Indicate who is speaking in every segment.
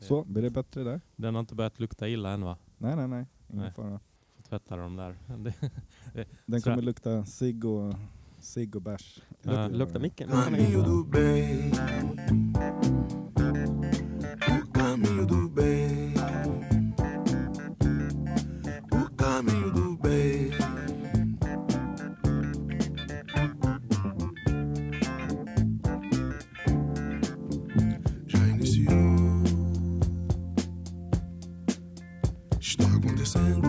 Speaker 1: Så, blir det bättre där?
Speaker 2: Den har inte börjat lukta illa än va?
Speaker 1: Nej, nej, nej. Ingen
Speaker 2: Nej.
Speaker 1: fara.
Speaker 2: Får tvätta dem där. Det,
Speaker 1: Den
Speaker 2: Så-
Speaker 1: kommer lukta cigg och, cigg och bärs.
Speaker 2: Ja,
Speaker 3: Lukta micken.
Speaker 4: É Caminho do bem. O caminho do bem. O caminho do bem. Já iniciou. Está acontecendo.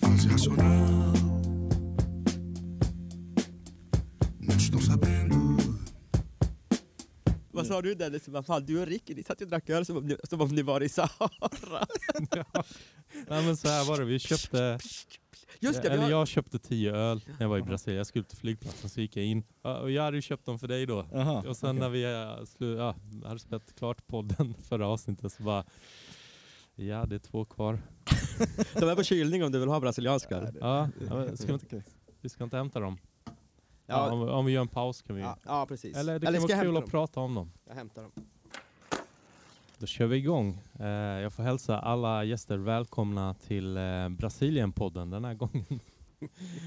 Speaker 4: Fase racional. Não estão sabendo.
Speaker 3: Vad sa du Dennis? Vad fan, du och Ricky, ni satt ju och drack öl som om ni, som om ni var i Sahara.
Speaker 2: nej men så här var det, vi köpte,
Speaker 3: Just det, vi
Speaker 2: eller
Speaker 3: har...
Speaker 2: jag köpte tio öl när jag var i Brasilien. Jag skulle till flygplatsen så gick jag in. Ja, Och jag hade ju köpt dem för dig då.
Speaker 1: Aha,
Speaker 2: Och sen när vi eh, slu, ja, hade spelat klart podden förra avsnittet så bara Ja, det är två kvar.
Speaker 3: De är på kylning om du vill ha brasilianska. öl.
Speaker 2: Ja, ja, men ska vi, inte-
Speaker 1: Okej.
Speaker 2: vi ska inte hämta dem. Ja,
Speaker 3: Ja,
Speaker 2: om, om vi gör en paus kan vi
Speaker 3: ja, ja, precis.
Speaker 2: Eller det kan
Speaker 3: ska
Speaker 2: vara
Speaker 3: jag
Speaker 2: kul
Speaker 3: hämta
Speaker 2: att
Speaker 3: dem?
Speaker 2: prata om dem.
Speaker 3: Jag hämtar dem.
Speaker 2: Då kör vi igång. Eh, Jag får hälsa alla gäster välkomna till eh, Brasilien-podden den här gången.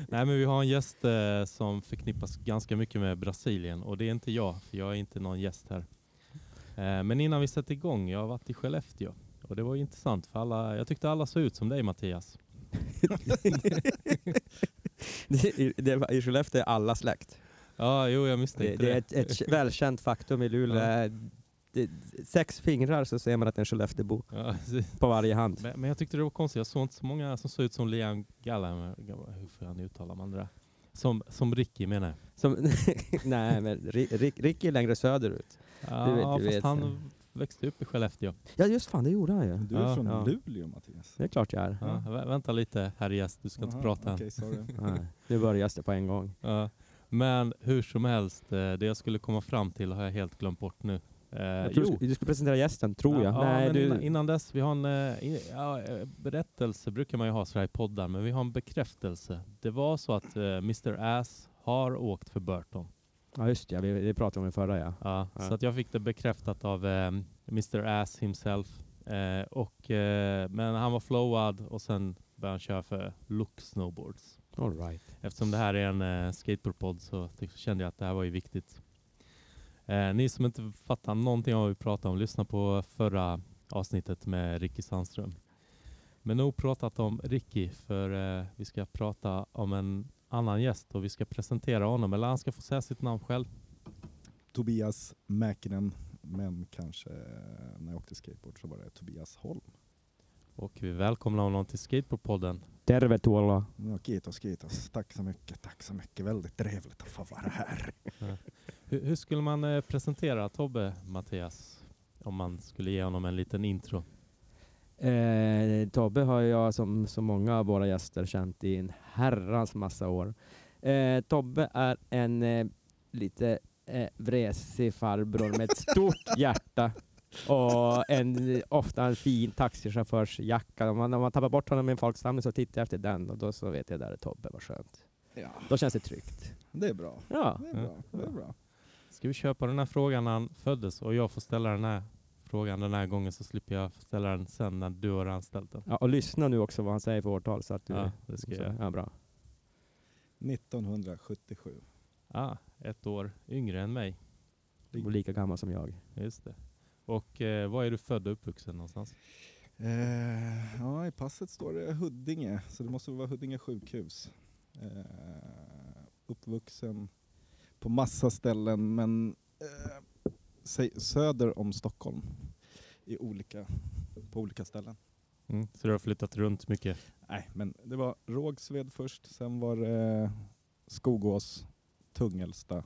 Speaker 2: Nej men vi har en gäst eh, som förknippas ganska mycket med Brasilien och det är inte jag, för jag är inte någon gäst här. Eh, Men innan vi sätter igång, jag har varit i Skellefteå och det var ju intressant för alla, jag tyckte alla såg ut som dig Mattias.
Speaker 3: I, det, I Skellefteå är alla släkt.
Speaker 2: Ja, jo jag misstänkte
Speaker 3: Det,
Speaker 2: det.
Speaker 3: det är ett, ett välkänt faktum i Luleå. Det, sex fingrar så ser man att det är en Skelleftebo
Speaker 2: Ja, precis.
Speaker 3: på varje hand.
Speaker 2: men, men jag tyckte det var konstigt, jag såg inte så många som såg ut som Liam Gallagher, hur fan uttalar man det där? Som, som Ricky menar jag.
Speaker 3: Som, nej, men Ri- Ri- Ricky är längre söderut.
Speaker 2: Ja,
Speaker 3: Du vet, du
Speaker 2: fast
Speaker 3: vet.
Speaker 2: han växte upp i Skellefteå.
Speaker 3: Ja just fan, det gjorde han ju.
Speaker 1: Du är
Speaker 2: Ja,
Speaker 1: från
Speaker 3: ja.
Speaker 1: Luleå, Mattias.
Speaker 3: Det är klart jag är.
Speaker 2: Ja, vä- vänta lite herr gäst, du ska inte
Speaker 1: Aha,
Speaker 2: prata än.
Speaker 1: Okej, sorry.
Speaker 3: Nej, nu börjar det på en gång.
Speaker 2: Ja, men hur som helst, eh, det jag skulle komma fram till har jag helt glömt bort nu. Eh,
Speaker 3: Jag tror du,
Speaker 2: jo.
Speaker 3: skulle- du skulle presentera gästen, tror jag.
Speaker 2: Ja,
Speaker 3: nej,
Speaker 2: men
Speaker 3: du,
Speaker 2: innan, innan dess, vi har en eh, i- ja, eh, berättelse, brukar man ju ha så här i poddar, men vi har en bekräftelse. Det var så att eh, Mr Ass har åkt för Burton.
Speaker 3: ja just det, ja, vi, vi pratade om det förra ja.
Speaker 2: Ja,
Speaker 3: Ja.
Speaker 2: Så att jag fick det bekräftat av eh, Mr Ass himself. Eh, och, eh, men han var flowad och sen började han köra för Look Snowboards.
Speaker 3: All right.
Speaker 2: Eftersom det här är en eh, skateboardpodd så ty- kände jag att det här var ju viktigt. Eh, ni som inte fattar någonting av vad vi pratar om, lyssna på förra avsnittet med Ricky Sandström. Men nog pratat om Ricky, för eh, vi ska prata om en annan gäst och vi ska presentera honom, eller han ska få säga sitt namn själv.
Speaker 1: Tobias Mäkinen, men kanske eh, när jag åkte skateboard så var det Tobias Holm.
Speaker 2: Och vi välkomnar honom till Skateboardpodden.
Speaker 3: Tervetuola.
Speaker 1: Ja, kiitos, kiitos. Tack så mycket, tack så mycket. Väldigt trevligt att få vara här.
Speaker 2: Hur, hur skulle man eh, presentera Tobbe, Mattias? Om man skulle ge honom en liten intro.
Speaker 3: Eh, Tobbe har jag som så många av våra gäster känt i en herrans massa år. Eh, Tobbe är en eh, lite eh, vresig farbror med ett stort hjärta och en, ofta en fin taxichaufförsjacka. Om man, om man tappar bort honom i en folksamling så tittar jag efter den och då så vet jag där är Tobbe, vad skönt.
Speaker 1: Ja,
Speaker 3: Då känns det tryggt.
Speaker 1: det är bra.
Speaker 3: Ja.
Speaker 1: Det är bra. Det är bra.
Speaker 2: Ska vi köpa den här frågan när han föddes och jag får ställa den här frågan den här gången så slipper jag ställa den sen när du har anställt den.
Speaker 3: ja, och lyssna nu också vad han säger för årtal. Så att du,
Speaker 2: Ja, det ska jag göra.
Speaker 3: ja, bra.
Speaker 1: 1977.
Speaker 2: Ah, ett år yngre än mig.
Speaker 3: Och lika gammal som jag.
Speaker 2: Just det. Och eh, var är du född och uppvuxen någonstans?
Speaker 1: Eh, ja, i passet står det Huddinge, så det måste vara Huddinge sjukhus. Eh, uppvuxen på massa ställen, men eh, sä- söder om Stockholm. I olika, på olika ställen.
Speaker 2: Så du har flyttat runt mycket?
Speaker 1: Nej, men det var Rågsved först, sen var det Skogås, Tungelsta,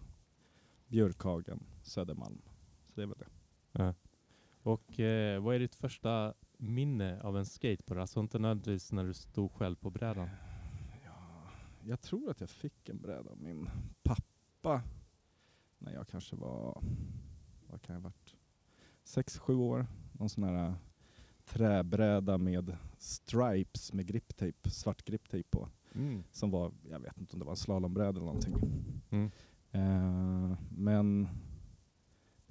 Speaker 1: Björkhagen, Södermalm. Så det är väl det.
Speaker 2: Och eh, vad är ditt första minne av en skateboard? Alltså inte nödvändigtvis när du stod själv på brädan.
Speaker 1: Jag tror att jag fick en bräda av min pappa när jag kanske var, vad kan jag ha varit, sex sju år. Någon sån här äh, träbräda med stripes med griptejp, svart griptejp på.
Speaker 2: Mm.
Speaker 1: Som var, jag vet inte om det var en slalombräda eller någonting.
Speaker 2: Mm.
Speaker 1: Eh, men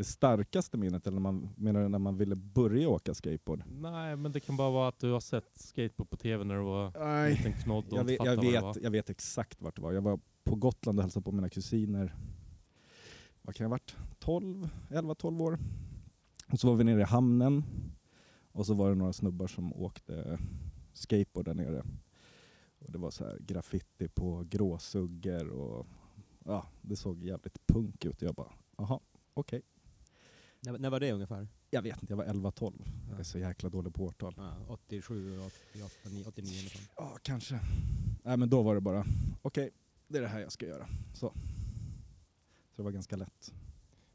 Speaker 1: Eh, det starkaste minnet, eller när man, menar du när man ville börja åka skateboard?
Speaker 2: Nej, men det kan bara vara att du har sett skateboard på tv när du var en
Speaker 1: Nej,
Speaker 2: liten knodd och
Speaker 1: jag
Speaker 2: inte
Speaker 1: vet,
Speaker 2: fattade
Speaker 1: jag,
Speaker 2: vad det var.
Speaker 1: vet, jag vet exakt vart det var. Jag var på Gotland och hälsade på mina kusiner. Vad kan jag ha varit? 12, 11, 12 år. Och så var vi nere i hamnen och så var det några snubbar som åkte skateboard där nere. Och det var så här graffiti på gråsuggor och ja, det såg jävligt punk ut. Jag bara, jaha, okej.
Speaker 3: När, när var det ungefär?
Speaker 1: Jag vet inte, jag var 11-12. Jag är så jäkla dålig på årtal.
Speaker 3: Ja, 87, 88, 89 eller sånt.
Speaker 1: Ja, kanske. Nej, men då var det bara, okej, det är det här jag ska göra. Så. Så det var ganska lätt.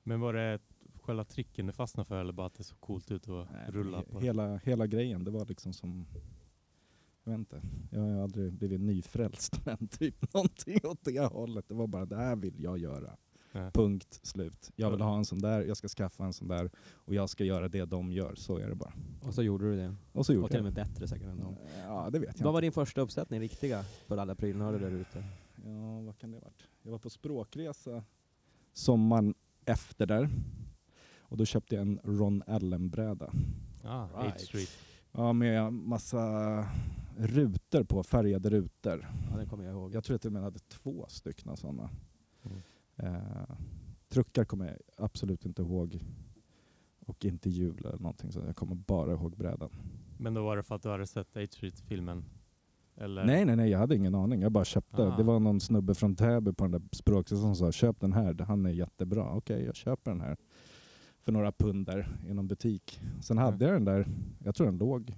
Speaker 2: Men var det själva tricken du fastnade för eller bara att det såg coolt ut och
Speaker 1: Nej,
Speaker 2: rulla
Speaker 1: he-
Speaker 2: på? det?
Speaker 1: hela, hela grejen, det var liksom som, jag vet inte, jag har ju aldrig blivit nyfrälst, men typ någonting åt det hållet. Det var bara, det här vill jag göra.
Speaker 2: Ja.
Speaker 1: Punkt slut. Jag vill
Speaker 2: Ja.
Speaker 1: ha en sån där, jag ska skaffa en sån där och jag ska göra det de gör. Så är det bara.
Speaker 3: Och så gjorde du det.
Speaker 1: Och så
Speaker 3: Och
Speaker 1: gjorde
Speaker 3: till och
Speaker 1: jag
Speaker 3: med
Speaker 1: det.
Speaker 3: bättre säkert än dem.
Speaker 1: Ja, det vet jag
Speaker 3: Vad
Speaker 1: inte.
Speaker 3: var din första uppsättning riktiga för alla prylnördar där ute?
Speaker 1: Ja, vad kan det ha varit? Jag var på språkresa sommaren efter där. Och då köpte jag en Ron Allen-bräda.
Speaker 2: Ah,
Speaker 3: Right.
Speaker 2: 8th Street.
Speaker 1: Ja, med massa rutor på, färgade rutor.
Speaker 3: Ja, den kommer jag ihåg.
Speaker 1: Jag tror att jag hade två stycken sådana.
Speaker 2: Mm.
Speaker 1: Eh, truckar kommer jag absolut inte ihåg. Och inte hjul eller någonting, så jag kommer bara ihåg brädan.
Speaker 2: Men då var det för att du hade sett 8th Street-filmen? Eller?
Speaker 1: Nej, nej, nej, jag hade ingen aning. Jag bara köpte.
Speaker 2: Ah.
Speaker 1: Det var någon snubbe från Täby på den där språkresan som sa köp den här, han är jättebra. Okej, jag köper den här. För några pund där i någon butik. Sen hade
Speaker 2: Mm.
Speaker 1: jag den där, jag tror den låg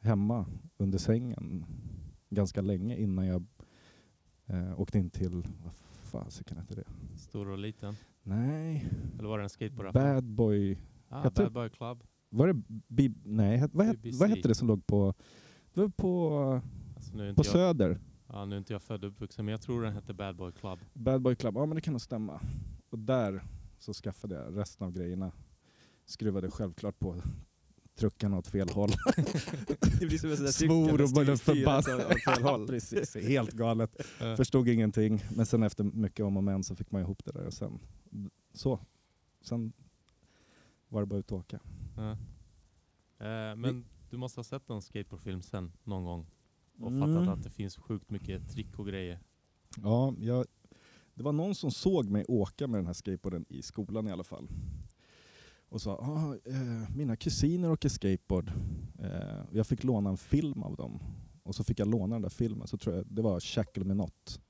Speaker 1: hemma under sängen ganska länge innan jag eh, åkte in till, vad fasiken hette det?
Speaker 2: Stor och liten?
Speaker 1: Nej,
Speaker 2: Eller var det en skateboardaffär?
Speaker 1: Bad Boy.
Speaker 2: Ah,
Speaker 1: jag tror-
Speaker 2: Bad Boy Club.
Speaker 1: Var det B- Nej, het- vad, het,
Speaker 2: BBC.
Speaker 1: vad hette det som låg på, det var på,
Speaker 2: Alltså, nu, är
Speaker 1: på
Speaker 2: inte jag,
Speaker 1: Söder?
Speaker 2: ja, nu är inte jag född och uppvuxen, men jag tror den hette Bad Boy Club.
Speaker 1: Bad Boy Club, ja men det kan nog stämma. Och där så skaffade jag resten av grejerna. Skruvade självklart på truckarna åt fel håll.
Speaker 3: Det blir som en sån där typ- cykel
Speaker 1: Svor
Speaker 3: med
Speaker 1: och blev
Speaker 3: styr-
Speaker 1: förbannad.
Speaker 3: åt fel håll.
Speaker 1: Ja, Precis,
Speaker 3: typ-
Speaker 1: helt galet. Förstod ingenting. Men sen efter mycket om och men så fick man ihop det där. Och sen, så. Sen var det bara ut och åka.
Speaker 2: Ja. Eh, men du måste ha sett en skateboardfilm sen någon gång och
Speaker 1: Mm.
Speaker 2: fattat att det finns sjukt mycket trick och grejer.
Speaker 1: Ja, jag, det var någon som såg mig åka med den här skateboarden i skolan i alla fall. Och sa, ah, eh, mina kusiner åker skateboard. Eh, jag fick låna en film av dem. Och så fick jag låna den där filmen, så tror jag det var Shackle Me Not.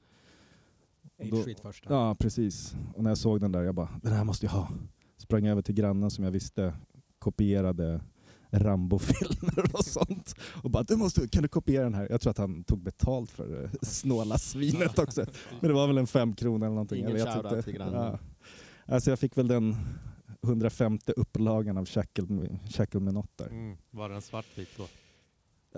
Speaker 1: Och då-
Speaker 3: Eight Street första.
Speaker 1: Ja, precis. Och när jag såg den där, jag bara, den här måste jag ha. Sprang över till grannen som jag visste kopierade Rambo-filmer och sånt. Och bara, du måste, kan du kopiera den här? Jag tror att han tog betalt för det snåla svinet också. Men det var väl en fem krona eller någonting.
Speaker 3: Ingen
Speaker 1: jag vet
Speaker 3: shoutout
Speaker 1: inte.
Speaker 3: till grannen.
Speaker 1: Ja. Alltså jag fick väl den 150 upplagan av Shackle, Shackle med något där.
Speaker 2: Mm. Var den svartvit då?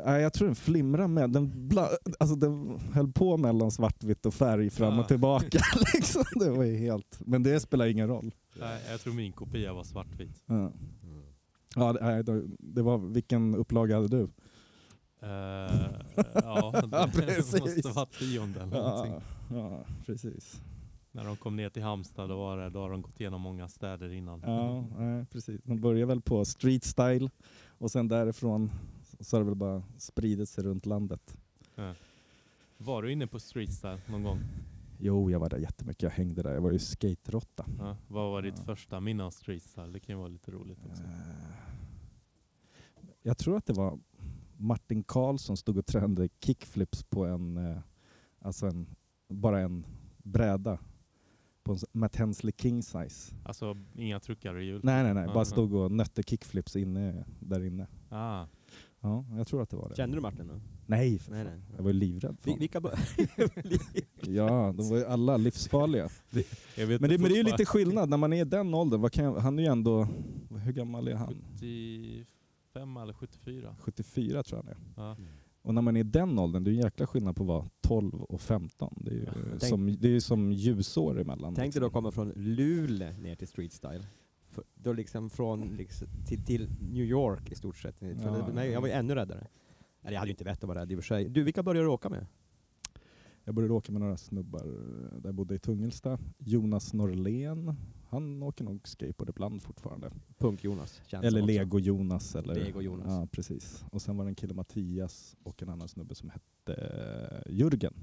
Speaker 1: Nej, jag tror den flimrar med. Den, bla, alltså den höll på mellan svartvitt och färg fram
Speaker 2: Ah.
Speaker 1: och tillbaka. liksom. Det var ju helt... Men det spelar ingen roll.
Speaker 2: Nej, jag tror min kopia var svartvit.
Speaker 1: Ja. Ja, det, nej, då- det var, vilken upplaga hade du?
Speaker 2: Eh, ja,
Speaker 1: Ja,
Speaker 2: det
Speaker 1: precis.
Speaker 2: måste vara tionde eller någonting.
Speaker 1: Ja, ja, precis.
Speaker 2: När de kom ner till Halmstad då, var det, då har de gått igenom många städer innan.
Speaker 1: Ja, nej, precis. De börjar väl på street style och sen därifrån så har det väl bara spridit sig runt landet.
Speaker 2: Var du inne på streetstyle någon gång?
Speaker 1: Jo, jag var där jättemycket. Jag hängde där. Jag var ju skaterotta.
Speaker 2: Ja. Vad var ditt
Speaker 1: Ja.
Speaker 2: första minne av streetstyle? Det kan ju vara lite roligt också.
Speaker 1: Eh, Jag tror att det var Martin Karlsson stod och tränade kickflips på en, eh, alltså en, bara en bräda på en s- Matt Hensley king size.
Speaker 2: Alltså inga truckare i hjul?
Speaker 1: Nej, nej, nej.
Speaker 2: Aha.
Speaker 1: Bara stod och nötte kickflips inne, där inne.
Speaker 2: Ah,
Speaker 1: Ja, jag tror att det var det.
Speaker 3: Kände du Martin då?
Speaker 1: Nej, för
Speaker 3: Nej,
Speaker 1: fan.
Speaker 3: nej.
Speaker 1: Jag var ju livrädd. för
Speaker 3: Vi,
Speaker 1: honom.
Speaker 3: vilka bör-
Speaker 1: Ja, de var ju alla livsfarliga.
Speaker 2: jag vet
Speaker 1: Men det, men det är ju
Speaker 2: fortfarande-
Speaker 1: lite skillnad när man är i den åldern. Vad kan jag, han är ju ändå, hur gammal är han?
Speaker 2: 75 eller 74?
Speaker 1: 74 tror jag han är.
Speaker 2: Ja.
Speaker 1: Och när man är i den åldern, det är ju en jäkla skillnad på att vara 12 och 15. Det är ju
Speaker 3: Tänk-
Speaker 1: som, det är ju som ljusår emellan.
Speaker 3: Tänk dig då
Speaker 1: liksom.
Speaker 3: komma från Luleå ner till street style. För- Då liksom från liksom, till, till New York i stort sett. För
Speaker 1: Ja.
Speaker 3: det- nej, jag var ju ännu räddare. Eller jag hade ju inte vett att vara rädd i och för sig. Du, vilka började du åka med?
Speaker 1: Jag började åka med några snubbar eh, där jag bodde i Tungelsta. Jonas Norlén, han åker nog skateboard ibland fortfarande.
Speaker 3: Punk-Jonas. känns
Speaker 1: eller
Speaker 2: Alltså
Speaker 3: som också.
Speaker 1: Lego-Jonas. Eller,
Speaker 3: Lego-Jonas.
Speaker 1: Ja, precis. Och sen var det en kille, Mattias, och en annan snubbe som hette eh, Jürgen.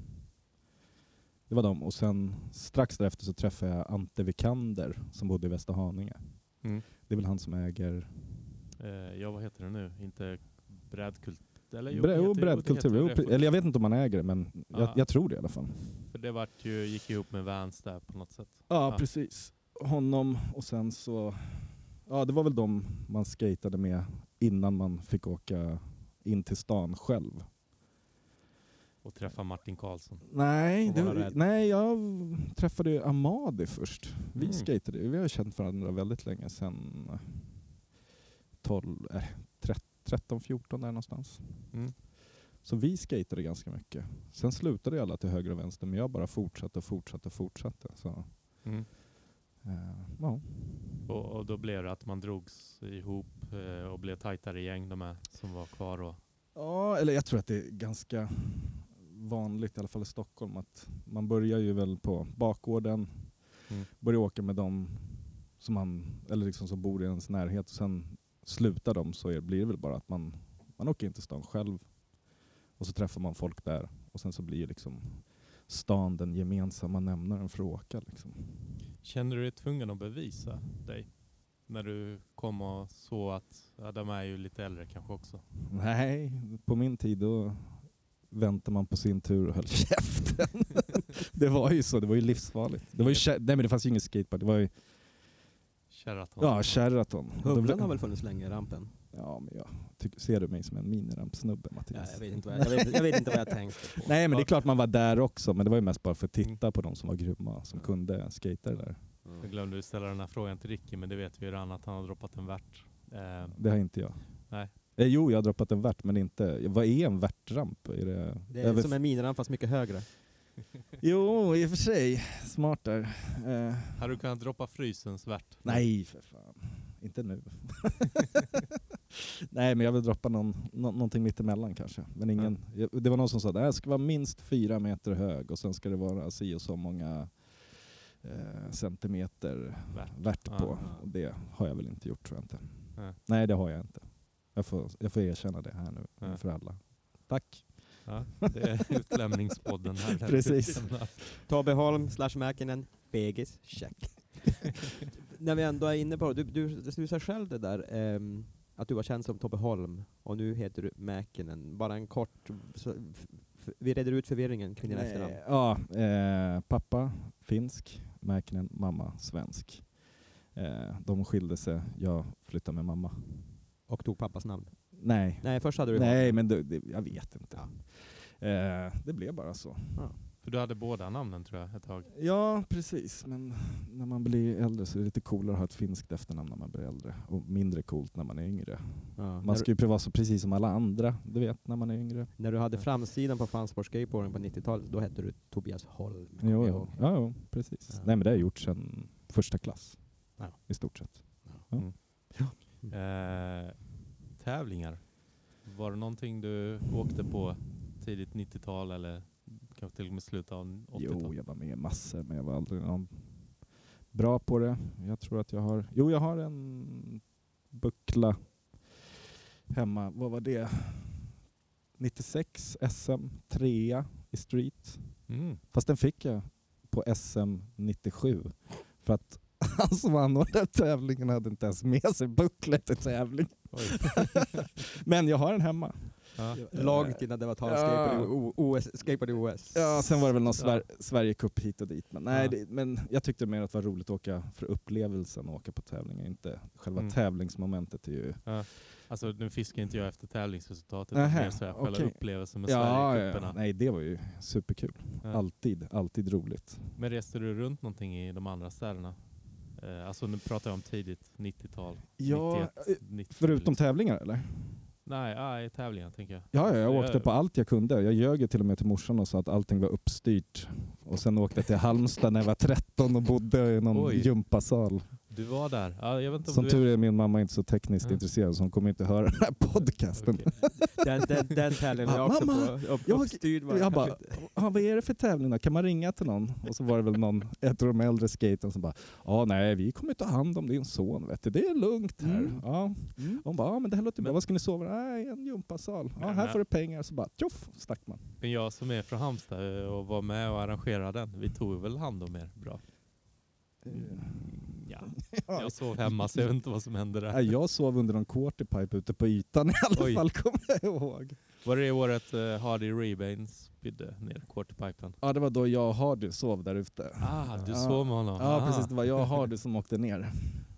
Speaker 1: Det var dem. Och sen strax därefter så träffade jag Ante Vikander som bodde i Västerhaninge.
Speaker 2: Mm.
Speaker 1: Det är väl han som äger
Speaker 2: Eh, ja, vad heter det nu? Inte brädkult... Eller, jo, det
Speaker 1: Bre-
Speaker 2: heter-
Speaker 1: jo,
Speaker 2: jo, det
Speaker 1: brädkultur.
Speaker 2: heter
Speaker 1: Jo,
Speaker 2: det.
Speaker 1: pre- Eller jag vet inte om han äger det, men
Speaker 2: Ja.
Speaker 1: jag, jag tror det i alla fall.
Speaker 2: För det vart ju, gick ihop med Vans där på något sätt.
Speaker 1: Ja,
Speaker 2: Ja.
Speaker 1: precis. Honom och sen så... Ja, det var väl de man skatade med innan man fick åka in till stan själv.
Speaker 2: Och träffa Martin Karlsson.
Speaker 1: Nej,
Speaker 2: Och vara
Speaker 1: det,
Speaker 2: rädd.
Speaker 1: nej jag träffade ju Amadi först. Vi
Speaker 2: Mm.
Speaker 1: skatade ju. Vi har ju känt varandra väldigt länge sedan 12, eh, 13, 14 där någonstans.
Speaker 2: Mm.
Speaker 1: Så vi skatade ganska mycket. Sen slutade ju alla till höger och vänster men jag bara fortsatte och fortsatte och fortsatte. Så,
Speaker 2: Mm.
Speaker 1: eh, ja.
Speaker 2: Och, och då blev det att man drogs ihop eh, och blev tajtare gäng de här som var kvar. Och,
Speaker 1: Ja, eller jag tror att det är ganska vanligt, i alla fall i Stockholm, att man börjar ju väl på bakgården,
Speaker 2: Mm.
Speaker 1: börjar åka med dem som, man, eller liksom som bor i ens närhet och sen slutar de så är, blir det väl bara att man, man åker in till stan själv och så träffar man folk där och sen så blir ju liksom stan den gemensamma nämnaren för att åka. Liksom.
Speaker 2: kände du dig tvungen att bevisa dig? När du kom och såg att ja, de är ju lite äldre kanske också.
Speaker 1: Nej, på min tid då väntade man på sin tur och höll käften. det var ju så, det var ju livsfarligt. Det, var ju, kä- nej, men det fanns ju ingen skateboard, det var ju
Speaker 2: Sheraton.
Speaker 1: ja, Sheraton.
Speaker 3: Humlan har väl funnits länge, rampen?
Speaker 1: Ja, men jag tycker- ser du mig som en minirampsnubbe
Speaker 3: Ja,
Speaker 1: Mattias?
Speaker 3: jag, vet inte vad jag, jag, vet, jag vet inte vad jag tänkte på.
Speaker 1: Nej men det är klart man var där också, men det var ju mest bara för att
Speaker 3: Mm.
Speaker 1: titta på de som var grymma, som kunde skata det där.
Speaker 2: Jag glömde ju ställa den här frågan till Ricky, men det vet vi ju redan att han har droppat en värt. Eh,
Speaker 1: Det har inte jag.
Speaker 2: Nej.
Speaker 1: Eh, jo, jag har droppat en värt, men inte... Vad är en värtramp? Är det,
Speaker 3: Det är
Speaker 1: över-
Speaker 3: som en miniramp fast mycket högre.
Speaker 1: Jo, i och för sig. Smart där. Eh,
Speaker 2: hade du kunnat droppa frysens värt?
Speaker 1: Nej, för fan. Inte nu. Nej, men jag vill droppa någon, nå- någonting mitt emellan kanske. Men ingen, jag- Det var någon som sa att "Äh, det här ska vara minst fyra meter hög och sen ska det vara si och så många eh, centimeter
Speaker 2: Värt.
Speaker 1: värt
Speaker 2: Ja,
Speaker 1: på.
Speaker 2: ja.
Speaker 1: Och det har jag väl inte gjort tror jag inte.
Speaker 2: Nej.
Speaker 1: Nej, det har jag inte. Jag får, jag får erkänna det här nu
Speaker 2: Ja.
Speaker 1: för alla. Tack.
Speaker 2: Ja, det är utlämningspodden här.
Speaker 1: Precis.
Speaker 3: Tobbe Holm slash Mäkinen, fegis, check. När vi ändå är inne på det, du, du, du sa själv det där ehm, att du var känd som Tobbe Holm och nu heter du Mäkinen. Bara en kort, så, f, f, vi reder ut förvirringen kring dina efternamn.
Speaker 1: Ja, eh, pappa finsk, Mäkinen mamma svensk. Eh, de skilde sig, jag flyttade med mamma.
Speaker 3: Och tog pappas namn.
Speaker 1: Nej,
Speaker 3: Nej, först hade du
Speaker 1: nej men det, det, jag vet inte. Eh, det blev bara så.
Speaker 2: För du hade båda namnen tror jag ett tag.
Speaker 1: Ja, precis. Men när man blir äldre så är det lite coolare att ha ett finskt efternamn när man blir äldre. Och mindre coolt när man är yngre.
Speaker 3: Ja,
Speaker 1: Man
Speaker 3: när,
Speaker 1: ska ju vara så precis som alla andra, du vet, när man är yngre.
Speaker 3: du, när du hade framsidan på Fansport Skateboarding på 90-talet, då hette du Tobias Holm. kommer
Speaker 1: Jo,
Speaker 3: jag
Speaker 1: jo.
Speaker 3: ihåg.
Speaker 1: Ja, jo, precis.
Speaker 3: Ja.
Speaker 1: Nej men det har jag gjort sedan första klass.
Speaker 3: Ja.
Speaker 1: I stort sett.
Speaker 2: Eh, tävlingar. Var det någonting du åkte på tidigt 90-tal eller kanske till och med slutet av
Speaker 1: Jo,
Speaker 2: 80-tal?
Speaker 1: jag var med i massor, men jag var aldrig någon bra på det. Jag tror att jag har... Jo, jag har en buckla hemma. Vad var det? 96 SM, trea i street.
Speaker 2: Mm.
Speaker 1: Fast den fick jag på SM 97 för att han som anordnade tävlingen hade inte ens med sig bucklet till tävling.
Speaker 2: Oj.
Speaker 1: Men jag har den hemma.
Speaker 2: Ja.
Speaker 3: Långt innan det var tal
Speaker 1: Ja.
Speaker 3: skateboard i OS. Skateboard i OS.
Speaker 1: Ja, sen var det väl någon Sver
Speaker 2: Ja.
Speaker 1: Sverigecup hit och dit. Men, nej,
Speaker 2: Ja.
Speaker 1: det, men jag tyckte mer att det var roligt att åka för upplevelsen och åka på tävlingar. Inte själva
Speaker 2: Mm.
Speaker 1: tävlingsmomentet är ju...
Speaker 2: Alltså nu fiskar inte jag efter tävlingsresultatet,
Speaker 1: Nähä,
Speaker 2: det är mer så här själva
Speaker 1: okej.
Speaker 2: upplevelsen med Sverigecuperna.
Speaker 1: Nej, det var ju superkul.
Speaker 2: Ja.
Speaker 1: Alltid, alltid roligt.
Speaker 2: Men reste du runt någonting i de andra städerna? Eh, alltså nu pratar jag om tidigt 90-tal.
Speaker 1: Ja,
Speaker 2: 91, 90
Speaker 1: Förutom
Speaker 2: liksom.
Speaker 1: tävlingar eller?
Speaker 2: Nej, nej, tävlingar tänker jag. Alltså,
Speaker 1: Ja, ja, jag
Speaker 2: Det
Speaker 1: åkte på allt jag kunde. Jag ljög ju till och med till morsan och sa att allting var uppstyrt. Och sen åkte jag till Halmstad när jag var 13 och bodde i någon
Speaker 2: Oj.
Speaker 1: gympasal.
Speaker 2: Du var där. Ja, jag vet inte om
Speaker 1: Som
Speaker 2: du
Speaker 1: tur är min mamma inte så tekniskt
Speaker 2: Ja.
Speaker 1: intresserad så hon kommer inte höra den här podcasten.
Speaker 2: Okej.
Speaker 3: Den, den, den tävlingen var jag
Speaker 1: Mamma,
Speaker 3: också på. Upp,
Speaker 1: jag-
Speaker 3: uppstyrd var
Speaker 1: Jag
Speaker 3: jag
Speaker 1: bara,
Speaker 3: kanske
Speaker 1: ah, vad är det för tävling då? Kan man ringa till någon? Och så var det väl någon, ett av de äldre skatern som bara, ja ah, nej vi kommer ta hand om din son vet du, det är lugnt här.
Speaker 3: Mm.
Speaker 1: Ja.
Speaker 3: inte. Mm.
Speaker 1: Hon bara, ah, men det här låter bra,
Speaker 2: Men-
Speaker 1: vad ska ni sova? Nej, en gympasal. Ja,
Speaker 2: Men-
Speaker 1: här får du pengar. Så bara tjoff, stack man.
Speaker 2: Men jag som är från Halmstad eh, och var med och arrangerade den, vi tog väl hand om er bra.
Speaker 1: Mm.
Speaker 2: Ja.
Speaker 1: Ja.
Speaker 2: Jag sov hemma så jag vet inte vad som hände
Speaker 1: Nej,
Speaker 2: där.
Speaker 1: jag sov under en quarterpipe ute på ytan i alla
Speaker 2: Oj.
Speaker 1: fall, kommer jag ihåg.
Speaker 2: Var det det året eh, Hardy Rebane spydde ner quarterpipen?
Speaker 1: Ja, det var då jag och Hardy sov där ute.
Speaker 2: Ah, du
Speaker 1: Ja.
Speaker 2: sov med honom?
Speaker 1: Ja,
Speaker 2: Ah.
Speaker 1: precis. Det var jag och Hardy som åkte ner.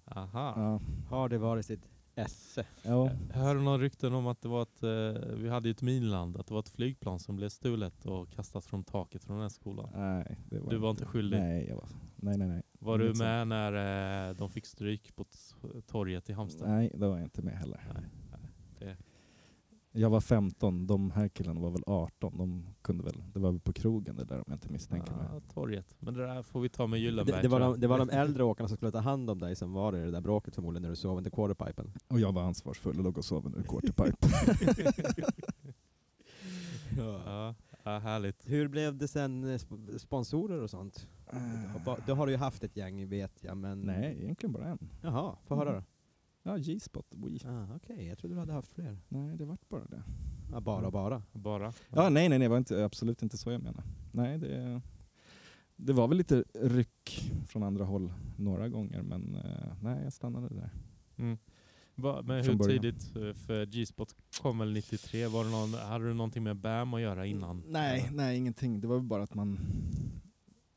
Speaker 2: Aha.
Speaker 1: Ja.
Speaker 3: Har det varit sitt esse?
Speaker 1: Ja.
Speaker 2: Jag hörde någon rykten om att det var ett, eh, vi hade ju ett minland, att det var ett flygplan som blev stulet och kastat från taket från den här skolan.
Speaker 1: Nej, det var
Speaker 2: Du var inte skyldig.
Speaker 1: Nej, jag var... nej, nej. Nej,
Speaker 2: Var du
Speaker 1: inget sånt.
Speaker 2: med när eh, de fick stryk på t- torget i Halmstad?
Speaker 1: nej, det var jag inte med heller.
Speaker 2: Nej, nej, det-
Speaker 1: Jag var 15, de här killarna var väl 18. De kunde väl, det var väl på krogen det där om jag inte misstänker mig.
Speaker 2: Ah, torget. Men det där får vi ta med Gyllenberg.
Speaker 3: Det, det, var
Speaker 2: tror
Speaker 3: de,
Speaker 2: jag.
Speaker 3: det var de äldre åkarna som skulle ta hand om dig som var i det där bråket förmodligen när du sov under quarterpipen.
Speaker 1: Och jag var ansvarsfull och låg och sov under en quarterpipe.
Speaker 2: Ja, ja, härligt.
Speaker 3: Hur blev det sen eh, sp- sponsorer och sånt? Det har du ju haft ett gäng vet jag, men...
Speaker 1: nej, egentligen bara en.
Speaker 3: Jaha, få höra då.
Speaker 1: Ja, G-spot. Wii.
Speaker 3: Ah, Okej, jag trodde du hade haft fler.
Speaker 1: Nej, det vart bara det.
Speaker 3: Ja, bara bara.
Speaker 2: Bara.
Speaker 1: Ja, nej, nej, nej, det var inte, absolut inte så jag menar. Nej, det, det var väl lite ryck från andra håll några gånger, men eh, nej, jag stannade där.
Speaker 2: Va, men hur
Speaker 1: Från början.
Speaker 2: tidigt? eh, För G-spot kom väl 93? Var det någon, hade du någonting med BAM att göra innan?
Speaker 1: Nej,
Speaker 2: Eller?
Speaker 1: nej, ingenting. Det var väl bara att man...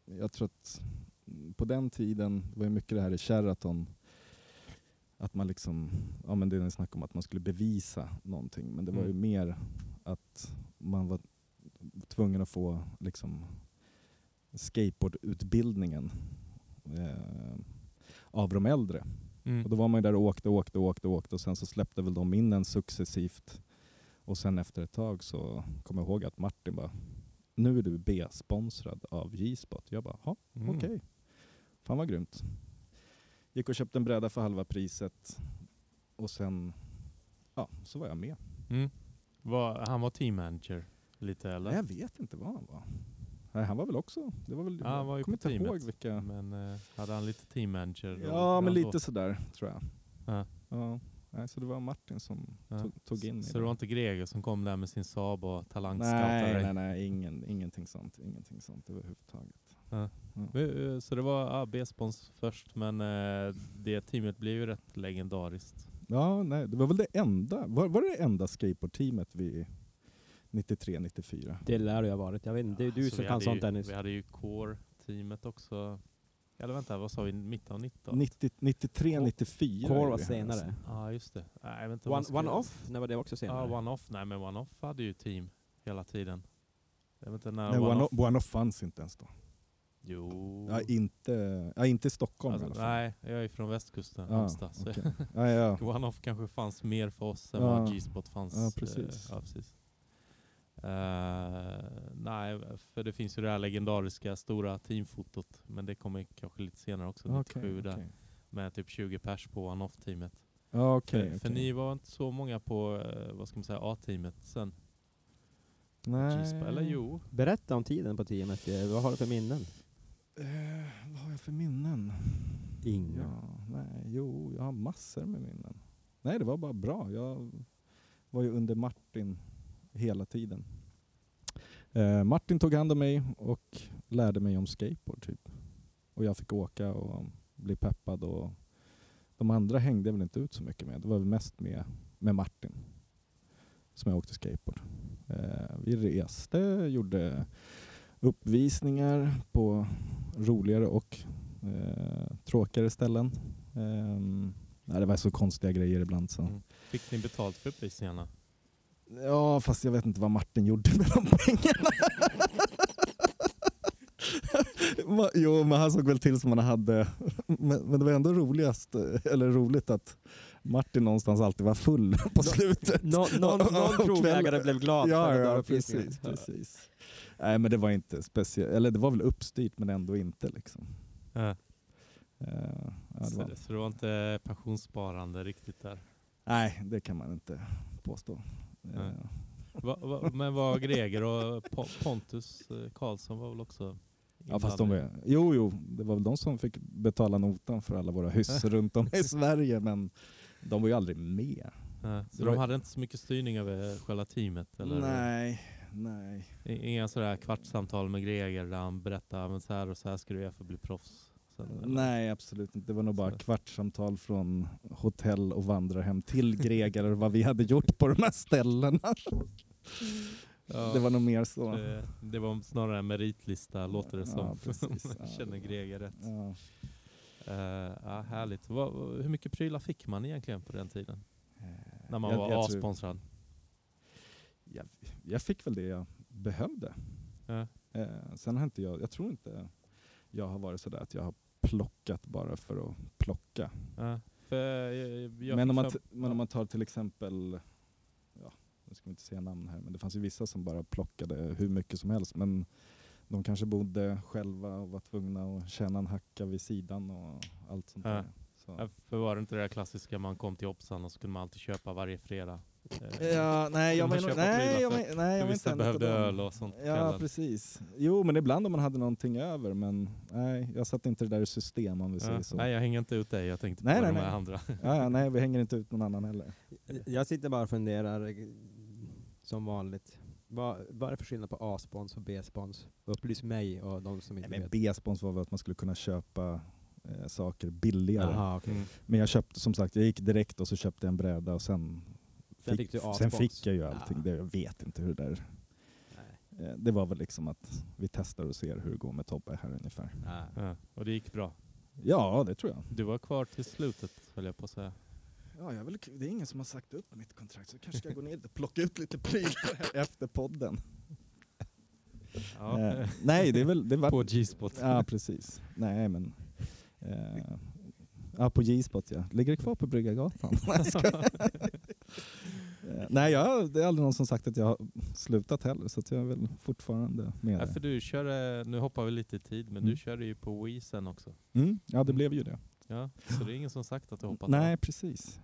Speaker 1: Jag tror att på den tiden, det var ju mycket det här i Sheraton, att man liksom, ja men det är en snack om att man skulle bevisa någonting, men det var ju
Speaker 2: Mm.
Speaker 1: mer att man var tvungen att få liksom skateboardutbildningen eh, av de äldre. Och
Speaker 2: Mm.
Speaker 1: då var man ju där och åkte, åkte, åkte, åkte och sen så släppte väl de in en successivt. Och sen efter ett tag så kom jag ihåg att Martin bara, nu är du B-sponsrad av J-spot. Jag bara, ja
Speaker 2: Mm.
Speaker 1: okej. Fan vad grymt. Gick och köpte en bräda för halva priset och sen, ja så var jag med.
Speaker 2: Mm. Var, han var team manager lite eller?
Speaker 1: Nej, jag vet inte vad han var. Nej, han var väl också, det var väl,
Speaker 2: Ja, han var ju
Speaker 1: jag kommer inte
Speaker 2: på teamet.
Speaker 1: ihåg vilka.
Speaker 2: Men eh, hade han lite team manager? då?
Speaker 1: Ja men
Speaker 2: Ändå.
Speaker 1: lite sådär tror jag.
Speaker 2: Ja.
Speaker 1: Ja. Nej, så det var Martin som
Speaker 2: Ja.
Speaker 1: tog, tog in mig.
Speaker 2: Så
Speaker 1: där.
Speaker 2: det var inte Greger som kom där med sin Saab och talangscoutade
Speaker 1: Nej,
Speaker 2: dig?
Speaker 1: nej, nej, ingen, ingenting sånt. Ingenting sånt överhuvudtaget.
Speaker 2: Men, eh, Så det var ja, B-spons först, men eh, det teamet blev ju rätt legendariskt.
Speaker 1: Ja, nej, det var väl det enda. Var, var det det enda skateboardteamet vi 93, 94?
Speaker 3: Det lär du ha varit. Jag vet inte, det är du
Speaker 2: Så Alltså,
Speaker 3: som
Speaker 2: vi
Speaker 3: kan
Speaker 2: hade
Speaker 3: sånt
Speaker 2: ju,
Speaker 3: Dennis.
Speaker 2: Vi hade ju Core-teamet också. Eller vänta, vad sa vi? Mitten av 19?
Speaker 1: 90, 93,
Speaker 3: Ko-
Speaker 1: 94?
Speaker 3: Core
Speaker 1: är
Speaker 3: var
Speaker 1: vi här, alltså.
Speaker 3: senare.
Speaker 2: Ja, just det. Nej, jag vet inte om man
Speaker 3: One,
Speaker 2: skulle-
Speaker 3: one off, när var det också
Speaker 2: Ja,
Speaker 3: senare?
Speaker 2: One Off. Nej, men One Off hade ju team hela tiden. Jag vet inte när
Speaker 1: Nej,
Speaker 2: One, Off...
Speaker 1: One Off fanns inte ens då.
Speaker 2: Jo.
Speaker 1: Ja, inte, ja, inte i Stockholm i alla
Speaker 2: alltså,
Speaker 1: fall.
Speaker 2: nej, jag är från västkusten,
Speaker 1: Ja,
Speaker 2: Halmstad. Så
Speaker 1: okej. Ja, ja.
Speaker 2: One Off kanske fanns mer för oss än
Speaker 1: Ja.
Speaker 2: vad G-spot fanns.
Speaker 1: Ja, Ah, precis.
Speaker 2: eh, ja, precis. Eh, nej, för det finns ju det här legendariska stora teamfotot, men det kommer kanske lite senare också, 97
Speaker 1: Okej,
Speaker 2: där,
Speaker 1: okej.
Speaker 2: med typ 20 pers på One Off-teamet.
Speaker 1: Ja,
Speaker 2: För,
Speaker 1: okej.
Speaker 2: för
Speaker 1: okej.
Speaker 2: ni var inte så många på, eh, vad ska man säga, A-teamet sen?
Speaker 1: Nej.
Speaker 2: G-spot. Eller jo?
Speaker 3: Berätta om tiden på teamet. eh, Vad har du för minnen?
Speaker 1: Eh, vad har jag för minnen?
Speaker 3: Inga.
Speaker 1: Ja, nej, jo, jag har massor med minnen. Nej, det var bara bra. Jag var ju under Martin hela tiden. Eh, Martin tog hand om mig och lärde mig om skateboard typ. Och jag fick åka och bli peppad och de andra hängde jag väl inte ut så mycket med. Det var väl mest med, med Martin som jag åkte skateboard. Eh, vi reste, gjorde uppvisningar på roligare och eh, tråkigare ställen. Ehm, nej, det var så konstiga grejer ibland. Så.
Speaker 2: Mm. Fick ni betalt för uppvisningarna?
Speaker 1: Ja, fast jag vet inte vad Martin gjorde med de pengarna. Ma- jo, men han såg väl till som han hade. Men, men det var ändå roligast, eller roligt att Martin någonstans alltid var full på slutet.
Speaker 3: Nå- någon någon krogägare blev glad
Speaker 1: Ja,
Speaker 3: för den där
Speaker 1: ja
Speaker 3: uppvisningen.
Speaker 1: precis, precis. Nej, men det var inte speciellt. Eller det var väl uppstyrt, men ändå inte. Liksom.
Speaker 2: Ja.
Speaker 1: Eh, ja, det
Speaker 2: Så
Speaker 1: var,
Speaker 2: det, så det var inte pensionssparande riktigt där.
Speaker 1: nej, det kan man inte påstå.
Speaker 2: Nej.
Speaker 1: Eh,
Speaker 2: Va, va, men var Greger och Po- Pontus eh, Karlsson var väl också
Speaker 1: Ja, fast de var, jo, jo, det var väl de som fick betala notan för alla våra hyss runt om i Sverige, men de var ju aldrig med.
Speaker 2: Nej, Eh, så
Speaker 1: det
Speaker 2: de
Speaker 1: var-
Speaker 2: hade inte så mycket styrning över själva teamet? Eller?
Speaker 1: Nej, nej.
Speaker 2: I- Inga sådär kvartssamtal med Greger där han berättar men så här och så här ska du göra för att bli proffs? Sen, eller?
Speaker 1: Eh, Nej, absolut inte. Det var nog bara
Speaker 2: Så.
Speaker 1: kvartssamtal från hotell och vandrarhem till Gregar och vad vi hade gjort på de här ställena.
Speaker 2: Ja,
Speaker 1: Det var nog mer så.
Speaker 2: det, det var snarare en meritlista låter det
Speaker 1: Ja,
Speaker 2: som.
Speaker 1: precis.
Speaker 2: Jag känner Greger rätt.
Speaker 1: Ja.
Speaker 2: Eh, ja, härligt. Va, hur mycket prylar fick man egentligen på den tiden? När man
Speaker 1: Jag-
Speaker 2: var
Speaker 1: jag tror-
Speaker 2: avsponsrad?
Speaker 1: Jag, jag fick väl det jag behövde.
Speaker 2: Ja.
Speaker 1: Eh, sen har inte jag, jag tror inte jag har varit sådär att jag har plockat bara för att plocka.
Speaker 2: Ja, för eh, jag, jag
Speaker 1: men,
Speaker 2: fick
Speaker 1: om man
Speaker 2: fram-
Speaker 1: t- men om man tar till exempel, ja, nu ska vi inte säga namn här, men det fanns ju vissa som bara plockade hur mycket som helst. Men de kanske bodde själva och var tvungna att tjäna en hacka vid sidan och allt sånt
Speaker 2: Ja.
Speaker 1: där. Så.
Speaker 2: Ja, för var det inte det där klassiska man kom till Opsan och så kunde man alltid köpa varje fredag? Eh,
Speaker 1: Ja, nej,
Speaker 2: jag Man var nog- köper nej, prylar jag var-
Speaker 1: nej,
Speaker 2: för vissa behövde öl och sånt på
Speaker 1: Ja,
Speaker 2: kvällen.
Speaker 1: precis. Jo, men ibland om man hade någonting över, men nej, jag satte inte det där i system om vi säger
Speaker 2: Ja.
Speaker 1: så.
Speaker 2: Nej, jag hänger inte ut dig. Jag tänkte
Speaker 1: Nej,
Speaker 2: på
Speaker 1: nej,
Speaker 2: de här
Speaker 1: nej.
Speaker 2: andra.
Speaker 1: Ja, ja, nej, vi hänger inte ut någon annan heller.
Speaker 3: Jag sitter bara och funderar, eh, som vanligt. Vad, vad är det för skillnad på A-spons och B-spons? Upplys mig och de som inte
Speaker 1: Nej, men
Speaker 3: vet.
Speaker 1: B-spons var väl att man skulle kunna köpa eh, saker billigare.
Speaker 3: Jaha, okej.
Speaker 1: Men jag köpte, som sagt, jag gick direkt och så köpte jag en bräda och sen
Speaker 3: Sen
Speaker 1: fick,
Speaker 3: fick du
Speaker 1: sen
Speaker 3: A-spons.
Speaker 1: fick jag ju allting.
Speaker 3: Ah.
Speaker 1: Det, jag vet inte hur det där...
Speaker 3: Nej.
Speaker 1: eh, Det var väl liksom att vi testar och ser hur det går med Tobbe här ungefär.
Speaker 3: Ah.
Speaker 2: Ja, och det gick bra.
Speaker 1: Ja, det tror jag.
Speaker 2: Du var kvar till slutet höll jag på att säga.
Speaker 1: Ja, jag vill, det är ingen som har sagt upp mitt kontrakt så kanske ska jag gå ner och plocka ut lite prylar efter podden.
Speaker 2: Ja.
Speaker 1: Eh, nej, det är väl... Det var,
Speaker 2: på G-spot.
Speaker 1: Ja, precis. Nej, men... Eh, ja, på J-spot ja. Ligger det kvar på Bryggargatan? Nej, jag skojar. Eh, Nej, jag, det är aldrig någon som sagt att jag har slutat heller, så att jag är väl fortfarande med.
Speaker 2: Ja, för
Speaker 1: det.
Speaker 2: du körde, nu hoppar vi lite i tid, men
Speaker 1: Mm.
Speaker 2: du körde ju på Wii sen också.
Speaker 1: Mm, ja, det blev ju det.
Speaker 2: Ja, så det är ingen som sagt att du hoppat
Speaker 1: Nej,
Speaker 2: av.
Speaker 1: precis.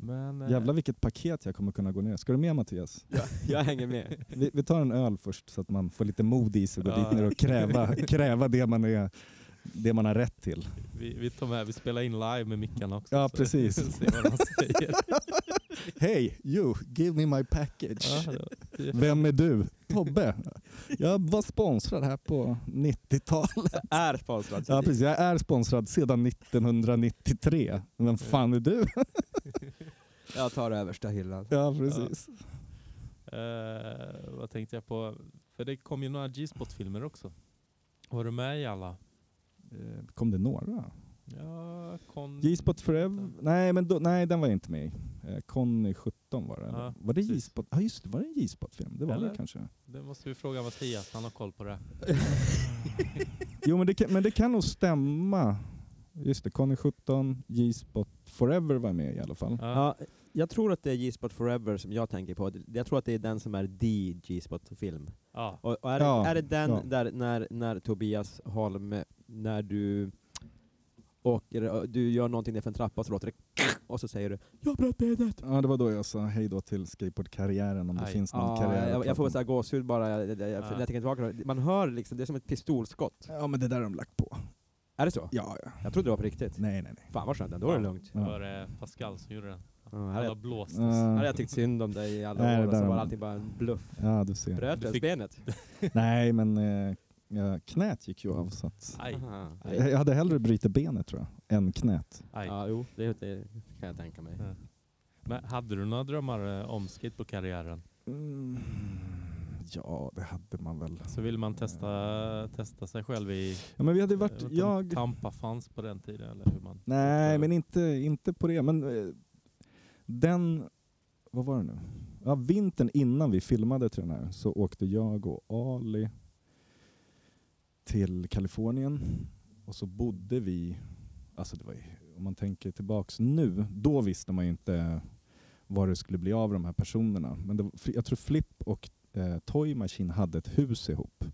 Speaker 2: Men, eh,
Speaker 1: Jävlar vilket paket jag kommer kunna gå ner. Ska du med Mattias?
Speaker 3: Jag hänger med.
Speaker 1: Vi, vi tar en öl först så att man får lite mod i sig och går
Speaker 2: Ja.
Speaker 1: dit ner och kräva, kräva det, man är, det man har rätt till.
Speaker 2: vi, vi tar med, vi spelar in live med mickarna också.
Speaker 1: Ja,
Speaker 2: så
Speaker 1: precis.
Speaker 2: Se vad de säger.
Speaker 1: Hey you, give me my package.
Speaker 2: Ja, det var- det-
Speaker 1: Vem är du? Tobbe. Jag var sponsrad här på 90-talet.
Speaker 3: Är sponsrad.
Speaker 1: Ja, precis. Jag är sponsrad sedan 1993. Vem fan är du?
Speaker 3: Jag tar översta hyllan.
Speaker 1: Ja, precis.
Speaker 2: Eh, vad tänkte jag på? För det kom ju några G-spot-filmer också. Var du med i alla?
Speaker 1: Eh, Kom det några?
Speaker 2: Ja, kon...
Speaker 1: J-spot Forever? Nej, men då, nej, den var jag inte med i. Eh, Conny 17 var det. eller?
Speaker 2: Ja,
Speaker 1: var det
Speaker 2: precis.
Speaker 1: J-spot? Ja, just det. Var det en J-spot-film? Det var
Speaker 2: Eller?
Speaker 1: det kanske.
Speaker 2: Det måste vi fråga Mattias, han har koll på det.
Speaker 1: Jo, men det, kan, men det kan nog stämma. Just det, Conny 17, J-spot Forever var med i alla fall.
Speaker 2: Ja.
Speaker 3: Ja, jag tror att det är G-spot forever som jag tänker på. Jag tror att det är den som är the G-spot-film.
Speaker 2: Ja.
Speaker 3: Och, och är, det-
Speaker 1: Ja,
Speaker 3: är det den
Speaker 1: ja.
Speaker 3: där när, när Tobias Holm, när du åker, du gör någonting nerför en trappa och så låter det och så säger du ”Jag bröt benet”.
Speaker 1: Ja, det var då jag sa hej då till skateboardkarriären om det
Speaker 2: Aj.
Speaker 1: finns någon
Speaker 3: Ah,
Speaker 1: karriär. att
Speaker 3: jag, jag
Speaker 1: prata
Speaker 3: får
Speaker 1: om.
Speaker 3: såhär gåshud bara, jag, jag, jag,
Speaker 2: Ja.
Speaker 3: jag tänker tillbaka. på det. Man hör liksom, det är som ett pistolskott.
Speaker 1: Ja, men det där har de lagt på.
Speaker 3: Är det så?
Speaker 1: Ja, ja.
Speaker 3: Jag trodde det var på riktigt.
Speaker 1: Nej, nej, nej.
Speaker 3: Fan vad skönt, då är det lugnt.
Speaker 2: Det
Speaker 1: Ja.
Speaker 2: var det Pascal som gjorde den.
Speaker 3: Ja, här
Speaker 2: Han
Speaker 3: är-
Speaker 2: har blåst.
Speaker 1: Ja.
Speaker 3: hade jag tyckt synd om dig i alla
Speaker 1: Nej, det
Speaker 3: år och så
Speaker 1: där-
Speaker 3: var allting bara en bluff.
Speaker 1: Ja, du ser.
Speaker 3: Bröt
Speaker 2: Du
Speaker 3: jag
Speaker 2: fick-
Speaker 3: benet?
Speaker 1: Nej, men eh, ja, knät gick ju av så att...
Speaker 2: Aj,
Speaker 3: Aha.
Speaker 1: Jag jag hade hellre brutit benet tror jag, än knät.
Speaker 2: aj.
Speaker 3: Ja, jo, det, det kan jag tänka mig.
Speaker 2: Ja. Men hade du några drömmar eh, om skateboardkarriären?
Speaker 1: Mm. Ja, det hade man väl.
Speaker 2: Så ville man testa, testa sig själv i...
Speaker 1: Ja, men vi hade
Speaker 2: jag
Speaker 1: varit...
Speaker 2: vet inte om
Speaker 1: Jag...
Speaker 2: Tampa fanns på den tiden eller hur man...
Speaker 1: Nej, men inte, inte på det. Men eh, den... Vad var det nu? Ja, vintern innan vi filmade till den här så åkte jag och Ali till Kalifornien och så bodde vi... Alltså det var ju, om man tänker tillbaks nu, då visste man ju inte vad det skulle bli av de här personerna. Men det, var- jag tror Flip och eh, Toy Machine hade ett hus ihop.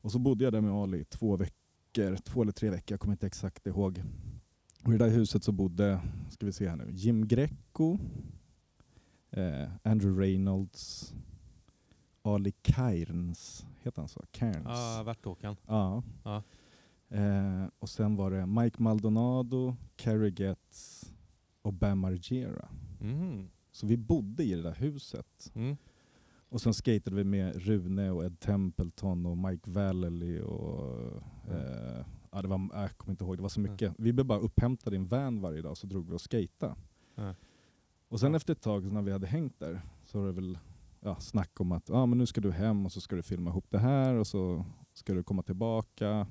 Speaker 1: Och så bodde jag där med Ali i två veckor veckor, två eller tre veckor, jag kommer inte exakt ihåg. Och I det där huset så bodde, ska vi se här nu, Jim Greco, eh, Andrew Reynolds, Ali Cairns, heter han så? Cairns?
Speaker 2: Ja, Värtåkan.
Speaker 1: Ja.
Speaker 2: Ja.
Speaker 1: Eh, och sen var det Mike Maldonado, Cary Getz och Bam Margera.
Speaker 2: Mm.
Speaker 1: Så vi bodde i det där huset.
Speaker 2: Mm.
Speaker 1: Och sen skatade vi med Rune och Ed Templeton och Mike Vallely och...
Speaker 2: Mm.
Speaker 1: Eh, ja, det var, äh, jag kommer inte ihåg, det var så mycket. Vi blev bara upphämtade i en van varje dag så drog vi och skata.
Speaker 2: Ja.
Speaker 1: Och sen efter ett tag så när vi hade hängt där så var det väl ja, snack om att ah, men nu ska du hem och så ska du filma ihop det här och så ska du komma tillbaka.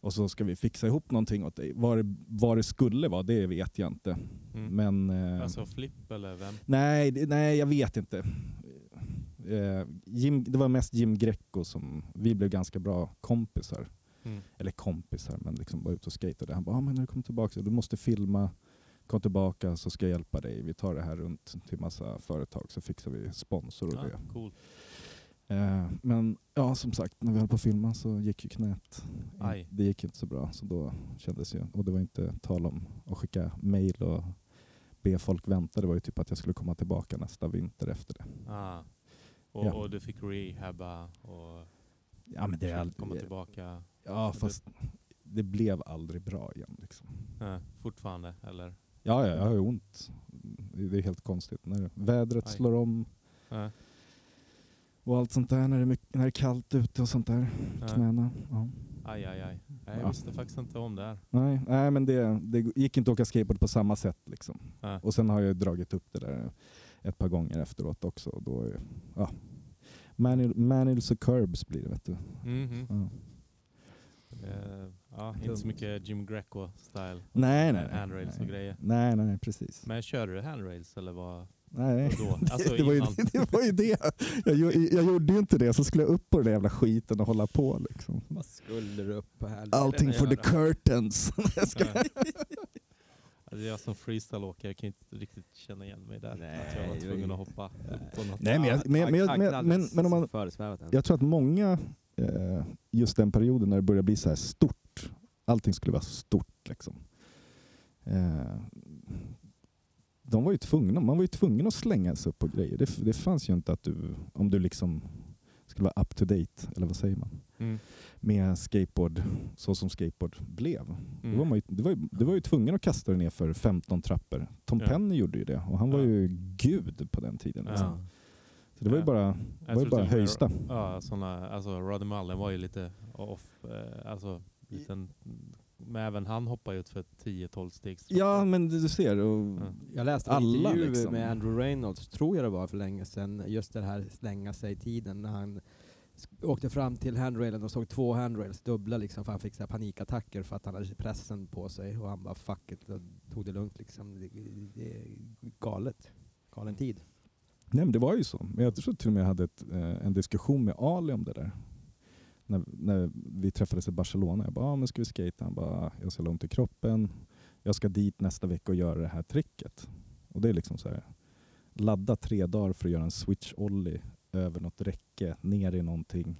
Speaker 1: Och så ska vi fixa ihop någonting åt dig. Vad det, vad det skulle vara, det vet jag inte.
Speaker 2: Mm.
Speaker 1: Men, eh,
Speaker 2: Alltså Flipp eller vem?
Speaker 1: Nej, det- nej, jag vet inte. Eh, Jim, det var mest Jim Greco som... Vi blev ganska bra kompisar.
Speaker 2: Mm.
Speaker 1: Eller kompisar, men liksom var ute och skatade. Han bara, ah, men när du kommer tillbaka, så du måste filma. Kom tillbaka så ska jag hjälpa dig. Vi tar det här runt till massa företag så fixar vi sponsor och
Speaker 2: Ah,
Speaker 1: det.
Speaker 2: cool.
Speaker 1: Eh, men ja, som sagt, när vi höll på att filma så gick ju knät.
Speaker 2: Aj.
Speaker 1: Det gick inte så bra. Så då kändes ju, och det var inte tal om att skicka mejl och be folk vänta. Det var ju typ att jag skulle komma tillbaka nästa vinter efter det.
Speaker 2: Ah. Och,
Speaker 1: Ja.
Speaker 2: och du fick rehabba och
Speaker 1: Ja, men det är aldrig,
Speaker 2: komma tillbaka
Speaker 1: ja fast det blev aldrig bra igen. Liksom.
Speaker 2: eh, fortfarande eller?
Speaker 1: Ja, ja, jag har ju ont. Det är helt konstigt. När vädret
Speaker 2: Aj.
Speaker 1: slår om
Speaker 2: Eh,
Speaker 1: och allt sånt där. När det är, mycket, när det är kallt ute och sånt där.
Speaker 2: eh.
Speaker 1: Knäna. Ja.
Speaker 2: Aj, aj, aj. Nej, Jag
Speaker 1: Ja.
Speaker 2: visste faktiskt inte om det här.
Speaker 1: Nej, nej, men det, det gick inte att åka skateboard på samma sätt. Liksom.
Speaker 2: Eh.
Speaker 1: Och sen har jag dragit upp det där ett par gånger efteråt också. Och då är, ja. Manil, manils och curbs blir det vet du.
Speaker 2: Mhm.
Speaker 1: Ja.
Speaker 2: Eh, ja, inte så mycket Jim Greco-style.
Speaker 1: Nej, nej, nej.
Speaker 2: Handrails och
Speaker 1: nej.
Speaker 2: grejer.
Speaker 1: Nej, nej, nej, precis.
Speaker 2: Men körde du handrails eller vad?
Speaker 1: Nej.
Speaker 2: Vadå? Alltså
Speaker 1: det, var ju,
Speaker 2: innan.
Speaker 1: det var ju det. Jag, gjo- jag gjorde ju inte det, så skulle jag upp på den där jävla skiten och hålla på liksom.
Speaker 3: Vad skulle du upp på här?
Speaker 1: Allting for the curtains. Jag ska-
Speaker 2: Eh. Alltså, jag som freestyleåkare kan inte riktigt känna igen mig där. att jag var
Speaker 3: Nej,
Speaker 2: tvungen
Speaker 3: det-
Speaker 2: att hoppa upp på något.
Speaker 1: Nej, men jag- men- men- men- men- men om man-
Speaker 3: Föresvävat en.
Speaker 1: Jag tror att många, eh, just den perioden när det började bli så här stort, allting skulle vara stort liksom. Eh, de var ju tvungna, man var ju tvungen att slänga sig upp på grejer. Det, f- det fanns ju inte att du, om du liksom skulle vara up to date, eller vad säger man,
Speaker 2: Mm.
Speaker 1: med skateboard så som skateboard blev.
Speaker 2: Mm.
Speaker 1: Då var man ju, det, var ju, det var ju tvungen att kasta dig ner för 15 trappor. Tom
Speaker 2: Ja.
Speaker 1: Penny gjorde ju det och han var
Speaker 2: Ja.
Speaker 1: ju gud på den tiden.
Speaker 2: Ja.
Speaker 1: Liksom. Så det var ju
Speaker 2: Ja.
Speaker 1: bara,
Speaker 2: Jag
Speaker 1: det var ju
Speaker 2: tror
Speaker 1: bara
Speaker 2: till och med-
Speaker 1: höjsta.
Speaker 2: Ja, såna, alltså Roddy Mullen var ju lite off. Eh, alltså, liten, men även han hoppar ju ut för 10-12 steg.
Speaker 1: Ja, men du du ser. Och,
Speaker 2: Ja.
Speaker 3: Jag läste en
Speaker 1: Alla,
Speaker 3: intervju
Speaker 1: liksom.
Speaker 3: med Andrew Reynolds, tror jag det var för länge sedan, just den här slänga sig-tiden när han sk- åkte fram till handrailen och såg två handrails dubbla liksom för han fick så här panikattacker för att han hade pressen på sig och han bara fuck it, och tog det lugnt liksom. Det, det är galet. Galen tid.
Speaker 1: Nej, men det var ju så. Men jag tror till och med jag hade ett, eh, en diskussion med Ali om det där. När, när vi träffades i Barcelona. Jag bara, ah, men ska vi skate? Han bara, jag ska långt i kroppen. Jag ska dit nästa vecka och göra det här tricket. Och det är liksom så här, ladda tre dagar för att göra en switch-ollie över något räcke, ner i någonting.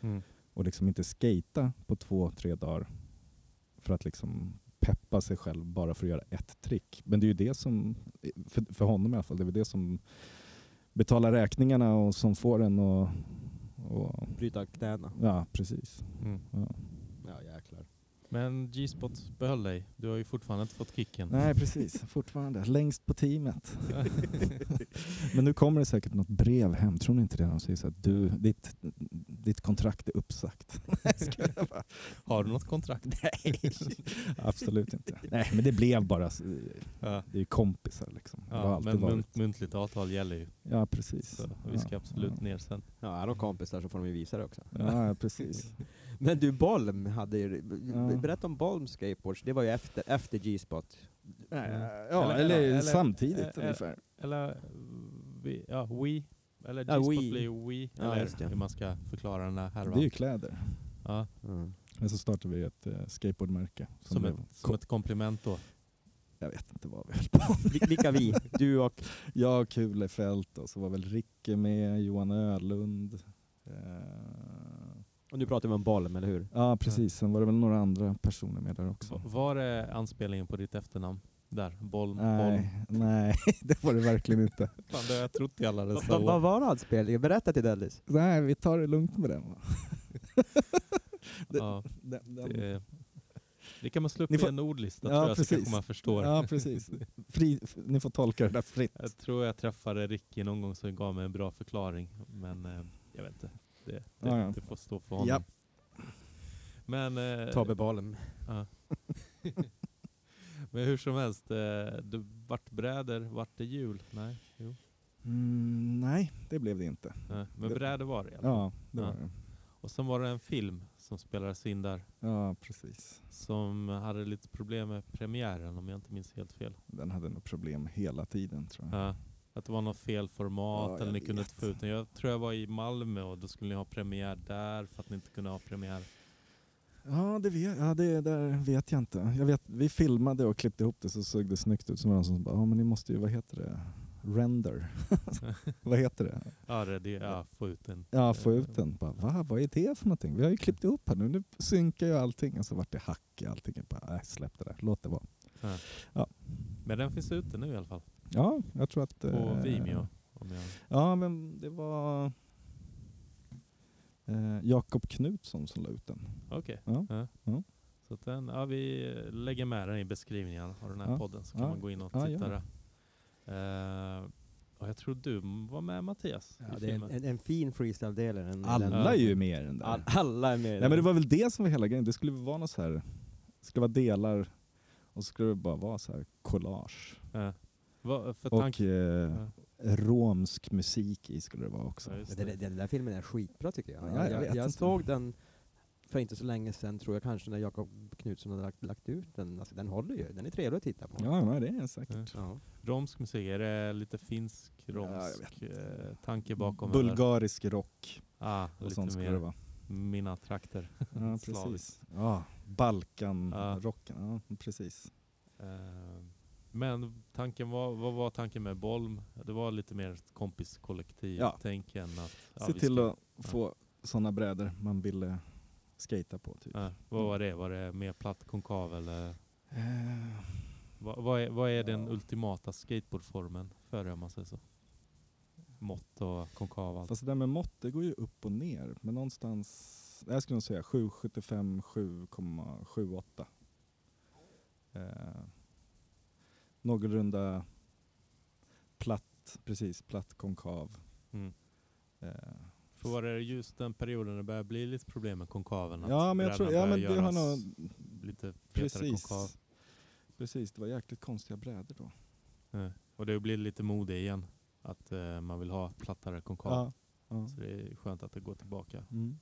Speaker 2: Mm.
Speaker 1: och liksom inte skata på två, tre dagar för att liksom peppa sig själv bara för att göra ett trick. Men det är ju det som, för, för honom i alla fall, det är väl det som betalar räkningarna och som får en och, och
Speaker 3: Bryta knäna.
Speaker 1: ja precis.
Speaker 2: Mm.
Speaker 1: Ja.
Speaker 3: Ja jäklar.
Speaker 2: Men G-spot behöll dig. Du har ju fortfarande inte fått kicken.
Speaker 1: Nej precis, fortfarande längst på teamet. Men nu kommer det säkert något brev hem, tror ni inte det? De säger så att du, ditt, ditt kontrakt är uppsagt.
Speaker 2: Har du något kontrakt?
Speaker 1: Nej, absolut inte. Nej, men det blev bara, s-
Speaker 2: Ja.
Speaker 1: det är ju kompisar liksom. Det har
Speaker 2: Ja,
Speaker 1: alltid
Speaker 2: men
Speaker 1: varit.
Speaker 2: munt, muntligt avtal gäller ju.
Speaker 1: Ja, precis.
Speaker 2: Så vi ska absolut ner sen.
Speaker 3: Ja, är de kompisar så får de ju visa det också.
Speaker 1: Ja, ja, precis.
Speaker 3: Men du, Bolm hade ju...
Speaker 1: Ja.
Speaker 3: Berätta om Bolm skateboards, det var ju efter, efter G-spot.
Speaker 1: Ja,
Speaker 2: Eller- eller-
Speaker 1: samtidigt
Speaker 2: eller-
Speaker 1: ungefär.
Speaker 2: Eller eh, vi, ja, we. Eller
Speaker 3: Ja,
Speaker 2: G-spot
Speaker 3: we.
Speaker 2: blir ju we.
Speaker 3: Ja, just
Speaker 2: eller
Speaker 3: det.
Speaker 2: hur man ska förklara den här
Speaker 1: Det är ju
Speaker 2: härvan.
Speaker 1: kläder.
Speaker 2: Ja,
Speaker 1: Men så startade vi ett eh, skateboardmärke. Som
Speaker 2: som,
Speaker 1: blev,
Speaker 2: ett, som ett komplement då.
Speaker 1: Jag vet inte vad vi höll på med.
Speaker 3: Vi- Vilka vi? Du och...
Speaker 1: Jag, Kulefelt och så var väl Ricke med, Johan Ölund. Eh,
Speaker 3: Och nu pratar vi om Bolm, eller hur?
Speaker 1: Ja, precis. Sen var det väl några andra personer med där också.
Speaker 2: V- Var det anspelningen på ditt efternamn? Där, boll, boll.
Speaker 1: Nej, nej, det var det verkligen inte.
Speaker 2: Fan, det har jag trott i alla
Speaker 1: Alltså,
Speaker 2: dessa
Speaker 3: Vad vad
Speaker 2: år.
Speaker 3: var anspelningen? Berätta till Dennis.
Speaker 1: Nej, vi tar det lugnt med den. va?
Speaker 2: Ja,
Speaker 1: den, den.
Speaker 2: det, det kan man slå upp
Speaker 1: Ni
Speaker 2: i
Speaker 1: får-
Speaker 2: en ordlista
Speaker 1: Ja,
Speaker 2: tror jag, så
Speaker 1: precis.
Speaker 2: kanske man förstår.
Speaker 1: Ja, precis. Fri, f- ni får tolka det där fritt.
Speaker 2: Jag tror jag träffade Ricky någon gång som gav mig en bra förklaring, men eh, jag vet inte. Det, det,
Speaker 1: Ja, ja.
Speaker 2: det får stå för honom.
Speaker 1: Ja.
Speaker 2: Men, eh,
Speaker 3: Tobbe Bolm.
Speaker 2: ja. men hur som helst, eh, du vart bräder, vart det jul? Nej, jo.
Speaker 1: Mm, nej, det blev det inte.
Speaker 2: Nej. Men
Speaker 1: Det-
Speaker 2: bräder var det i alla fall.
Speaker 1: Ja, det var
Speaker 2: Ja.
Speaker 1: det.
Speaker 2: Och sen var det en film som spelades in där,
Speaker 1: Ja, precis.
Speaker 2: som hade lite problem med premiären om jag inte minns helt fel.
Speaker 1: Den hade nog problem hela tiden tror jag.
Speaker 2: Ja. Att det var något fel format
Speaker 1: Ja,
Speaker 2: eller
Speaker 1: jag
Speaker 2: ni kunde
Speaker 1: vet.
Speaker 2: inte få ut den. Jag tror jag var i Malmö och då skulle ni ha premiär där för att ni inte kunde ha premiär.
Speaker 1: Ja, det vet, ja, det där vet jag inte. Jag vet, vi filmade och klippte ihop det så såg det snyggt ut. Så var det någon som bara, ja men ni måste ju, vad heter det? Render. vad heter det?
Speaker 2: Ja, det, det, ja få ut den.
Speaker 1: Ja, få ut den. Bara, Va, vad är det för någonting? Vi har ju klippt ihop här nu, nu synkar ju allting. Och så vart det hack i allting. Jag bara, äh, släpp det där, låt det vara.
Speaker 2: Men den finns ute nu i alla fall.
Speaker 1: Ja, jag tror att...
Speaker 2: På
Speaker 1: eh,
Speaker 2: Vimeo. Om jag...
Speaker 1: Ja, men det var eh, Jakob Knutsson som la ut den.
Speaker 2: Okej.
Speaker 1: Ja.
Speaker 2: Ja.
Speaker 1: Ja.
Speaker 2: Så att den, ja, vi lägger med den i beskrivningen av den här
Speaker 1: Ja.
Speaker 2: podden så kan
Speaker 1: Ja.
Speaker 2: man gå in och
Speaker 1: Ja,
Speaker 2: titta
Speaker 1: gör
Speaker 2: där. Eh, och jag tror du var med Mattias
Speaker 3: Ja,
Speaker 2: i
Speaker 3: det är en,
Speaker 2: filmen.
Speaker 3: en, en fin freestyle-del. i den-
Speaker 1: Alla är ju med i den där.
Speaker 3: All, alla är med i
Speaker 1: Nej men det
Speaker 3: den.
Speaker 1: var väl det som var hela grejen. Det skulle vara något så här, det skulle vara delar och så skulle det bara vara så här collage.
Speaker 2: Ja. Va, för
Speaker 1: Och
Speaker 2: tanken-
Speaker 1: eh,
Speaker 2: Ja.
Speaker 1: romsk musik i skulle det vara också.
Speaker 2: Ja, just
Speaker 3: Men
Speaker 2: det.
Speaker 3: Den, den där filmen är skitbra tycker jag.
Speaker 1: Ja,
Speaker 3: jag,
Speaker 1: jag
Speaker 3: jag,
Speaker 1: vet
Speaker 3: jag,
Speaker 1: inte.
Speaker 3: såg den för inte så länge sedan tror jag kanske när Jakob Knutsson hade lagt, lagt ut den. Alltså, den håller ju. Den är trevlig att titta på.
Speaker 1: Ja, men det är säkert.
Speaker 3: Ja.
Speaker 2: Romsk musik, är det lite finsk
Speaker 1: jag
Speaker 2: romsk eh, tanke bakom? eller?
Speaker 1: Bulgarisk rock
Speaker 2: Ah,
Speaker 1: och
Speaker 2: lite
Speaker 1: sånt skulle
Speaker 2: mer
Speaker 1: det vara.
Speaker 2: mina trakter.
Speaker 1: Ja, precis.
Speaker 2: Slaviskt.
Speaker 1: Ja,
Speaker 2: Ja.
Speaker 1: Balkanrocken, ja precis.
Speaker 2: Eh, men tanken var, vad var tanken med Bolm? Det var lite mer ett kompiskollektiv
Speaker 1: Ja.
Speaker 2: tänk än att... ja,
Speaker 1: Se
Speaker 2: vi
Speaker 1: till
Speaker 2: ska-
Speaker 1: att få sådana brädor man ville skata på typ.
Speaker 2: Ja, vad var det? Var det mer platt konkav eller?
Speaker 1: Eh,
Speaker 2: Vad, vad, är, vad är den
Speaker 1: Ja.
Speaker 2: ultimata skateboardformen för det om man säger så? Mått och konkav och allt.
Speaker 1: Fast Alltså, det där med mått, det går ju upp och ner. Men någonstans, jag skulle nog säga 7,75, 7,78. Eh, någorlunda platt, precis, platt konkav.
Speaker 2: Mm.
Speaker 1: Eh,
Speaker 2: För var det just den perioden det började bli lite problem med konkaven? att
Speaker 1: ja men jag
Speaker 2: brädan
Speaker 1: tror, ja men
Speaker 2: började
Speaker 1: det har
Speaker 2: göras
Speaker 1: nog,
Speaker 2: Lite fetare
Speaker 1: precis.
Speaker 2: konkav.
Speaker 1: Precis, det var jäkligt konstiga brädor då.
Speaker 2: Ja. Och det blir lite mode igen. Att eh, man vill ha plattare konkav.
Speaker 1: Ja. ja.
Speaker 2: Så det är skönt att det går tillbaka.
Speaker 1: Mm.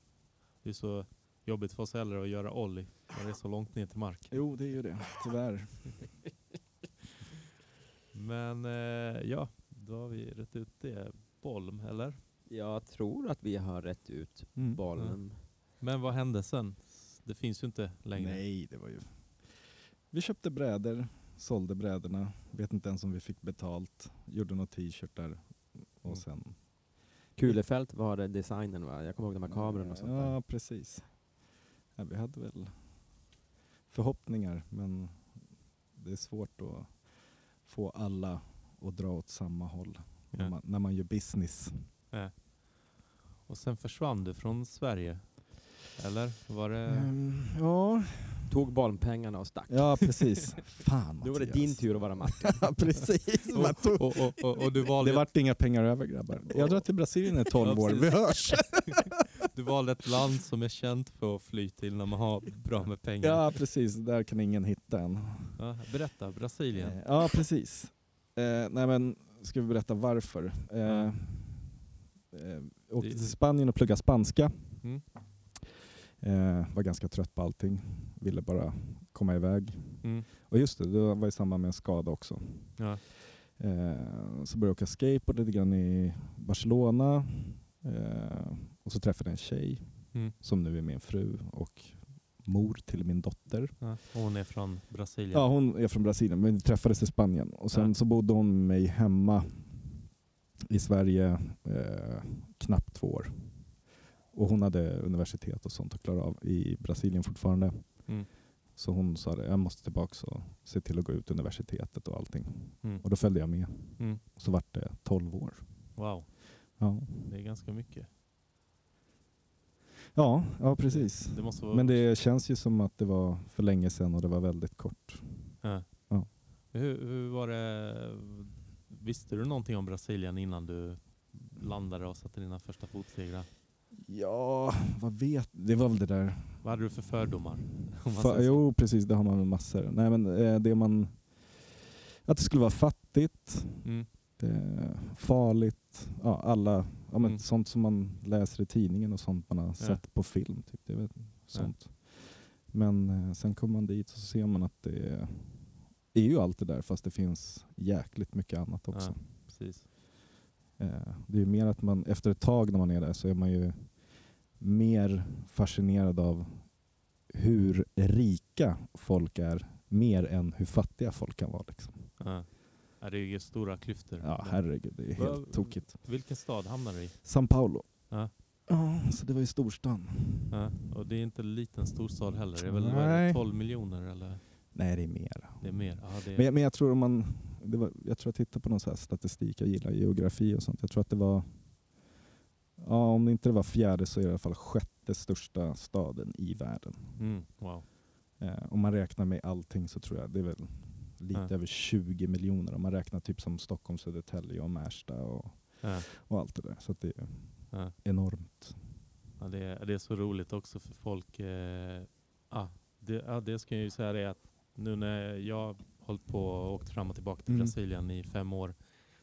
Speaker 2: Det är så jobbigt för oss äldre att göra ollie. När det är så långt ner till marken.
Speaker 1: Jo, det är ju det, tyvärr.
Speaker 2: Men eh, ja, då har vi rätt ut det. Bolm, eller?
Speaker 3: Jag tror att vi har rätt ut
Speaker 1: Mm.
Speaker 3: bollen.
Speaker 2: Men vad hände sen? Det finns ju inte längre.
Speaker 1: Nej, det var ju... Vi köpte brädor, sålde brädorna, vet inte ens om vi fick betalt, gjorde några t-shirtar
Speaker 2: Mm.
Speaker 1: och sen...
Speaker 3: Kulefält var det designen va? Jag kommer ihåg de här kamerorna och sånt där.
Speaker 1: Ja, precis. Ja, vi hade väl förhoppningar, men det är svårt att få alla att dra åt samma håll när,
Speaker 2: Ja.
Speaker 1: man, när man gör business.
Speaker 2: Och sen försvann du från Sverige? Eller? Var det...
Speaker 3: Eh.
Speaker 1: Mm. ja.
Speaker 3: Tog bolmpengarna och stack.
Speaker 1: ja, precis. Fan
Speaker 3: Då var det
Speaker 1: Mattias.
Speaker 3: din tur att vara Martin.
Speaker 1: Ja, precis. Man tog
Speaker 2: Och, och, och, och du, valde,
Speaker 1: Det vart inga pengar över grabbar. Jag drar till Brasilien i 12 år, vi hörs!
Speaker 2: du valde ett land som är känt för att fly till när man har bra med pengar.
Speaker 1: Ja precis, där kan ingen hitta en.
Speaker 2: Ja, berätta, Brasilien.
Speaker 1: Eh, Ja precis. Eh, nej men, ska vi berätta varför? Eh,
Speaker 2: Ja.
Speaker 1: eh, åkte
Speaker 2: Det-
Speaker 1: till Spanien och pluggade spanska.
Speaker 2: Mm.
Speaker 1: Eh, var ganska trött på allting, ville bara komma iväg.
Speaker 2: Mm.
Speaker 1: Och just det, det var i samband med en skada också.
Speaker 2: Ja.
Speaker 1: Eh, så började jag åka skateboard lite grann i Barcelona. Eh, och så träffade jag en tjej
Speaker 2: Mm.
Speaker 1: som nu är min fru och mor till min dotter.
Speaker 2: Ja. Hon är från Brasilien.
Speaker 1: Ja, hon är från Brasilien men vi träffades i Spanien. Och sen
Speaker 2: Ja.
Speaker 1: så bodde hon med mig hemma i Sverige eh, knappt två år. Och hon hade universitet och sånt att klara av i Brasilien fortfarande.
Speaker 2: Mm.
Speaker 1: Så hon sa det, jag måste tillbaka och se till att gå ut universitetet och allting.
Speaker 2: Mm.
Speaker 1: Och då följde jag med.
Speaker 2: Mm.
Speaker 1: Och så vart det 12 år.
Speaker 2: Wow,
Speaker 1: Ja,
Speaker 2: det är ganska mycket.
Speaker 1: ja, ja precis.
Speaker 2: Det måste vara...
Speaker 1: Men det känns ju som att det var för länge sedan och det var väldigt kort.
Speaker 2: Ja.
Speaker 1: Ja.
Speaker 2: Hur, hur var det... Visste du någonting om Brasilien innan du landade och satte dina första fotsteg där?
Speaker 1: Ja, vad vet Det var väl det där
Speaker 2: Vad hade du för fördomar? Om man
Speaker 1: Fa-
Speaker 2: säger så.
Speaker 1: jo, precis. Det har man med massor. Nej, men eh, det man... Att det skulle vara fattigt,
Speaker 2: Mm.
Speaker 1: eh, farligt, ja, alla... Ja, men
Speaker 2: Mm.
Speaker 1: Sånt som man läser i tidningen och sånt man har sett på film. Typ. Det är väl sånt. Men eh, sen kommer man dit och så ser man att det är, är ju allt det där fast det finns jäkligt mycket annat också.
Speaker 2: Ja, precis.
Speaker 1: Eh, det är ju mer att man efter ett tag när man är där så är man ju mer fascinerad av hur rika folk är mer än hur fattiga folk kan vara. Liksom.
Speaker 2: Ja. Ja, det är ju stora klyftor.
Speaker 1: Ja, herregud, det är helt
Speaker 2: Vad-
Speaker 1: tokigt.
Speaker 2: Vilken stad hamnar du i?
Speaker 1: São Paulo.
Speaker 2: Ja.
Speaker 1: Ja, så det var ju storstan.
Speaker 2: Ja. Och det är inte en liten storstad heller. Det är väl vad är det,
Speaker 1: Nej.
Speaker 2: 12 miljoner eller?
Speaker 1: Nej, det är mer.
Speaker 2: Det är mer. Ja, det är...
Speaker 1: Men, jag- men jag tror om man... Det var, jag tror jag tittade på någon så här statistik, jag gillar geografi och sånt. Jag tror att det var... Ja, om det inte var fjärde så är det i alla fall sjätte största staden i världen.
Speaker 2: Mm. Wow.
Speaker 1: Eh, om man räknar med allting så tror jag det är väl lite
Speaker 2: Ja.
Speaker 1: över 20 miljoner. Om man räknar typ som Stockholm, Södertälje och Märsta och,
Speaker 2: Ja.
Speaker 1: och allt det där. Så att det är
Speaker 2: Ja.
Speaker 1: enormt.
Speaker 2: Ja, det, är, det är så roligt också för folk. Eh, ah, det, ah, det ska jag ju säga det att nu när jag har hållit på och åkt fram och tillbaka till
Speaker 1: Mm.
Speaker 2: Brasilien i fem år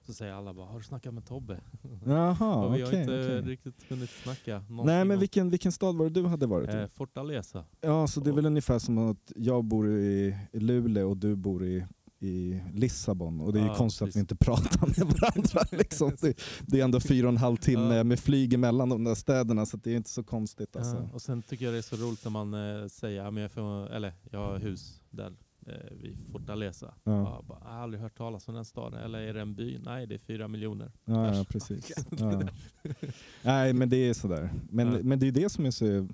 Speaker 2: så säger alla bara har du snackat med Tobbe?
Speaker 1: Jaha,
Speaker 2: och vi
Speaker 1: okej.
Speaker 2: har inte
Speaker 1: okej.
Speaker 2: riktigt hunnit snacka någonting
Speaker 1: Nej men
Speaker 2: om-
Speaker 1: vilken, vilken stad var det du hade varit i?
Speaker 2: eh, Fortaleza.
Speaker 1: ja, så det är väl ungefär som att jag bor i i Luleå och du bor i i Lissabon och det är ju
Speaker 2: Ja,
Speaker 1: konstigt att vi
Speaker 2: precis.
Speaker 1: inte pratar med varandra. Liksom. Det, det är ändå fyra och en halv timme
Speaker 2: Ja.
Speaker 1: med flyg emellan de där städerna så att det är inte så konstigt. Alltså.
Speaker 2: Ja, och sen tycker jag det är så roligt när man eh, säger "Ja, men jag, får, eller, jag har hus där eh, vid Fortaleza.
Speaker 1: Ja.
Speaker 2: Ja. bara, jag har aldrig hört talas om den staden. Eller är det en by? Nej, det är fyra miljoner.
Speaker 1: Ja, ja
Speaker 2: Äsch.
Speaker 1: precis. Ja. Nej, men det är sådär. Men,
Speaker 2: Ja.
Speaker 1: men det är det som är så...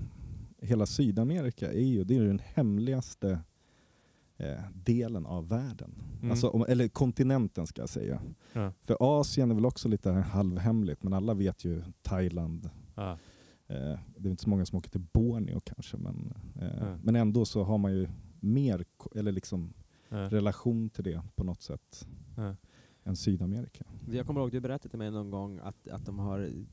Speaker 1: Hela Sydamerika är ju, det är ju den hemligaste eh, delen av världen.
Speaker 2: Mm.
Speaker 1: Alltså, om, eller kontinenten ska jag säga.
Speaker 2: Ja.
Speaker 1: För Asien är väl också lite halvhemligt, men alla vet ju Thailand.
Speaker 2: Ja.
Speaker 1: Eh, det är inte så många som åker till Borneo kanske, men, eh,
Speaker 2: Ja.
Speaker 1: men ändå så har man ju mer ko- eller liksom
Speaker 2: Ja.
Speaker 1: relation till det på något sätt
Speaker 2: Ja.
Speaker 1: än Sydamerika.
Speaker 3: Jag kommer ihåg, du berättade till mig någon gång att, att de har i-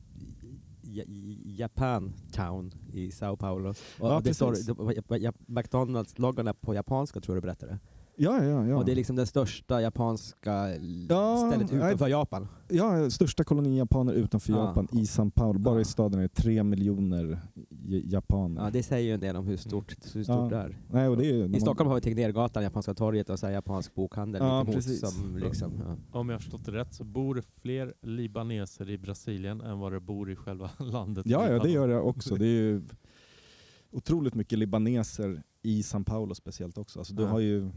Speaker 3: i- i- Japan Town i Sao Paulo. Och
Speaker 1: Ja,
Speaker 3: det står,
Speaker 1: precis.
Speaker 3: de- ja- ja- McDonalds-loggan är på japanska tror jag du berättade.
Speaker 1: Ja, ja, ja.
Speaker 3: Och det är liksom det största japanska l-
Speaker 1: Ja,
Speaker 3: stället
Speaker 1: nej.
Speaker 3: utanför Japan.
Speaker 1: Ja, största kolonin japaner utanför
Speaker 3: Ja.
Speaker 1: Japan i São Paulo. Bara
Speaker 3: Ja.
Speaker 1: i staden är det tre miljoner j- japaner.
Speaker 3: Ja, det säger ju en del om hur stort, hur stort
Speaker 1: Mm. Ja.
Speaker 3: det är.
Speaker 1: Nej, och det är, ju-
Speaker 3: I Stockholm har vi Tegnérgatan, Japanska torget och så här japansk bokhandel
Speaker 1: Ja,
Speaker 3: mittemot
Speaker 1: precis.
Speaker 3: Som liksom, ja.
Speaker 2: Om jag har förstått det rätt så bor det fler libaneser i Brasilien än vad det bor i själva landet.
Speaker 1: Ja, ja,
Speaker 2: Libanon.
Speaker 1: det gör jag också. Det är ju otroligt mycket libaneser i São Paulo speciellt också. Alltså, du
Speaker 2: Ja.
Speaker 1: har ju mm,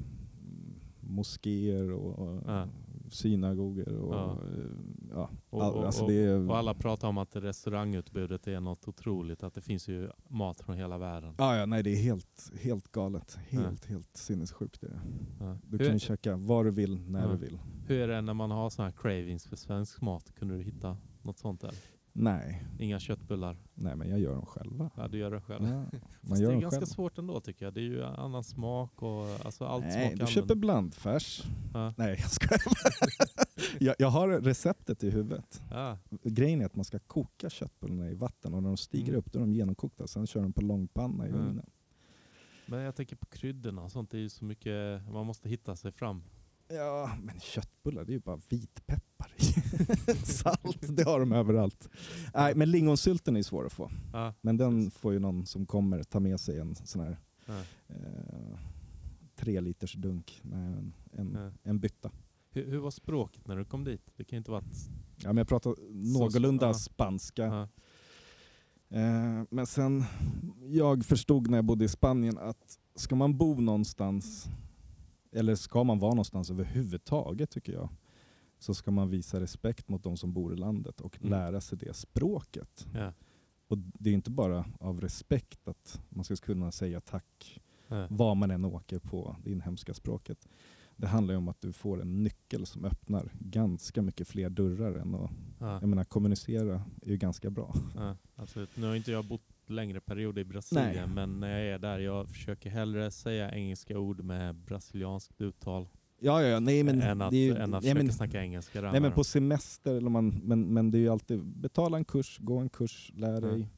Speaker 1: moskéer och, och
Speaker 2: Ja.
Speaker 1: synagoger och
Speaker 2: Ja.
Speaker 1: ja. Ja,
Speaker 2: Och,
Speaker 1: all-
Speaker 2: och,
Speaker 1: alltså
Speaker 2: och,
Speaker 1: det är...
Speaker 2: och alla pratar om att restaurangutbudet är något otroligt, att det finns ju mat från hela världen.
Speaker 1: Ja, ja, nej det är helt, helt galet. Helt, helt sinnessjukt är det.
Speaker 2: Ja.
Speaker 1: Du kan ju
Speaker 2: Hur,
Speaker 1: käka vad du vill, när
Speaker 2: Ja.
Speaker 1: du vill.
Speaker 2: hur är det när man har sådana här cravings för svensk mat? Kunde du hitta något sånt där?
Speaker 1: Nej,
Speaker 2: Inga köttbullar?
Speaker 1: nej men jag gör dem själva.
Speaker 2: Ja, du gör det själv.
Speaker 1: Ja, Mm, man
Speaker 2: Fast det
Speaker 1: gör
Speaker 2: är
Speaker 1: dem
Speaker 2: ganska
Speaker 1: själv.
Speaker 2: svårt ändå tycker jag. Det är ju annan smak och alltså allt
Speaker 1: Nej,
Speaker 2: smakar
Speaker 1: du köper
Speaker 2: annorlunda.
Speaker 1: blandfärs.
Speaker 2: Ja.
Speaker 1: Nej, jag skojar jag, jag har receptet i huvudet.
Speaker 2: Ja,
Speaker 1: Grejen är att man ska koka köttbullarna i vatten och när de stiger
Speaker 2: Mm.
Speaker 1: upp då är de genomkokta. Sen kör de på långpanna i
Speaker 2: Mm.
Speaker 1: ugnen.
Speaker 2: men jag tänker på kryddorna och sånt. Det är ju så mycket, man måste hitta sig fram.
Speaker 1: Ja, men köttbullar det är ju bara vitpeppar i. Salt, det har de överallt. Nej, men lingonsylten är svår att få.
Speaker 2: Ja,
Speaker 1: Men den får ju någon som kommer ta med sig en sån här
Speaker 2: ja,
Speaker 1: eh, tre liters dunk. Nej, en, en,
Speaker 2: ja.
Speaker 1: en bytta.
Speaker 2: Hur, hur var språket när du kom dit? Det kan ju inte vara att...
Speaker 1: Ja, men jag pratar någorlunda
Speaker 2: ja.
Speaker 1: spanska.
Speaker 2: Ja.
Speaker 1: Eh, men sen, jag förstod när jag bodde i Spanien att ska man bo någonstans, eller ska man vara någonstans överhuvudtaget tycker jag, så ska man visa respekt mot de som bor i landet och
Speaker 2: Mm.
Speaker 1: lära sig det språket.
Speaker 2: Ja.
Speaker 1: Och det är inte bara av respekt att man ska kunna säga tack
Speaker 2: Nej.
Speaker 1: vad man än åker på det inhemska språket. Det handlar ju om att du får en nyckel som öppnar ganska mycket fler dörrar än att,
Speaker 2: Ja,
Speaker 1: jag menar kommunicera är ju ganska bra.
Speaker 2: ja, absolut. Nu har inte jag bott längre period i Brasilien,
Speaker 1: Nej.
Speaker 2: men när jag är där, jag försöker hellre säga engelska ord med brasilianskt uttal
Speaker 1: Ja, ja, nej
Speaker 2: än att, än att försöka snacka engelska. där
Speaker 1: Nej men
Speaker 2: med
Speaker 1: på semester, eller om man, men, men det är ju alltid betala en kurs, gå en kurs, lär
Speaker 2: Ja.
Speaker 1: dig.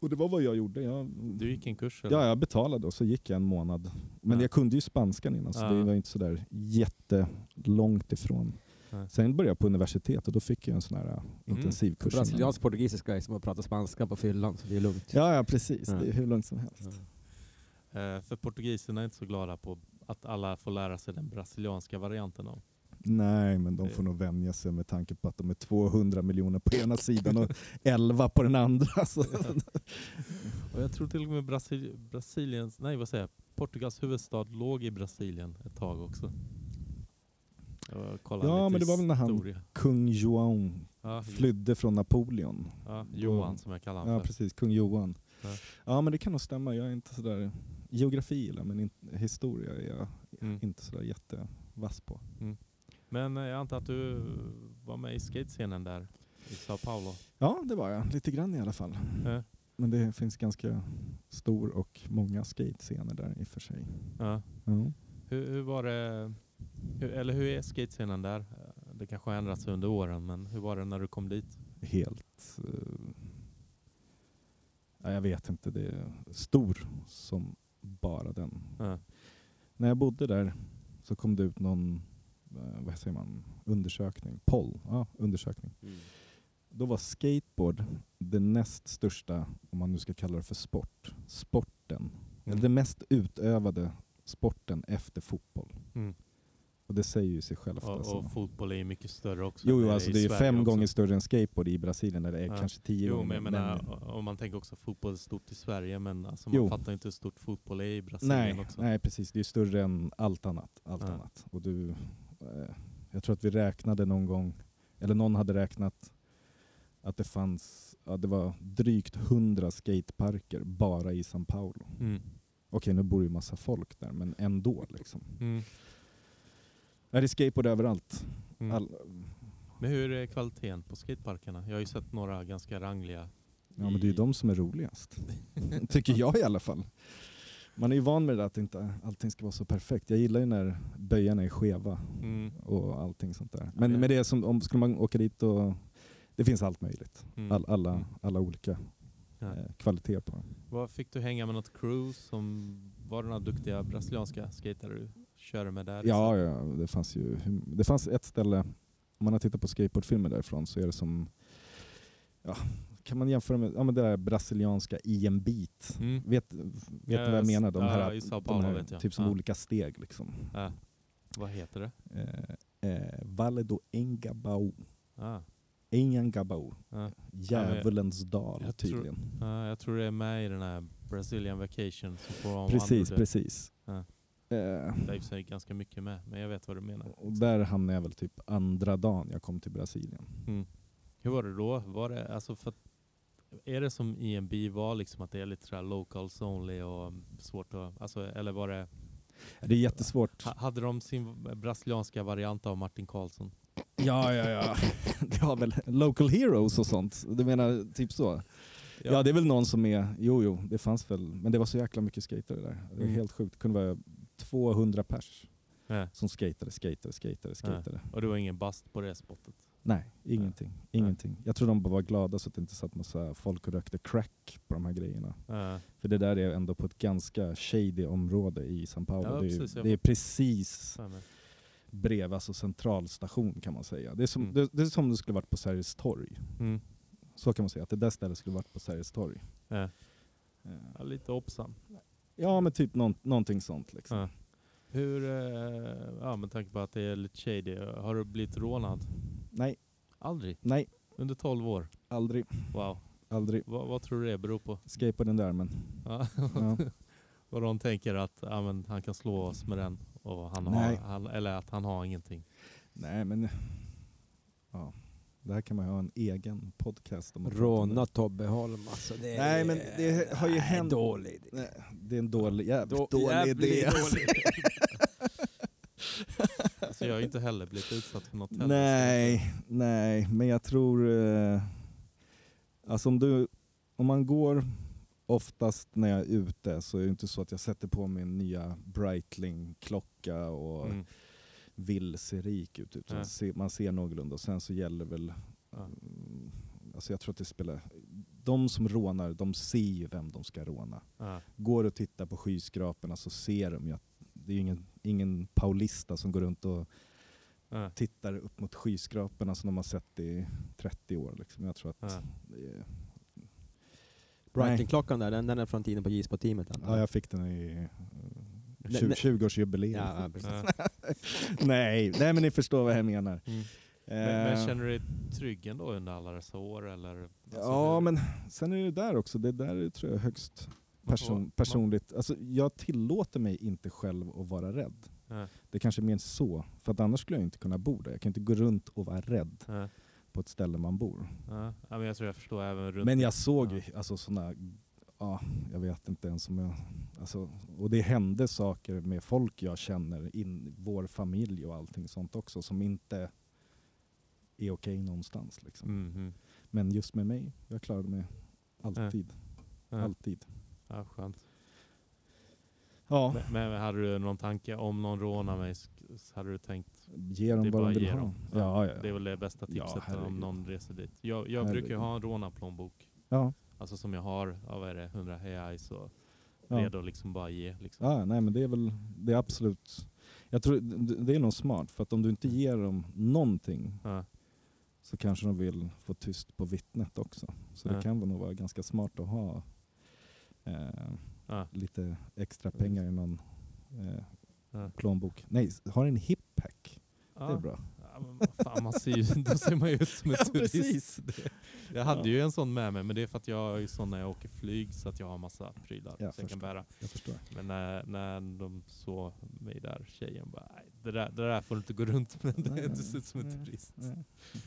Speaker 1: Och det var vad jag gjorde. Jag,
Speaker 2: dem. Du gick en kurs? eller?
Speaker 1: ja, jag betalade och så gick jag en månad. Men
Speaker 2: Ja.
Speaker 1: jag kunde ju spanskan innan så det
Speaker 2: Ja.
Speaker 1: var inte sådär jättelångt ifrån.
Speaker 2: Nej.
Speaker 1: Sen började jag på universitet och då fick jag en sån här äh,
Speaker 2: Mm.
Speaker 1: intensivkurs. innan.
Speaker 3: Brasiliansk portugisiska är som att prata spanska på fyllan, så det är lugnt.
Speaker 1: Ja, ja precis.
Speaker 3: Ja.
Speaker 1: Det är hur långt som helst.
Speaker 2: Eh, för portugiserna är inte så glada på att alla får lära sig den brasilianska varianten av.
Speaker 1: Nej, men de får nog vänja sig med tanke på att de är 200 miljoner på ena sidan och 11 på den andra. Så.
Speaker 2: Och jag tror till och med Brasil Brasiliens, nej vad säger jag, Portugals huvudstad låg i Brasilien ett tag också. Jag kollade
Speaker 1: Ja,
Speaker 2: lite
Speaker 1: men det var väl när han-
Speaker 2: historia.
Speaker 1: Kung João
Speaker 2: Ja,
Speaker 1: flydde från Napoleon.
Speaker 2: ja, Johan som jag kallar honom
Speaker 1: Ja
Speaker 2: för.
Speaker 1: precis, kung Johan.
Speaker 2: Ja.
Speaker 1: Ja. men det kan nog stämma, jag är inte sådär, geografi gillar jag, men in, historia är jag
Speaker 2: Mm.
Speaker 1: inte sådär jättevass på.
Speaker 2: Men eh, jag antar att du var med i skatescenen där i Sao Paulo? Eh,
Speaker 1: Ja det var jag, lite grann i alla fall.
Speaker 2: Ja.
Speaker 1: Men det finns ganska stor och många skatescener där i och för sig.
Speaker 2: Ja.
Speaker 1: Ja.
Speaker 2: Hur, hur var det, hur, eller hur är skatescenen där? Eh, Det kanske har ändrats under åren, men hur var det när du kom dit?
Speaker 1: Helt... eh, ja, jag vet inte, det är stor som bara den.
Speaker 2: Ja.
Speaker 1: När jag bodde där så kom det ut någon, eh, vad säger man, undersökning, poll, ja undersökning. Då var skateboard den näst största, om man nu ska kalla det för sport,
Speaker 2: Mm.
Speaker 1: sporten. Eller den mest utövade sporten efter fotboll.
Speaker 2: Mm.
Speaker 1: Och det säger ju sig självt.
Speaker 2: Och,
Speaker 1: alltså.
Speaker 2: och fotboll är ju mycket större också.
Speaker 1: jo,
Speaker 2: än
Speaker 1: jo,
Speaker 2: är
Speaker 1: alltså
Speaker 2: i
Speaker 1: det är ju
Speaker 2: Sverige
Speaker 1: fem
Speaker 2: också.
Speaker 1: gånger större än skateboard i Brasilien, eller
Speaker 2: Ja.
Speaker 1: är kanske tio
Speaker 2: Jo,
Speaker 1: gånger.
Speaker 2: men jag menar, o- om man tänker också fotboll är stort i Sverige, men alltså man
Speaker 1: Jo.
Speaker 2: fattar ju inte hur stort fotboll är i Brasilien
Speaker 1: nej,
Speaker 2: också.
Speaker 1: nej, precis. Det är ju större än allt annat. Allt
Speaker 2: Ja.
Speaker 1: annat. Och du, eh, jag tror att vi räknade någon gång, eller någon hade räknat att det fanns, ja, det var drygt hundra skateparker bara i São Paulo.
Speaker 2: Mm.
Speaker 1: Okej, nu bor ju massa folk där, men ändå liksom.
Speaker 2: Mm.
Speaker 1: Nej, det är skateboard överallt.
Speaker 2: Mm.
Speaker 1: All,
Speaker 2: Men hur är kvaliteten på skateparkerna? Jag har ju sett några ganska rangliga.
Speaker 1: ja, men det är ju de som är roligast. Tycker jag i alla fall. Man är ju van med det där att inte allting ska vara så perfekt. Jag gillar ju när böjarna är skeva
Speaker 2: Mm,
Speaker 1: och allting sånt där.
Speaker 2: men-
Speaker 1: Men med det som, om skulle man åka dit och det finns allt möjligt.
Speaker 2: mm.
Speaker 1: All, alla,
Speaker 2: Mm.
Speaker 1: alla olika
Speaker 2: Ja.
Speaker 1: eh, kvaliteter på dem.
Speaker 2: Vad Fick du hänga med något crew som var några duktiga brasilianska skatare du körde med där?
Speaker 1: Ja, ja, det fanns ju. Det fanns ett ställe, om man har tittat på skateboardfilmer därifrån så är det som, ja, kan man jämföra med ja, men det där brasilianska i en bit.
Speaker 2: Mm.
Speaker 1: Vet, vet ni
Speaker 2: Ja,
Speaker 1: vad jag
Speaker 2: s-
Speaker 1: menar? De
Speaker 2: ja,
Speaker 1: här,
Speaker 2: i Sao
Speaker 1: de
Speaker 2: Paulo
Speaker 1: här
Speaker 2: vet jag.
Speaker 1: typ som
Speaker 2: Ja.
Speaker 1: olika steg liksom.
Speaker 2: Ja. Vad heter det?
Speaker 1: Eh, eh, Valle do Engabau.
Speaker 2: Ah.
Speaker 1: Engabau.
Speaker 2: Ja.
Speaker 1: Djävulens dal
Speaker 2: jag tror-
Speaker 1: tydligen.
Speaker 2: Ja, jag tror det är med i den här Brazilian Vacation som får om
Speaker 1: Precis,
Speaker 2: Andrew.
Speaker 1: precis.
Speaker 2: Ja.
Speaker 1: Eh,
Speaker 2: Det är i och för sig ganska mycket med, men jag vet vad du menar.
Speaker 1: och där hamnade jag väl typ andra dagen jag kom till Brasilien.
Speaker 2: Hur var det då? Var det, alltså för att, är det som EMB var, liksom att det är lite sådär locals only och mm, svårt att... Alltså, eller var det...
Speaker 1: Det är jättesvårt.
Speaker 2: Ha, hade de sin brasilianska variant av Martin Karlsson?
Speaker 1: Ja, ja, ja. Det var väl local heroes och sånt. Du menar typ så? Ja. det är väl någon som är... Jo, jo, det fanns väl. Men det var så jäkla mycket skatare där. Det var
Speaker 2: Mm.
Speaker 1: helt sjukt. Det kunde vara 200 pers
Speaker 2: Ja.
Speaker 1: som skatade, skatade, skatade, skatade.
Speaker 2: Och det var ingen bast på det spottet?
Speaker 1: Nej, ingenting. Ingenting. Jag tror de bara var glada så att det inte satt massa folk och rökte crack på de här grejerna.
Speaker 2: Ja.
Speaker 1: För det där är ändå på ett ganska shady område i São Paulo.
Speaker 2: Ja,
Speaker 1: det, är,
Speaker 2: precis, jag-
Speaker 1: det är precis
Speaker 2: så här med.
Speaker 1: bredvid alltså centralstation kan man säga. Det är som,
Speaker 2: Mm.
Speaker 1: det, det är som om det skulle varit på Sergels torg.
Speaker 2: Mm.
Speaker 1: Så kan man säga, att det där stället skulle varit på Sergels torg.
Speaker 2: Ja.
Speaker 1: Eh,
Speaker 2: Ja, lite hoppsan.
Speaker 1: Ja men typ någon, någonting sånt liksom.
Speaker 2: Ja. Hur, eh, ja med tanke på att det är lite shady, har du blivit rånad?
Speaker 1: Nej,
Speaker 2: Aldrig?
Speaker 1: nej,
Speaker 2: Under 12 år?
Speaker 1: aldrig,
Speaker 2: Wow.
Speaker 1: aldrig.
Speaker 2: Vad, vad tror du det beror på?
Speaker 1: Skateboard den där men.
Speaker 2: Ja.
Speaker 1: Ja.
Speaker 2: Och de tänker att ja, men han kan slå oss med den, och han har,
Speaker 1: Nej.
Speaker 2: han, eller att han har ingenting.
Speaker 1: nej men. Ja. Det här kan man ju ha en egen podcast om. att prata om det.
Speaker 3: Råna Tobbe Holm alltså. Det är,
Speaker 1: Nej, men det har ju
Speaker 3: Nej,
Speaker 1: hänt-
Speaker 3: Dålig idé.
Speaker 1: Nej, det är en dålig, jävligt
Speaker 3: Då-
Speaker 1: dålig
Speaker 3: jävligt
Speaker 1: idé.
Speaker 3: dålig idé.
Speaker 2: Alltså, jag har ju inte heller blivit utsatt för något heller.
Speaker 1: Nej, nej, men jag tror... Eh, alltså om, du, om man går oftast när jag är ute så är det inte så att jag sätter på min nya Breitling-klocka och
Speaker 2: Mm.
Speaker 1: vill se rik ut. Utan
Speaker 2: Nej.
Speaker 1: se, man ser någorlunda och sen så gäller väl...
Speaker 2: Ja.
Speaker 1: Mm, Alltså jag tror att det spelar... De som rånar, de ser ju vem de ska råna.
Speaker 2: Ja.
Speaker 1: Går och tittar på skyskraporna så ser de ju att det är ju ingen, ingen paulista som går runt och
Speaker 2: Ja.
Speaker 1: tittar upp mot skyskraporna som de har sett i 30 år. Liksom. Jag tror att
Speaker 2: Ja.
Speaker 1: det är...
Speaker 3: Brighton-klockan där, den, den är från tiden på J-sport-teamet.
Speaker 1: Ja, jag fick den i eh,
Speaker 3: Nej,
Speaker 1: 20,
Speaker 3: nej.
Speaker 1: 20-årsjubileet.
Speaker 3: ja, precis.
Speaker 2: Ja.
Speaker 1: Nej, nej, men ni förstår vad jag menar.
Speaker 2: Mm. Men,
Speaker 1: Eh,
Speaker 2: men känner du dig trygg ändå under alla dessa år? Eller, alltså,
Speaker 1: ja,
Speaker 2: hur-
Speaker 1: men sen är det där också, det där är, tror jag är högst
Speaker 2: Man får-
Speaker 1: person,
Speaker 2: man-
Speaker 1: personligt. Alltså, jag tillåter mig inte själv att vara rädd.
Speaker 2: Ja.
Speaker 1: Det kanske är mer så, för att annars skulle jag inte kunna bo där. Jag kan inte gå runt och vara rädd
Speaker 2: Ja.
Speaker 1: på ett ställe man bor.
Speaker 2: Ja. Ja, men jag tror jag förstår även runt...
Speaker 1: Men jag såg ju alltså sådana, ja, jag vet inte ens om jag, alltså, och det hände saker med folk jag känner, in, vår familj och allting sånt också som inte är okej någonstans. Liksom.
Speaker 2: Mhm.
Speaker 1: Men just med mig, jag klarade mig alltid.
Speaker 2: Ja.
Speaker 1: Alltid.
Speaker 2: Ja, skönt.
Speaker 1: Ja,
Speaker 2: Men, men hade du någon tanke om någon rånar mig? sk- s- Hade du tänkt?
Speaker 1: ge
Speaker 2: det
Speaker 1: dem
Speaker 2: är
Speaker 1: vad
Speaker 2: bara
Speaker 1: de vill
Speaker 2: ge
Speaker 1: ha.
Speaker 2: dem.
Speaker 1: Ja, ja,
Speaker 2: Det är
Speaker 1: ja.
Speaker 2: väl det bästa
Speaker 1: Ja,
Speaker 2: tipset om
Speaker 1: herregud.
Speaker 2: någon reser dit. Jag, jag brukar
Speaker 1: Herregud.
Speaker 2: ju ha en rånarplånbok.
Speaker 1: ja,
Speaker 2: Alltså som jag har, ja, vad är det, 100 reais och
Speaker 1: ja.
Speaker 2: redo att liksom bara ge. Liksom.
Speaker 1: ja nej, men det är väl, det är absolut, jag tror det det är nog smart för att om du inte ger dem någonting
Speaker 2: Ja.
Speaker 1: så kanske de vill få tyst på vittnet också. Så
Speaker 2: Ja.
Speaker 1: det kan väl nog vara ganska smart att ha eh,
Speaker 2: Ja.
Speaker 1: lite extra pengar i någon eh,
Speaker 2: Ja.
Speaker 1: plånbok. Nej, s- har en hippack.
Speaker 2: Ja.
Speaker 1: Det är bra.
Speaker 2: Ja, men vad fan, man ser ju, då ser man ju ut som en
Speaker 1: Ja,
Speaker 2: turist.
Speaker 1: precis.
Speaker 2: Det, jag hade
Speaker 1: Ja.
Speaker 2: ju en sån med mig, men det är för att jag har ju sån när jag åker flyg så att jag har massa prylar
Speaker 1: Jag
Speaker 2: som jag kan
Speaker 1: förstår.
Speaker 2: bära.
Speaker 1: Jag förstår.
Speaker 2: Men när, när de såg mig där, tjejen bara "Nej, det där, det där får du inte gå runt med, det, du ser ut som en turist.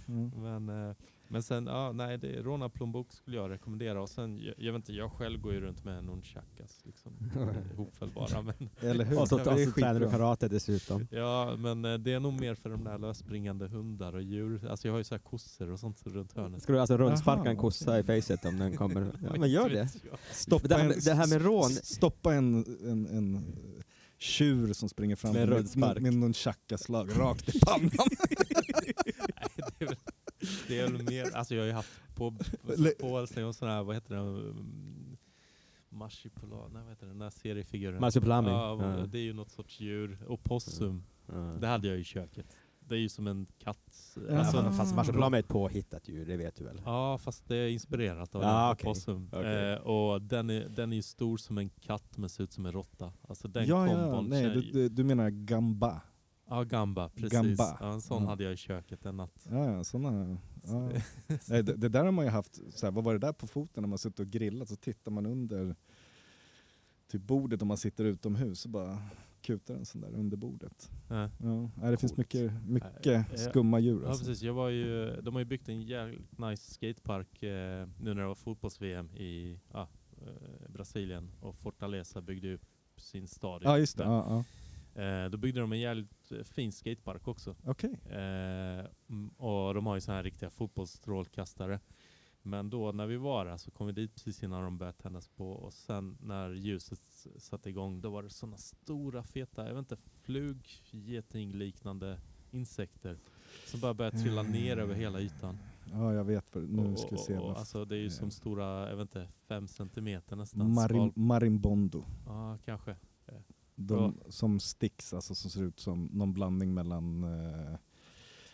Speaker 1: Mm.
Speaker 2: Men, eh, men sen, ja, nej, det, råna plånbok skulle jag rekommendera. Och sen, jag, jag vet inte, jag själv går ju runt med nunchakas, liksom, hopfällbara. Men,
Speaker 1: Eller hur?
Speaker 3: Och så,
Speaker 1: Ja,
Speaker 3: och
Speaker 1: det är
Speaker 3: så tränar du
Speaker 1: skitbra.
Speaker 3: karate dessutom.
Speaker 2: ja, men eh, det är nog mer för de där lösspringande hundar och djur. Alltså jag har ju så här kossor och sånt runt hörnet.
Speaker 3: Ska du alltså rundsparka
Speaker 1: Jaha,
Speaker 3: en kossa i facet om den kommer? Ja, men gör
Speaker 2: Inte
Speaker 3: det.
Speaker 2: vet jag.
Speaker 1: Stoppa
Speaker 3: Det här
Speaker 1: en-
Speaker 3: med- det här med rån-
Speaker 1: s- Stoppa en, en, en eh, tjur som springer fram
Speaker 3: Med
Speaker 1: med,
Speaker 3: röd spark.
Speaker 1: med, med någon tjackaslag rakt i pannan.
Speaker 2: Nej, det, är väl, det är väl mer, alltså jag har ju haft på,
Speaker 1: Le-
Speaker 2: på sig och sån här, vad heter den? Marsipula, nej vad heter den där seriefiguren?
Speaker 3: Marsupilami.
Speaker 2: Ja, vad- det är ju något sorts djur. Och
Speaker 3: Mm,
Speaker 2: possum, det hade jag i köket. Det är ju som en katt. Alltså,
Speaker 1: Jaha.
Speaker 3: fast marsupilami är ett påhittat djur, det vet du väl?
Speaker 2: Ja, fast det är inspirerat av
Speaker 3: Ja,
Speaker 2: en
Speaker 3: okej.
Speaker 2: possum.
Speaker 3: Okej.
Speaker 2: Eh, och den är, den är ju stor som en katt men ser ut som en råtta. Alltså den
Speaker 1: ja, ja,
Speaker 2: kombon.
Speaker 1: nej,
Speaker 2: känner-
Speaker 1: du, du, du menar gamba.
Speaker 2: Ja, gamba. Precis.
Speaker 1: Gamba. Mm.
Speaker 2: Ja, en sån
Speaker 1: Ja.
Speaker 2: hade jag i köket en natt.
Speaker 1: Ja, ja, såna. Ja. Nej, det, det där har man ju haft, så här, vad var det där på foten när man suttit och grillat så tittar man under typ bordet om man sitter utomhus och bara kutar en sån där under bordet.
Speaker 2: Ja.
Speaker 1: Ja. Nej, det finns
Speaker 2: Coolt.
Speaker 1: mycket,
Speaker 2: Ja, ja.
Speaker 1: mycket skumma djur
Speaker 2: Ja
Speaker 1: alltså.
Speaker 2: precis, jag var ju, de har ju byggt en jävligt nice skatepark eh, nu när det var fotbolls-VM i ja, eh, Brasilien och Fortaleza byggde upp sin stadion.
Speaker 1: Ja just det, ja, ja.
Speaker 2: Eh, då byggde de en jävligt eh, fin skatepark också.
Speaker 1: okej.
Speaker 2: Eh, mm, och de har ju sådana här riktiga fotbollsstrålkastare. Men då när vi var där så kom vi dit precis innan de började tändas på och sen när ljuset s- satte igång då var det sådana stora feta, jag vet inte, flug, getingliknande insekter som bara började trilla ner över hela ytan.
Speaker 1: Ja jag vet vad det- Eh, nu
Speaker 2: Och-
Speaker 1: ska vi
Speaker 2: och-
Speaker 1: se
Speaker 2: och,
Speaker 1: vad eh.
Speaker 2: Alltså det är ju som stora, jag vet inte, fem centimeter nästan.
Speaker 1: Marim,
Speaker 2: skal.
Speaker 1: Marimbondo.
Speaker 2: Ja, kanske.
Speaker 1: De som sticks, alltså som ser ut som någon blandning mellan eh,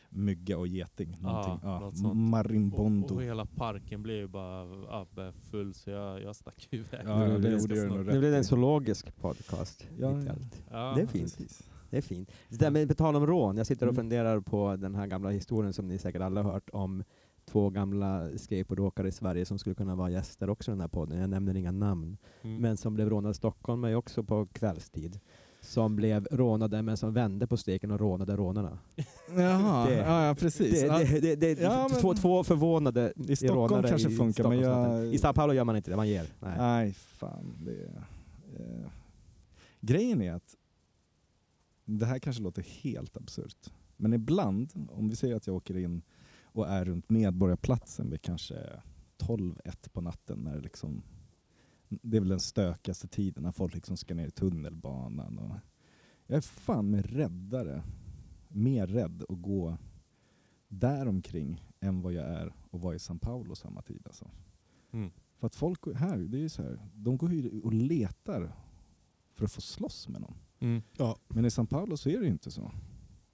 Speaker 1: mygga och geting. Någonting.
Speaker 2: Ja, Ah, något
Speaker 1: ja.
Speaker 2: sånt.
Speaker 1: Marimbondo.
Speaker 2: Och, och hela parken blev ju bara ja, bara full så jag, jag stack iväg.
Speaker 1: Ja, ja,
Speaker 3: det
Speaker 1: det gjorde
Speaker 3: är
Speaker 2: ganska
Speaker 1: jag nog
Speaker 2: snart.
Speaker 3: Nu
Speaker 1: rätt
Speaker 3: blir det en
Speaker 1: i.
Speaker 3: zoologisk podcast.
Speaker 1: Ja,
Speaker 3: mitt i
Speaker 1: ja.
Speaker 3: allt.
Speaker 2: Ja,
Speaker 3: Det är fint.
Speaker 1: Precis.
Speaker 3: Det är fint. Så där, men på tal om rån, jag sitter och
Speaker 1: Mm.
Speaker 3: funderar på den här gamla historien som ni säkert alla har hört om två gamla skateboardåkare i Sverige som skulle kunna vara gäster också i den här podden. Jag nämner inga namn.
Speaker 2: Mm.
Speaker 3: Men som blev rånade i Stockholm är ju också på kvällstid. som blev rånade men som vände på steken och rånade rånarna.
Speaker 1: Jaha,
Speaker 3: Det-
Speaker 1: ja, ja precis.
Speaker 3: Det,
Speaker 1: Ja,
Speaker 3: det, det, det,
Speaker 1: Ja, men-
Speaker 3: två, två förvånade
Speaker 1: I Stockholm
Speaker 3: rånare
Speaker 1: kanske
Speaker 3: i
Speaker 1: funkar, men
Speaker 3: Stockholmsnatten.
Speaker 1: jag-
Speaker 3: I Sao Paulo gör man inte det, man ger. Nej.
Speaker 1: Nej, fan. Det, eh. Grejen är att, det här kanske låter helt absurt, men ibland, om vi säger att jag åker in och är runt Medborgarplatsen vid kanske 12-1 på natten när det liksom det är väl den stökigaste tiden när folk liksom ska ner i tunnelbanan. Och jag är fan med räddare, mer rädd att gå däromkring än vad jag är och vara i São Paulo samma tid. Alltså.
Speaker 2: Mm.
Speaker 1: För att folk går- här, det är ju så här, de går ju och letar för att få slåss med någon.
Speaker 2: Mm.
Speaker 1: Men i São Paulo så är det ju inte så.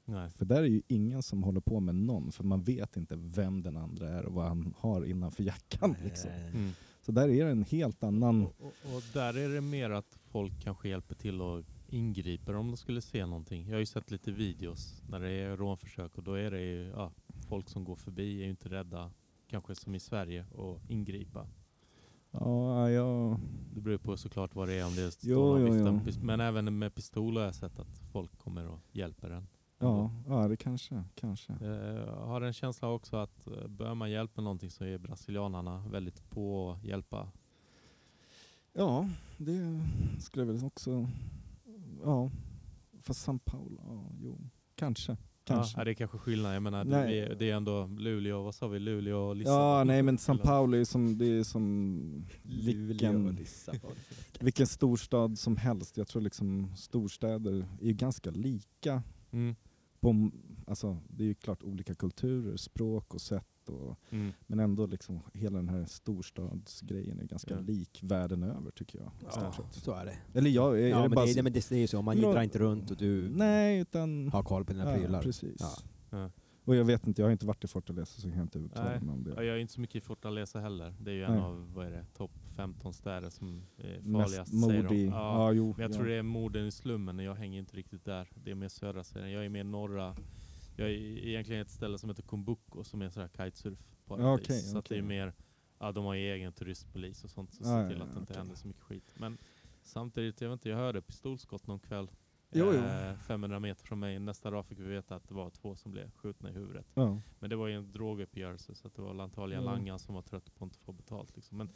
Speaker 2: Nej.
Speaker 1: För där är ju ingen som håller på med någon, för man vet inte vem den andra är och vad han har innanför jackan.
Speaker 3: eh,
Speaker 1: Liksom.
Speaker 2: Mm.
Speaker 1: Så där är det en helt annan...
Speaker 2: Och, och där är det mer att folk kanske hjälper till och ingriper om de skulle se någonting. Jag har ju sett lite videos när det är rånförsök och då är det ju ja, folk som går förbi är ju inte rädda, kanske som i Sverige, att ingripa.
Speaker 1: Ja, jag...
Speaker 2: Det beror på såklart vad det är om det står
Speaker 1: Jo,
Speaker 2: någon
Speaker 1: jo,
Speaker 2: pistol,
Speaker 1: jo.
Speaker 2: pist- Men även med pistol har jag sett att folk kommer och hjälper en. Eh,
Speaker 1: Ja, ja, det kanske, kanske.
Speaker 2: Jag har en känsla också att eh, börjar man hjälpa någonting så är brasilianarna väldigt på att hjälpa.
Speaker 1: Ja, det skulle jag väl också... Ja, fast São Paulo, ja, jo, kanske. Kanske.
Speaker 2: Ja, det är kanske skillnad. Jag menar,
Speaker 1: Nej.
Speaker 2: det, det är ändå Luleå, vad sa vi, Luleå och Lissabon.
Speaker 1: Ja, nej men São Paulo är som, det är som
Speaker 3: Luleå och
Speaker 1: vilken,
Speaker 3: Lissabon.
Speaker 1: vilken storstad som helst. Jag tror liksom storstäder är ju ganska lika.
Speaker 2: Mm,
Speaker 1: På, m- alltså, det är ju klart olika kulturer, språk och sätt. Och,
Speaker 2: mm.
Speaker 1: men ändå liksom hela den här storstadsgrejen är ganska
Speaker 2: Ja.
Speaker 1: lik världen över tycker jag. i stort sett.
Speaker 3: Så är det.
Speaker 1: Eller jag, är,
Speaker 3: Ja,
Speaker 1: är det
Speaker 3: men
Speaker 1: bara...
Speaker 3: det,
Speaker 1: så-
Speaker 3: nej, men det, det är ju så, man
Speaker 1: Men-
Speaker 3: drar inte runt och du
Speaker 1: nej, utan...
Speaker 3: har koll på dina prylar.
Speaker 1: precis.
Speaker 3: Ja.
Speaker 2: Ja.
Speaker 1: Och jag vet inte, jag har inte varit i Fortaleza så jag kan inte uttala
Speaker 2: Nej.
Speaker 1: mig om
Speaker 2: Ja,
Speaker 1: det.
Speaker 2: jag är inte så mycket i Fortaleza heller. Det är ju en
Speaker 1: Nej.
Speaker 2: av, vad är det, topp 15 städer som är
Speaker 1: Mest
Speaker 2: farligast säger de.
Speaker 1: modig.
Speaker 2: Ja.
Speaker 1: Ja, jo,
Speaker 2: Men jag
Speaker 1: ja.
Speaker 2: tror det är morden i slummen och jag hänger inte riktigt där. Det är mer södra sidan. Jag är mer norra. Jag är egentligen ett ställe som heter Kumbuko som är sådär kitesurf
Speaker 1: Ja,
Speaker 2: paradis.
Speaker 1: okej,
Speaker 2: så att det är
Speaker 1: okej.
Speaker 2: mer, ja de har ju egen turistpolis och sånt så
Speaker 1: Ja,
Speaker 2: se till
Speaker 1: ja,
Speaker 2: att det
Speaker 1: ja,
Speaker 2: inte
Speaker 1: okej.
Speaker 2: händer så mycket skit. Men samtidigt, jag vet inte, jag hörde pistolskott någon kväll.
Speaker 1: Jo, jo.
Speaker 2: 500 meter från mig. Nästa dag fick vi veta att det var två som blev skjutna i huvudet.
Speaker 1: Ja.
Speaker 2: Men det var ju en droguppgörelse så att det var väl antagligen
Speaker 1: Mm.
Speaker 2: langaren som var trött på att inte få betalt. Liksom. Men,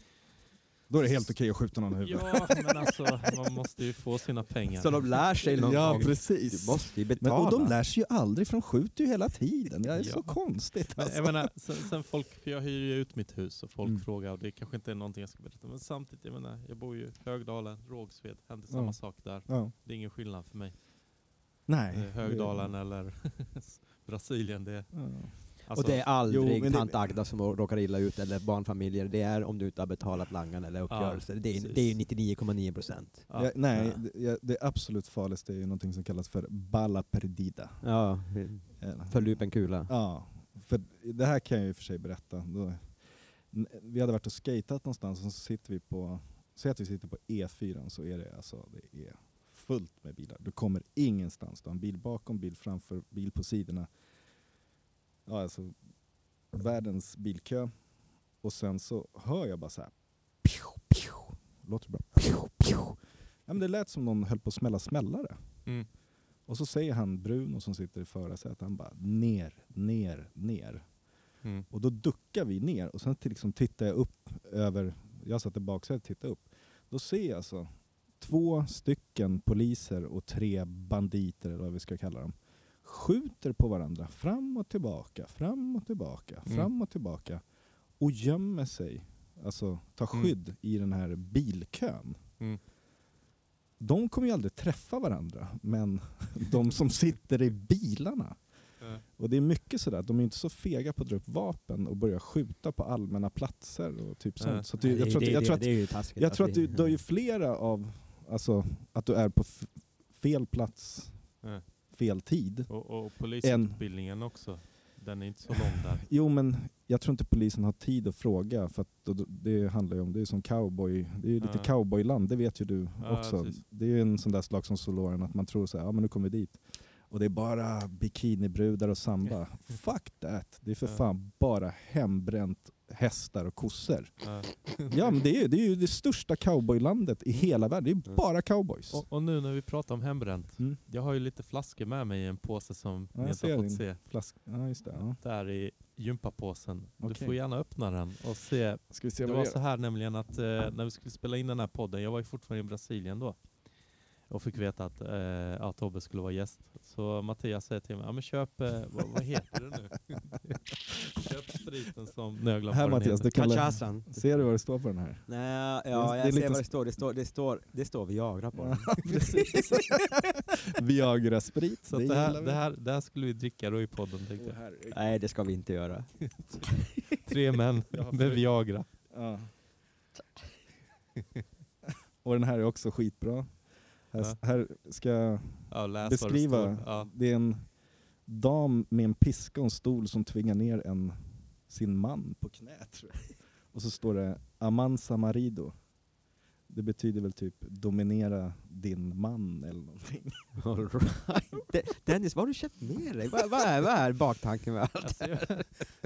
Speaker 1: Då är det helt okej att skjuta någon i huvudet.
Speaker 2: ja, men alltså man måste ju få sina pengar.
Speaker 3: Så de lär sig någon
Speaker 1: Ja,
Speaker 3: gång.
Speaker 1: precis.
Speaker 3: Du måste ju
Speaker 1: Men,
Speaker 3: betala.
Speaker 1: och de lär sig ju aldrig för de skjuter ju hela tiden. Det är
Speaker 2: Ja.
Speaker 1: så konstigt.
Speaker 2: Men,
Speaker 1: Alltså.
Speaker 2: jag menar, sen, sen folk, för jag hyr ju ut mitt hus och folk
Speaker 1: Mm.
Speaker 2: frågar och det kanske inte är någonting jag ska berätta. Men samtidigt, jag menar, jag bor ju i Högdalen, Rågsved, händer samma
Speaker 1: Ja.
Speaker 2: sak där.
Speaker 1: ja.
Speaker 2: Det är ingen skillnad för mig.
Speaker 1: Nej.
Speaker 2: Eh, Högdalen eller Brasilien, det är...
Speaker 1: Ja.
Speaker 2: Alltså,
Speaker 3: och det är aldrig
Speaker 1: Jo, men det-
Speaker 3: tant Agda som råkar illa ut eller barnfamiljer. Det är om du inte har betalat langaren eller uppgörelser. det, är,
Speaker 2: precis.
Speaker 3: det är ju 99,9 procent.
Speaker 2: ja.
Speaker 1: Ja, nej,
Speaker 3: Ja.
Speaker 1: det- ja. det absolut farligaste är ju någonting som kallas för bala perdida.
Speaker 3: Ja,
Speaker 1: Eller-
Speaker 3: för lupen kula.
Speaker 1: Ja, för det här kan jag ju för sig berätta. Då, n- vi hade varit och skatat någonstans och så sitter vi på, säg att vi sitter på E4 så är det alltså, det är fullt med bilar. Du kommer ingenstans. Du har en bil bakom, bil framför, bil på sidorna. Ja, alltså världens bilkö. Och sen så hör jag bara så här. Pju, pju. Låter bra. Pju, pju. Ja, men det lät som någon höll på att smälla smällare.
Speaker 2: Mm.
Speaker 1: Och så säger han Bruno som sitter i förarsätet, han bara ner, ner, ner.
Speaker 2: Mm.
Speaker 1: Och då duckar vi ner och sen till- liksom tittar jag upp över, jag satt i baksätet och tittade upp. Då ser jag alltså två stycken poliser och tre banditer eller vad vi ska kalla dem skjuter på varandra fram och tillbaka, fram och tillbaka,
Speaker 2: Mm.
Speaker 1: fram och tillbaka och gömmer sig, alltså tar
Speaker 2: Mm.
Speaker 1: skydd i den här bilkön.
Speaker 2: Mm.
Speaker 1: De kommer ju aldrig träffa varandra, men de som sitter i bilarna.
Speaker 2: Ja.
Speaker 1: Och det är mycket sådär, att de är inte så fega på att dra upp vapen och börja skjuta på allmänna platser och typ
Speaker 2: Ja.
Speaker 1: sånt. Så att det, jag tror att, jag tror att,
Speaker 3: är ju taskigt.
Speaker 1: jag tror att du dör ju flera av, alltså att du är på f- fel plats,
Speaker 2: Ja.
Speaker 1: fel tid.
Speaker 2: Och, och polisutbildningen också. Den är inte så lång där.
Speaker 1: Jo men jag tror inte polisen har tid att fråga för att då- då- det handlar ju om, det är som cowboy, det är ju lite
Speaker 2: Ja.
Speaker 1: cowboyland, det vet ju du
Speaker 2: Ja,
Speaker 1: också.
Speaker 2: precis.
Speaker 1: Det är ju en sån där slag som Soloren att man tror så här, ja men nu kommer vi dit. Och det är bara bikinibrudar och samba. Fuck that! Det är för
Speaker 2: Ja.
Speaker 1: fan bara hembränt hästar och kossor.
Speaker 2: Eh,
Speaker 1: Ja, men det, är, ju- det är ju det största cowboylandet i hela världen. Det är ju bara cowboys.
Speaker 2: Och, och nu när vi pratar om hembränt.
Speaker 1: Mm.
Speaker 2: Jag har ju lite flaskor med mig i en påse som
Speaker 1: Ja, jag
Speaker 2: ni inte
Speaker 1: ser
Speaker 2: har fått
Speaker 1: din.
Speaker 2: se.
Speaker 1: Flask... Ja, just det. Ja.
Speaker 2: Där i gympapåsen. Du
Speaker 1: Okej.
Speaker 2: får gärna öppna den och se.
Speaker 1: Ska vi se
Speaker 2: Det
Speaker 1: vad
Speaker 2: var
Speaker 1: det
Speaker 2: så här nämligen att eh, när vi skulle spela in den här podden, jag var ju fortfarande i Brasilien då. Och fick veta att, eh, ja, Tobbe skulle vara gäst. Så Mattias säger till mig, ja men köp, eh, vad, vad heter det nu? köp spriten som... Nu har jag glömt
Speaker 1: Här
Speaker 2: vad den
Speaker 1: Mattias,
Speaker 2: heter.
Speaker 1: du kan lä-
Speaker 3: Cachasan.
Speaker 1: Ser du vad det står på den här?
Speaker 3: Nej,
Speaker 1: Det-
Speaker 3: ja,
Speaker 1: det är
Speaker 3: jag
Speaker 1: lite
Speaker 3: ser vad
Speaker 1: s-
Speaker 3: det står. Det står, det står, det står Viagra på den.
Speaker 1: Precis. Viagra-sprit.
Speaker 2: Så att det, här, det, här, det här skulle vi dricka då i podden tänkte jag.
Speaker 3: Nej, det ska vi inte göra.
Speaker 2: Tre män med Viagra.
Speaker 1: Ja. Och den här är också skitbra. Här,
Speaker 2: Ja.
Speaker 1: här ska jag
Speaker 2: Ja, läs vad det
Speaker 1: beskriva.
Speaker 2: står. Ja.
Speaker 1: Det är en dam med en piska och en stol som tvingar ner en, sin man på knä. Tror jag. Och så står det Amansa Marido. Det betyder väl typ dominera din man eller någonting.
Speaker 3: All right. Dennis, vad har du köpt med dig? Vad, vad, är, vad är baktanken med allt?
Speaker 2: Alltså, jag,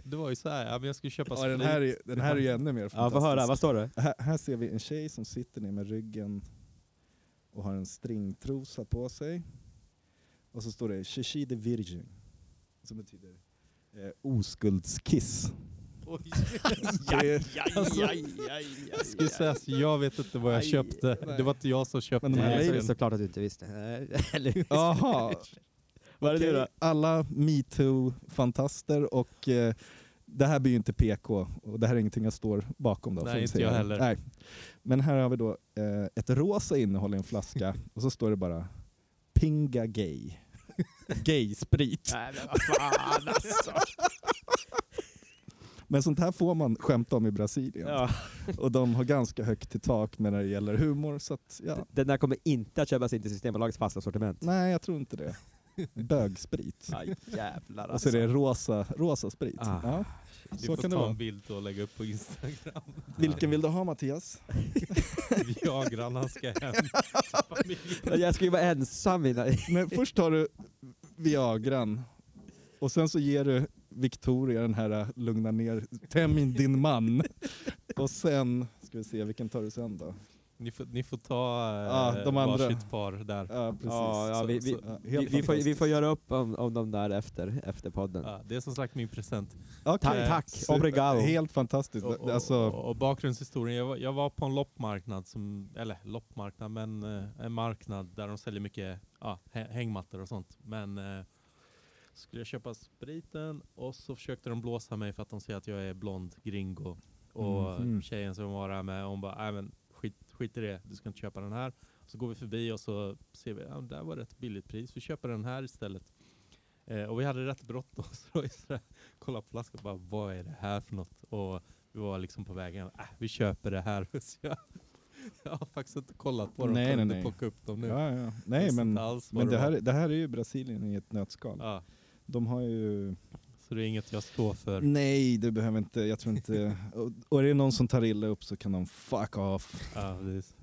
Speaker 2: det var ju så här, ja, men jag skulle köpa
Speaker 1: Ja, den, här är, den här är ju ännu mer
Speaker 3: Ja, få höra.
Speaker 1: fantastisk.
Speaker 3: Vad står det?
Speaker 1: Här, här ser vi en tjej som sitter ner med ryggen och har en stringtrosa på sig. Och så står det Chichi de Virgin, som betyder eh, oskuldskiss.
Speaker 2: Oj,
Speaker 1: Det-
Speaker 3: Alltså,
Speaker 2: jag skulle säga att jag vet inte vad jag
Speaker 3: Aj,
Speaker 2: köpte.
Speaker 1: nej.
Speaker 2: Det var inte jag som köpte.
Speaker 1: Men de här
Speaker 2: den.
Speaker 3: Nej, det är
Speaker 1: labeln.
Speaker 3: såklart att du inte visste. Nej, Eller,
Speaker 1: Jaha.
Speaker 3: vad är det nu då?
Speaker 1: Alla metoo-fantaster och eh, det här blir ju inte PK och det här är ingenting jag står bakom. Då,
Speaker 2: Nej,
Speaker 1: får vi
Speaker 2: inte
Speaker 1: säga.
Speaker 2: jag heller.
Speaker 1: Nej. Men här har vi då eh, ett rosa innehåll i en flaska och så står det bara Pinga Gay. Gay-sprit.
Speaker 3: Nej, men vad fan alltså.
Speaker 1: Men sånt här får man skämta om i Brasilien.
Speaker 3: Ja.
Speaker 1: Och de har ganska högt i tak när det gäller humor. Så att,
Speaker 3: D-
Speaker 1: ja.
Speaker 3: Den där kommer inte att köpas in till Systembolagets fasta sortiment.
Speaker 1: Nej, jag tror inte det. Bögsprit.
Speaker 3: Aj, jävlar
Speaker 1: Och så är det rosa, rosa sprit.
Speaker 3: Ah.
Speaker 1: Ja.
Speaker 2: Vi
Speaker 1: Så
Speaker 2: får
Speaker 1: kan det
Speaker 2: ta en
Speaker 1: vara.
Speaker 2: bild och lägga upp på Instagram.
Speaker 1: Vilken vill du ha Mattias?
Speaker 2: Viagran, han ska hem.
Speaker 3: Jag ska ju vara ensam innan.
Speaker 1: Men först tar du Viagran och sen så ger du Victoria den här äh, lugna ner, tämj din man. Och sen, ska vi se, vilken tar du sen då?
Speaker 2: Ni får, ni får ta eh,
Speaker 1: Ja, de andra.
Speaker 2: varsitt par där.
Speaker 1: Ja, precis.
Speaker 3: Ja, ja, vi- vi-
Speaker 1: ja, helt
Speaker 3: Vi, vi, får, vi
Speaker 1: fantastiskt.
Speaker 3: får göra upp om, om de där efter, efter podden.
Speaker 2: Ja, det är som sagt min present.
Speaker 1: Okej.
Speaker 3: Tack, tack. Obrigado.
Speaker 1: Helt fantastiskt.
Speaker 2: Och, och,
Speaker 1: Alltså,
Speaker 2: och, och bakgrundshistorien. Jag var, jag var på en loppmarknad, som, eller loppmarknad, men eh, en marknad där de säljer mycket ja, hä- hängmattor och sånt. Men eh, skulle jag köpa spriten och så försökte de blåsa mig för att de säger att jag är blond gringo. Och
Speaker 1: Mhm.
Speaker 2: tjejen som var där med, hon bara, nej men skit, skit i det, du ska inte köpa den här. Så går vi förbi och så ser vi, ja, där var det ett billigt pris, vi köper den här istället. Eh, och vi hade rätt bråttom, så det var ju sådär, kolla på flaskan och bara, vad är det här för något? Och vi var liksom på vägen, äh, vi köper det här. Så jag, jag har faktiskt inte kollat på dem,
Speaker 1: Nej,
Speaker 2: kan
Speaker 1: nej,
Speaker 2: inte
Speaker 1: nej.
Speaker 2: plocka upp dem nu.
Speaker 1: ja, ja.
Speaker 2: Jag
Speaker 1: Nej,
Speaker 2: visste
Speaker 1: men
Speaker 2: inte alls vad
Speaker 1: Men det
Speaker 2: var.
Speaker 1: här, det här är ju Brasilien i ett nötskal.
Speaker 2: Ja,
Speaker 1: De har ju...
Speaker 2: så det är inget jag står för.
Speaker 1: Mm. Nej, du behöver inte. Jag tror inte... och, och är det någon som tar illa upp så kan de fuck off.
Speaker 2: Ja, precis.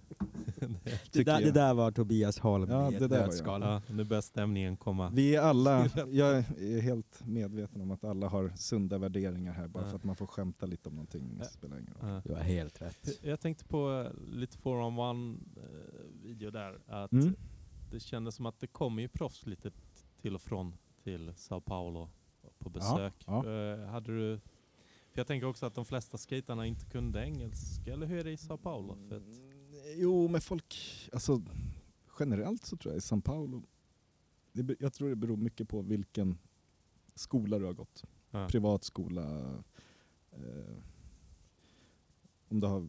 Speaker 3: Det
Speaker 1: tycker
Speaker 3: där, det
Speaker 1: jag.
Speaker 3: där var Tobias Holm
Speaker 1: Ja,
Speaker 3: i ett
Speaker 1: det där var jag.
Speaker 3: nötskal.
Speaker 2: ja, nu börjar stämningen komma.
Speaker 1: Vi är alla... Jag är helt medveten om att alla har sunda värderingar här bara
Speaker 2: Ja.
Speaker 1: för att man får skämta lite om någonting. Det spelar ingen roll.
Speaker 2: Ja.
Speaker 3: Du har helt rätt.
Speaker 2: Jag tänkte på eh, lite forum one eh, video där, att
Speaker 1: Mm.
Speaker 2: det kändes som att det kommer ju proffs lite t- till och från till Sao Paulo på besök.
Speaker 1: ja.
Speaker 2: Eh, Hade du... För jag tänker också att de flesta skaterna inte kunde engelska, eller hur är det i Sao Paulo? För att,
Speaker 1: Mm, Jo, men folk... Alltså, generellt så tror jag i São Paulo... Det, be- jag tror det beror mycket på vilken skola du har gått.
Speaker 2: ja.
Speaker 1: privat skola. Eh, om du har,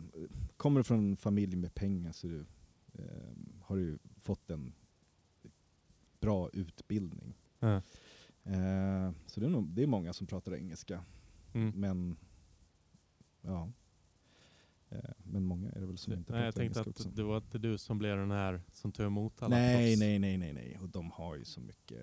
Speaker 1: kommer du från en familj med pengar så du, eh, har du fått en bra utbildning.
Speaker 2: Ja.
Speaker 1: Eh, så det är, nog, det är många som pratar engelska.
Speaker 2: Mm.
Speaker 1: Men ja. Eh, men många är det väl som inte
Speaker 2: Nej, jag
Speaker 1: pratar
Speaker 2: tänkte
Speaker 1: engelska
Speaker 2: att
Speaker 1: också.
Speaker 2: det var inte du som blev den här som tog emot alla
Speaker 1: Nej,
Speaker 2: proffs.
Speaker 1: nej, nej, nej, nej. Och de har ju så mycket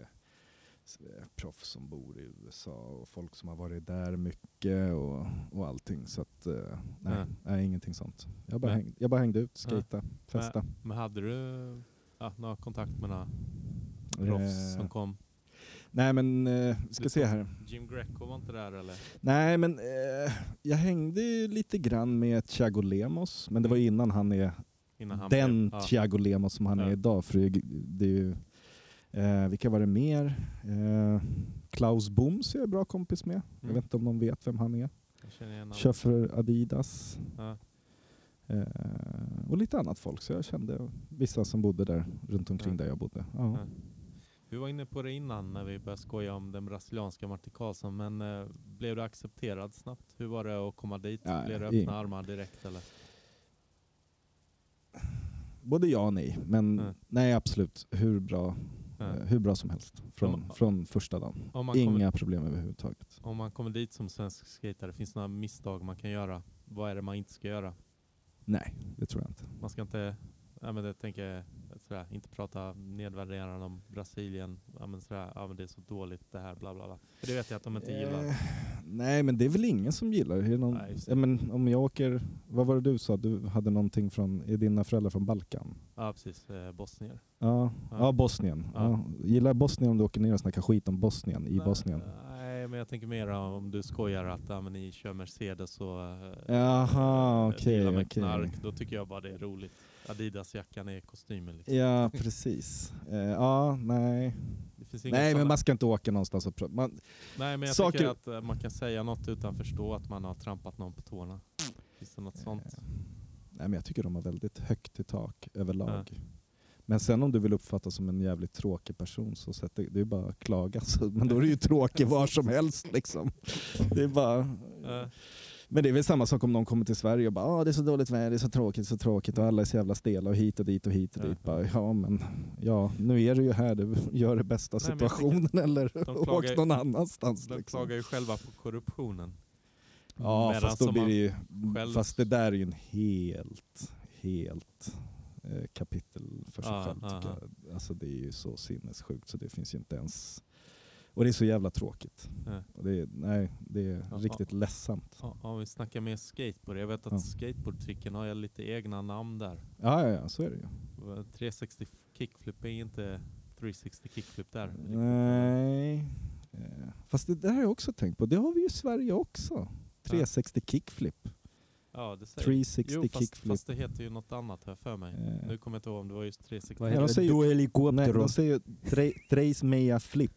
Speaker 1: s- eh, proffs som bor i USA och folk som har varit där mycket och, och allting. Så att, eh, nej,
Speaker 2: Ja.
Speaker 1: nej, ingenting sånt. Jag bara,
Speaker 2: Men-
Speaker 1: hängde, jag bara hängde ut, skejta, festa.
Speaker 2: Men hade du ja, några kontakt med några
Speaker 1: Eh,
Speaker 2: proffs som kom?
Speaker 1: Nej men, eh, ska
Speaker 2: Lite-
Speaker 1: se här.
Speaker 2: Jim Greco var inte där eller?
Speaker 1: Nej men, eh, jag hängde ju lite grann med Thiago Lemos, men det var ju innan han är
Speaker 2: Innan han
Speaker 1: den
Speaker 2: blev, ja.
Speaker 1: Thiago Lemos som han
Speaker 2: Ja.
Speaker 1: är idag. För det är ju- det är ju, eh, vilka var det mer? Eh, Klaus Booms är jag bra kompis med. Jag
Speaker 2: Mm.
Speaker 1: vet inte om någon vet vem han är.
Speaker 2: Jag känner igen honom.
Speaker 1: Kör för Adidas.
Speaker 2: Ja.
Speaker 1: Eh, och lite annat folk, så jag kände vissa som bodde där runt omkring
Speaker 2: Ja.
Speaker 1: där jag bodde. Ja.
Speaker 2: Ja. Vi var inne på det innan när vi började skoja om den brasilianska Martin Karlsson, men eh, blev du accepterad snabbt? Hur var det att komma dit?
Speaker 1: Nej,
Speaker 2: blev det öppna
Speaker 1: ing-
Speaker 2: armar direkt eller?
Speaker 1: Både ja och nej, men
Speaker 2: Ja.
Speaker 1: nej absolut, hur bra,
Speaker 2: Ja.
Speaker 1: eh, hur bra som helst från,
Speaker 2: Men-
Speaker 1: från första dagen.
Speaker 2: Om man, kommer,
Speaker 1: Inga problem överhuvudtaget.
Speaker 2: om man kommer dit som svensk skater, finns det några misstag man kan göra? Vad är det man inte ska göra?
Speaker 1: Nej, det tror jag inte.
Speaker 2: Man ska inte, ja, men det tänker jag, sådär, inte prata nedvärderande om Brasilien, ja, men sådär, ja, men det är så dåligt det här, bla bla bla. För det vet jag att de inte gillar.
Speaker 1: Eh, nej, men det är väl ingen som gillar är det. Någon,
Speaker 2: Nej, just det.
Speaker 1: ja, men om jag åker, vad var det du sa, du hade någonting från, är dina föräldrar från Balkan?
Speaker 2: Ja precis, eh, bosnier.
Speaker 1: Ja,
Speaker 2: Ja.
Speaker 1: ja. Bosnien.
Speaker 2: Ja.
Speaker 1: Ja. Gillar Bosnien om du åker ner och snackar skit om Bosnien i
Speaker 2: Nej,
Speaker 1: Bosnien?
Speaker 2: Nej, men jag tänker mer om du skojar att ja, men ni kör Mercedes och eh,
Speaker 1: Jaha,
Speaker 2: eh,
Speaker 1: okej,
Speaker 2: dealar med
Speaker 1: okej.
Speaker 2: knark. Då tycker jag bara det är roligt. Adidas-jackan är kostymen. Liksom.
Speaker 1: Ja, precis. Eh, ja, nej.
Speaker 2: Det finns inga
Speaker 1: Eh, Nej,
Speaker 2: sådana-
Speaker 1: men man ska inte åka någonstans och prata. Man,
Speaker 2: Nej, men jag
Speaker 1: saker-
Speaker 2: tycker att eh, man kan säga något utan förstå att man har trampat någon på tårna. Finns det något sånt?
Speaker 1: Eh, Nej, men jag tycker de har väldigt högt i tak överlag. Men sen om du vill uppfattas som en jävligt tråkig person så sätt dig- det är bara att klaga. Så- Men då är du ju tråkig var som helst. Liksom. Det är bara...
Speaker 2: Eh,
Speaker 1: Men det är väl samma sak om någon kommer till Sverige och bara ah, det är så dåligt väder, det är så tråkigt, så tråkigt och alla är så jävla stela och hit och dit och hit och
Speaker 2: Ja.
Speaker 1: dit. Bara, ja, men ja, nu är du ju här, du gör det bästa av
Speaker 2: Nej, men jag
Speaker 1: situationen eller
Speaker 2: klagar ju-
Speaker 1: åk någon annanstans.
Speaker 2: de
Speaker 1: liksom.
Speaker 2: klagar ju själva på korruptionen.
Speaker 1: Ja,
Speaker 2: Medan
Speaker 1: fast, då
Speaker 2: som
Speaker 1: blir
Speaker 2: man
Speaker 1: det ju,
Speaker 2: själv-
Speaker 1: fast det där är ju en helt, helt eh, kapitel för sig
Speaker 2: Ja,
Speaker 1: själv.
Speaker 2: ja,
Speaker 1: Tycker jag. Alltså, det är ju så sinnessjukt så det finns ju inte ens... Och det är så jävla tråkigt.
Speaker 2: Ja.
Speaker 1: Och det, är, nej, det är
Speaker 2: Ja,
Speaker 1: riktigt ledsamt.
Speaker 2: Ja, om vi snackar mer skateboard. Jag vet att
Speaker 1: Ja.
Speaker 2: skateboardtricken har jag lite egna namn där.
Speaker 1: Ja, ja, ja, så är det ju.
Speaker 2: 360 kickflip är inte 360 kickflip där.
Speaker 1: Nej. Eh, Fast det där har jag också tänkt på. Det har vi ju i Sverige också. 360 kickflip.
Speaker 2: Ja, det säger
Speaker 1: 360
Speaker 2: Jo, fast,
Speaker 1: kickflip.
Speaker 2: fast det heter ju något annat här för mig.
Speaker 1: Eh,
Speaker 2: Nu kommer jag inte ihåg om det var just 360.
Speaker 5: Vad
Speaker 1: Ja, de
Speaker 5: heter det?
Speaker 1: säger- Nej,
Speaker 5: Duelicoptero.
Speaker 1: de säger ju tre, Trace Mea Flip.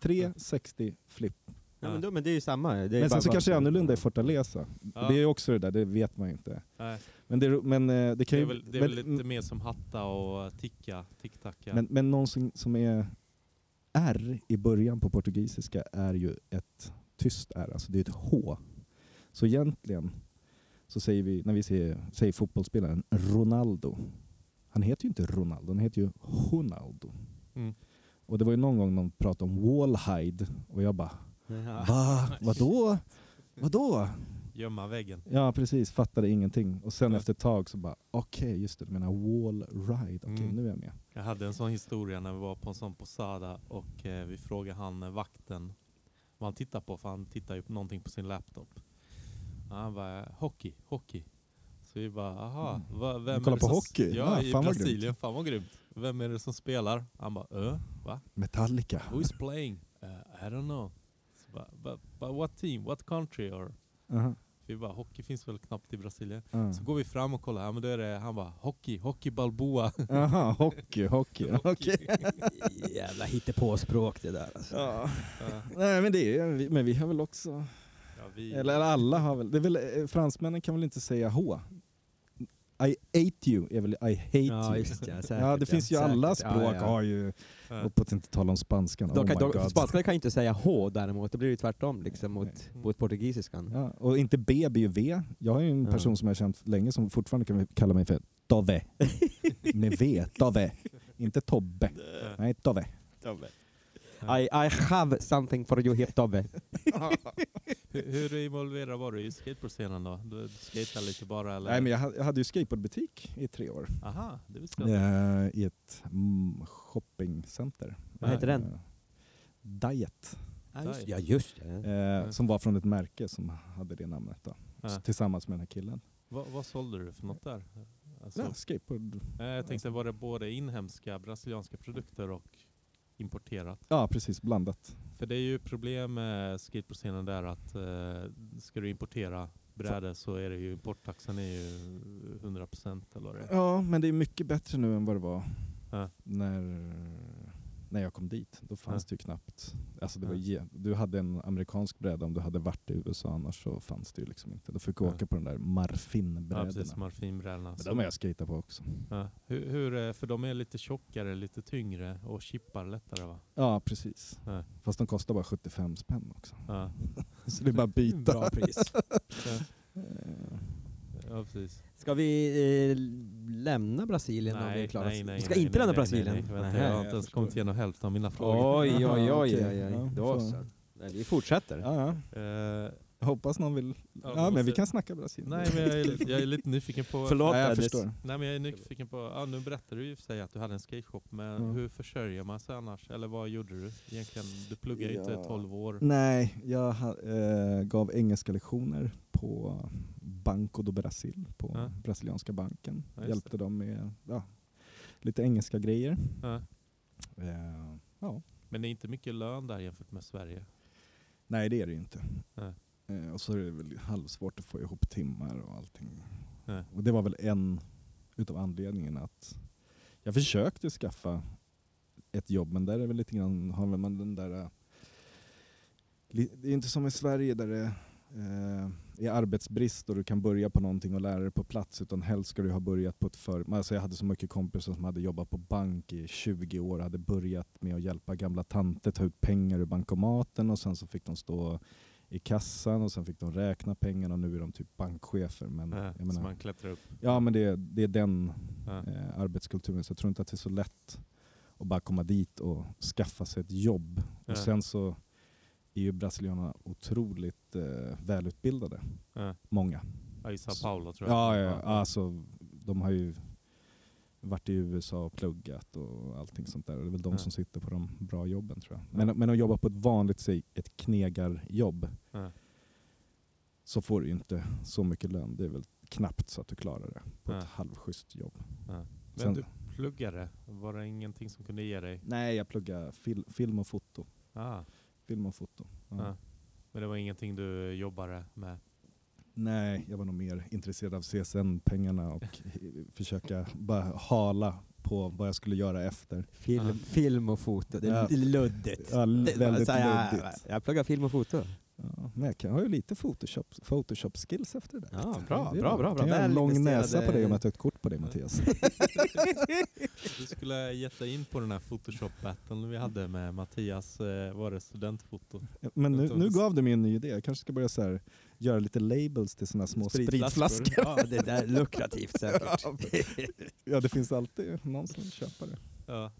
Speaker 1: 360 flip.
Speaker 3: Ja, men, då, men det är ju samma. Det är
Speaker 1: Men
Speaker 3: bara-
Speaker 1: sen så kanske det är annorlunda i Fortaleza.
Speaker 2: Ja.
Speaker 1: Det är ju också det där, det vet man ju inte.
Speaker 2: Nej,
Speaker 1: Men det, men, eh, det
Speaker 2: det
Speaker 1: kan
Speaker 2: är
Speaker 1: ju...
Speaker 2: väl, det är väl
Speaker 1: men,
Speaker 2: lite mer som hatta och ticka, ticktacka.
Speaker 1: men, men någon som, som är R i början på portugisiska är ju ett tyst R, alltså det är ett H. Så egentligen så säger vi, när vi säger, säger fotbollsspelaren Ronaldo, han heter ju inte Ronaldo, han heter ju Ronaldo.
Speaker 2: Mm.
Speaker 1: Och det var ju någon gång någon pratade om Wallhide och jag bara
Speaker 2: Ah.
Speaker 3: Ja.
Speaker 1: Va? Vadå? Vadå?
Speaker 2: Gömma väggen.
Speaker 1: Ja precis, fattade ingenting. Och sen
Speaker 2: Ja.
Speaker 1: efter ett tag så bara, okej just det, du menar wall ride, okej
Speaker 2: Mm.
Speaker 1: nu är jag med.
Speaker 2: Jag hade en sån historia när vi var på en sån posada och eh, vi frågade han eh, vakten vad han tittar på, för han tittar ju på någonting på sin laptop. Ja, han bara, hockey, hockey. Så vi bara, aha, va, vem är
Speaker 1: Mm. kollar
Speaker 2: det
Speaker 1: på
Speaker 2: som-
Speaker 1: hockey?
Speaker 2: Ja,
Speaker 1: Ja,
Speaker 2: i
Speaker 1: fan vad grymt.
Speaker 2: Brasilien. Fan vad grymt. Vem är det som spelar? Han bara, öh, va?
Speaker 1: Metallica.
Speaker 2: Who is playing? Uh, I don't know. Så bara, but, but what team? What country? Or?
Speaker 1: Aha.
Speaker 2: Vi bara, hockey finns väl knappt i Brasilien?
Speaker 1: Ja.
Speaker 2: Så går vi fram och kollar, ja men då är det, han bara, hockey, hockey Balboa.
Speaker 1: Aha, hockey, hockey. Okej.
Speaker 3: Jävla hittepåspråk det där alltså.
Speaker 1: Ja.
Speaker 2: Ja,
Speaker 1: Nej men det är vi- men vi har väl också,
Speaker 2: ja, vi,
Speaker 1: eller eller alla har väl, det är väl, eh, fransmännen kan väl inte säga H? I hate you är väl I hate
Speaker 3: Ja,
Speaker 1: you.
Speaker 3: just ja, säkert,
Speaker 1: Ja det finns ju alla
Speaker 3: säkert. Ja,
Speaker 1: språk
Speaker 3: ja.
Speaker 1: har ju,
Speaker 2: Ja.
Speaker 1: och på att inte tala om spanskan.
Speaker 3: De
Speaker 1: oh
Speaker 3: kan,
Speaker 1: my
Speaker 3: de,
Speaker 1: God.
Speaker 3: spanskan kan ju inte säga H däremot, då blir det ju tvärtom liksom mot,
Speaker 2: Nej.
Speaker 3: mot portugisiskan.
Speaker 1: Ja, och inte B blir ju V. Jag har ju en
Speaker 3: Ja.
Speaker 1: person som jag har känt länge som fortfarande kan kalla mig för Tove. Med V, Tove. Inte Tobbe.
Speaker 2: Eh,
Speaker 1: Nej, Tove.
Speaker 2: Ja.
Speaker 3: I, I have something for you here Tobbe.
Speaker 2: hur, hur involverad var du i skateboardscenen då? Du du skatade lite bara eller?
Speaker 1: Nej, men jag, ha- jag hade ju skateboardbutik i tre år.
Speaker 2: Aha, det visste jag inte.
Speaker 1: Eh, I ett mm, shoppingcenter.
Speaker 3: Vad heter den?
Speaker 1: Eh, Diet.
Speaker 3: Ja
Speaker 2: just-
Speaker 3: just, ja, just det.
Speaker 1: Eh, Som var från ett märke som hade det namnet då.
Speaker 2: Ja.
Speaker 1: S- Tillsammans med den här killen.
Speaker 2: Vad, vad sålde du för något där? Alltså,
Speaker 1: Ja, skateboard.
Speaker 2: eh, jag tänkte, var det både inhemska brasilianska produkter och importerat.
Speaker 1: Ja, precis. Blandat.
Speaker 2: För det är ju problem med skateboardscenen där att eh, ska du importera brädor så är det ju importtaxan är ju 100% eller vad det är.
Speaker 1: Ja, men det är mycket bättre nu än vad det var
Speaker 2: Ja.
Speaker 1: när, när jag kom dit. Då fanns
Speaker 2: Ja.
Speaker 1: det ju knappt. Alltså det var
Speaker 2: Ja.
Speaker 1: ge, du hade en amerikansk bräda om du hade varit i USA, annars så fanns det ju liksom inte. Då fick jag
Speaker 2: Ja.
Speaker 1: åka på de där
Speaker 2: Ja,
Speaker 1: marfinbrädorna.
Speaker 2: precis, marfinbrädorna.
Speaker 1: men
Speaker 2: Så-
Speaker 1: de har jag skejtat på också.
Speaker 2: ja. hur, hur, eh, för de är lite tjockare, lite tyngre och chippar lättare va?
Speaker 1: Ja, precis.
Speaker 2: Ja.
Speaker 1: Fast de kostar bara 75 spänn också.
Speaker 2: Ja,
Speaker 1: Så det är bara att byta.
Speaker 3: Bra pris.
Speaker 2: ja,
Speaker 1: Eh,
Speaker 2: ja precis.
Speaker 3: Ska vi eh, lämna Brasilien om vi är
Speaker 2: Nej,
Speaker 3: klara?
Speaker 2: nej, nej.
Speaker 3: vi ska
Speaker 2: nej,
Speaker 3: inte
Speaker 2: nej,
Speaker 3: lämna
Speaker 2: nej,
Speaker 3: Brasilien.
Speaker 2: Nej, nej,
Speaker 3: Nähä.
Speaker 2: vänta, jag har
Speaker 1: jag
Speaker 2: inte ens
Speaker 1: förstår.
Speaker 2: kommit igenom hälften av mina frågor.
Speaker 1: Oj, oj, oj, oj, oj.
Speaker 3: Då
Speaker 1: Då
Speaker 3: så.
Speaker 1: så.
Speaker 3: Nej, vi fortsätter.
Speaker 1: ja, ja.
Speaker 2: Eh,
Speaker 1: Jag hoppas någon vill...
Speaker 2: Ja,
Speaker 1: Ja,
Speaker 2: måste-
Speaker 1: men vi kan snacka Brasilien.
Speaker 2: nej, men jag är, jag är lite nyfiken på...
Speaker 3: Förlåt
Speaker 1: Nej, jag
Speaker 3: Dennis.
Speaker 1: förstår.
Speaker 2: Nej men jag är nyfiken på, ja, nu berättade du ju i och för sig att du hade en skateshop, men
Speaker 1: Ja.
Speaker 2: hur försörjer man sig annars? Eller vad gjorde du egentligen? Du pluggade ju
Speaker 1: Ja. Mm.
Speaker 2: inte 12 år.
Speaker 1: Nej, jag ha, eh, gav engelska lektioner på Banco do Brasil, på
Speaker 2: Ja.
Speaker 1: brasilianska banken.
Speaker 2: Ja, just
Speaker 1: Hjälpte dem med ja, lite engelska grejer.
Speaker 2: Ja.
Speaker 1: Eh, ja.
Speaker 2: Men det är inte mycket lön där jämfört med Sverige.
Speaker 1: Nej, det är det ju inte.
Speaker 2: Nej.
Speaker 1: Eh, och så är det väl halvsvårt att få ihop timmar och allting.
Speaker 2: Nej.
Speaker 1: Och det var väl en utav anledningarna att jag försökte skaffa ett jobb, men där är det väl lite grann, har väl man den där... eh, li- Det är inte som i Sverige där det eh, är arbetsbrist och du kan börja på någonting och lära dig på plats, utan helst ska du ha börjat på ett företag. Alltså jag hade så mycket kompisar som hade jobbat på bank i 20 år, hade börjat med att hjälpa gamla tanter ta ut pengar ur bankomaten och sen så fick de stå i kassan och sen fick de räkna pengarna och nu är de typ bankchefer. Men,
Speaker 2: Ja,
Speaker 1: Mm, jag
Speaker 2: så
Speaker 1: menar,
Speaker 2: man klättrar upp.
Speaker 1: ja, men det, det är den
Speaker 2: Ja.
Speaker 1: eh, arbetskulturen. Så jag tror inte att det är så lätt att bara komma dit och skaffa sig ett jobb.
Speaker 2: Ja.
Speaker 1: Och sen så är ju brasilianerna otroligt eh, välutbildade.
Speaker 2: Ja.
Speaker 1: Många.
Speaker 2: Ja, I Sao Paulo tror jag.
Speaker 1: Ja, ja, ja. Alltså, de har ju varit i USA och pluggat och allting sånt där. Och det är väl de
Speaker 2: Ja.
Speaker 1: som sitter på de bra jobben tror jag. Men, men att jobba på ett vanligt, säg ett knegarjobb,
Speaker 2: Ja.
Speaker 1: så får du ju inte så mycket lön. Det är väl knappt så att du klarar det på
Speaker 2: Ja.
Speaker 1: ett halvschysst jobb.
Speaker 2: Men
Speaker 1: Sen-
Speaker 2: du pluggade, var det ingenting som kunde ge dig?
Speaker 1: Nej, jag pluggar fil, film och foto.
Speaker 2: Ah,
Speaker 1: Film och foto. Ja.
Speaker 2: Ja. men det var ingenting du jobbade med?
Speaker 1: Nej, jag var nog mer intresserad av CSN-pengarna och försöka bara hala på vad jag skulle göra efter.
Speaker 3: Film,
Speaker 2: Ja.
Speaker 3: film och foto, det är
Speaker 1: Ja.
Speaker 3: lite luddigt.
Speaker 1: Ja, l- väldigt
Speaker 3: så jag,
Speaker 1: luddigt.
Speaker 3: Jag pluggar film och foto.
Speaker 1: Ja, men jag kan, har ju lite Photoshop, Photoshop skills efter det där.
Speaker 3: Ja,
Speaker 1: vet du.
Speaker 3: bra,
Speaker 1: Det är
Speaker 3: bra, bra, bra.
Speaker 1: Kan jag ha en
Speaker 3: Väl
Speaker 1: lång
Speaker 3: investerade-
Speaker 1: näsa på dig om jag tar ett kort på dig Mattias.
Speaker 2: Du skulle ha gett dig in på den här photoshop-battlen vi hade med Mattias, eh, var det studentfoto?
Speaker 1: Men nu,
Speaker 2: Utom-
Speaker 1: nu gav du mig en ny idé. Jag kanske ska börja så här, göra lite labels till såna små spritflaskor.
Speaker 3: Ja, det där är lukrativt säkert.
Speaker 1: Ja, det finns alltid någon som vill köpa det.
Speaker 2: Ja.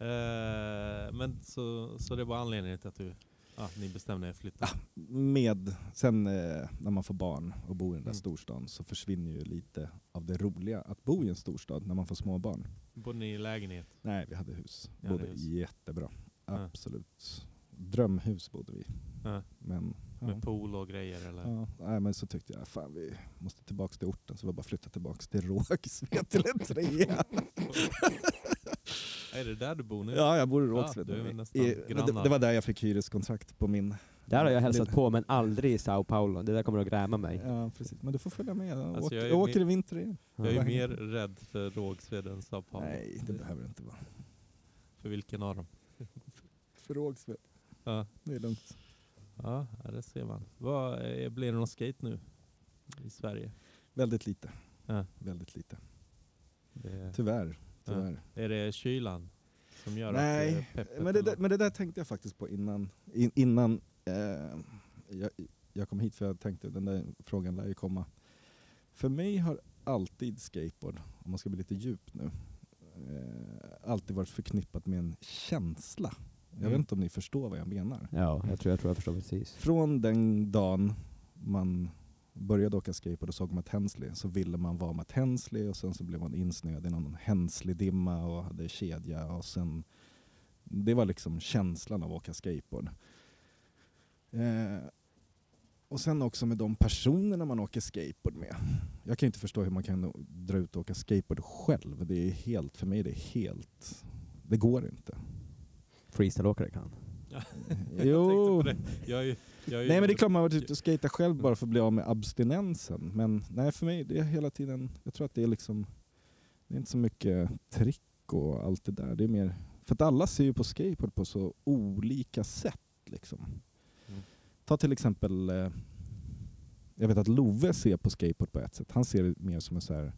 Speaker 2: Eh, men så, så det var anledningen till att du, ah, ni bestämde er flytta?
Speaker 1: Med, sen eh, när man får barn och bor i den där
Speaker 2: Mm. storstaden
Speaker 1: storstaden så försvinner ju lite av det roliga att bo i en storstad när man får små barn.
Speaker 2: Bodde ni i lägenhet?
Speaker 1: Nej, vi hade hus.
Speaker 2: Ni hade
Speaker 1: bodde
Speaker 2: hus.
Speaker 1: jättebra.
Speaker 2: Ja.
Speaker 1: Absolut. Drömhus bodde vi.
Speaker 2: Ja.
Speaker 1: Men, ja.
Speaker 2: Med pool och grejer eller?
Speaker 1: Ja, nej, men så tyckte jag fan vi måste tillbaka till orten så vi bara flyttade tillbaka till Rågsved till en trea.
Speaker 2: Är det där du bor nu?
Speaker 1: Ja, jag bor i
Speaker 2: Ja,
Speaker 1: Rågsved.
Speaker 2: du är
Speaker 1: nu.
Speaker 2: väl nästan
Speaker 1: I- men det,
Speaker 2: grannar.
Speaker 1: det var där jag fick hyreskontrakt på min.
Speaker 3: Där har jag hälsat på men aldrig i Sao Paulo, det där kommer att gräma mig.
Speaker 1: Ja, precis. Men du får följa med. Jag,
Speaker 2: Alltså,
Speaker 1: åker,
Speaker 2: jag
Speaker 1: jag,
Speaker 2: är
Speaker 1: åker
Speaker 2: mer-
Speaker 1: i vinter igen.
Speaker 2: Jag är ju
Speaker 1: Ja.
Speaker 2: mer rädd för Rågsved än Sao Paulo.
Speaker 1: Nej, det behöver det inte vara.
Speaker 2: För vilken av dem?
Speaker 1: För Rågsved,
Speaker 2: Ja,
Speaker 1: det är lugnt.
Speaker 2: ja ja, det ser man. Vad, eh, blir det någon skate nu i Sverige?
Speaker 1: Väldigt lite.
Speaker 2: Ja.
Speaker 1: Väldigt lite.
Speaker 2: Det,
Speaker 1: Tyvärr. Tyvärr.
Speaker 2: är det kylan som gör att eh,
Speaker 1: Nej,
Speaker 2: peppet
Speaker 1: men det,
Speaker 2: eller-
Speaker 1: där- men det där tänkte jag faktiskt på innan, in, innan eh, jag, jag kom hit, för jag tänkte den där frågan lär ju komma. För mig har alltid skateboard, om man ska bli lite djup nu, eh, alltid varit förknippat med en känsla. Jag
Speaker 2: Mm.
Speaker 1: vet inte om ni förstår vad jag menar.
Speaker 3: Ja, jag tror jag, tror jag förstår precis.
Speaker 1: Från den dagen man började åka skateboard och såg Matt Hensley så ville man vara Matt Hensley och sen så blev man insnöad i någon Hensley-dimma och hade kedja och sen det var liksom känslan av att åka skateboard. Eh, och sen också med de personerna man åker skateboard med. Jag kan inte förstå hur man kan dra ut och åka skateboard själv. Det är helt, för mig är det helt, det går inte.
Speaker 3: freestyleåkare kan.
Speaker 1: Jo.
Speaker 2: Jag är, ju- jag är, ju-
Speaker 1: Nej men det är klart man har varit ute och skejtat själv bara för att bli av med abstinensen. Men nej för mig, det är hela tiden, jag tror att det är liksom, det är inte så mycket trick och allt det där. Det är mer, för att alla ser ju på skateboard på så olika sätt liksom.
Speaker 2: Mm.
Speaker 1: Ta till exempel, eh, jag vet att Love ser på skateboard på ett sätt. Han ser det mer som en så här,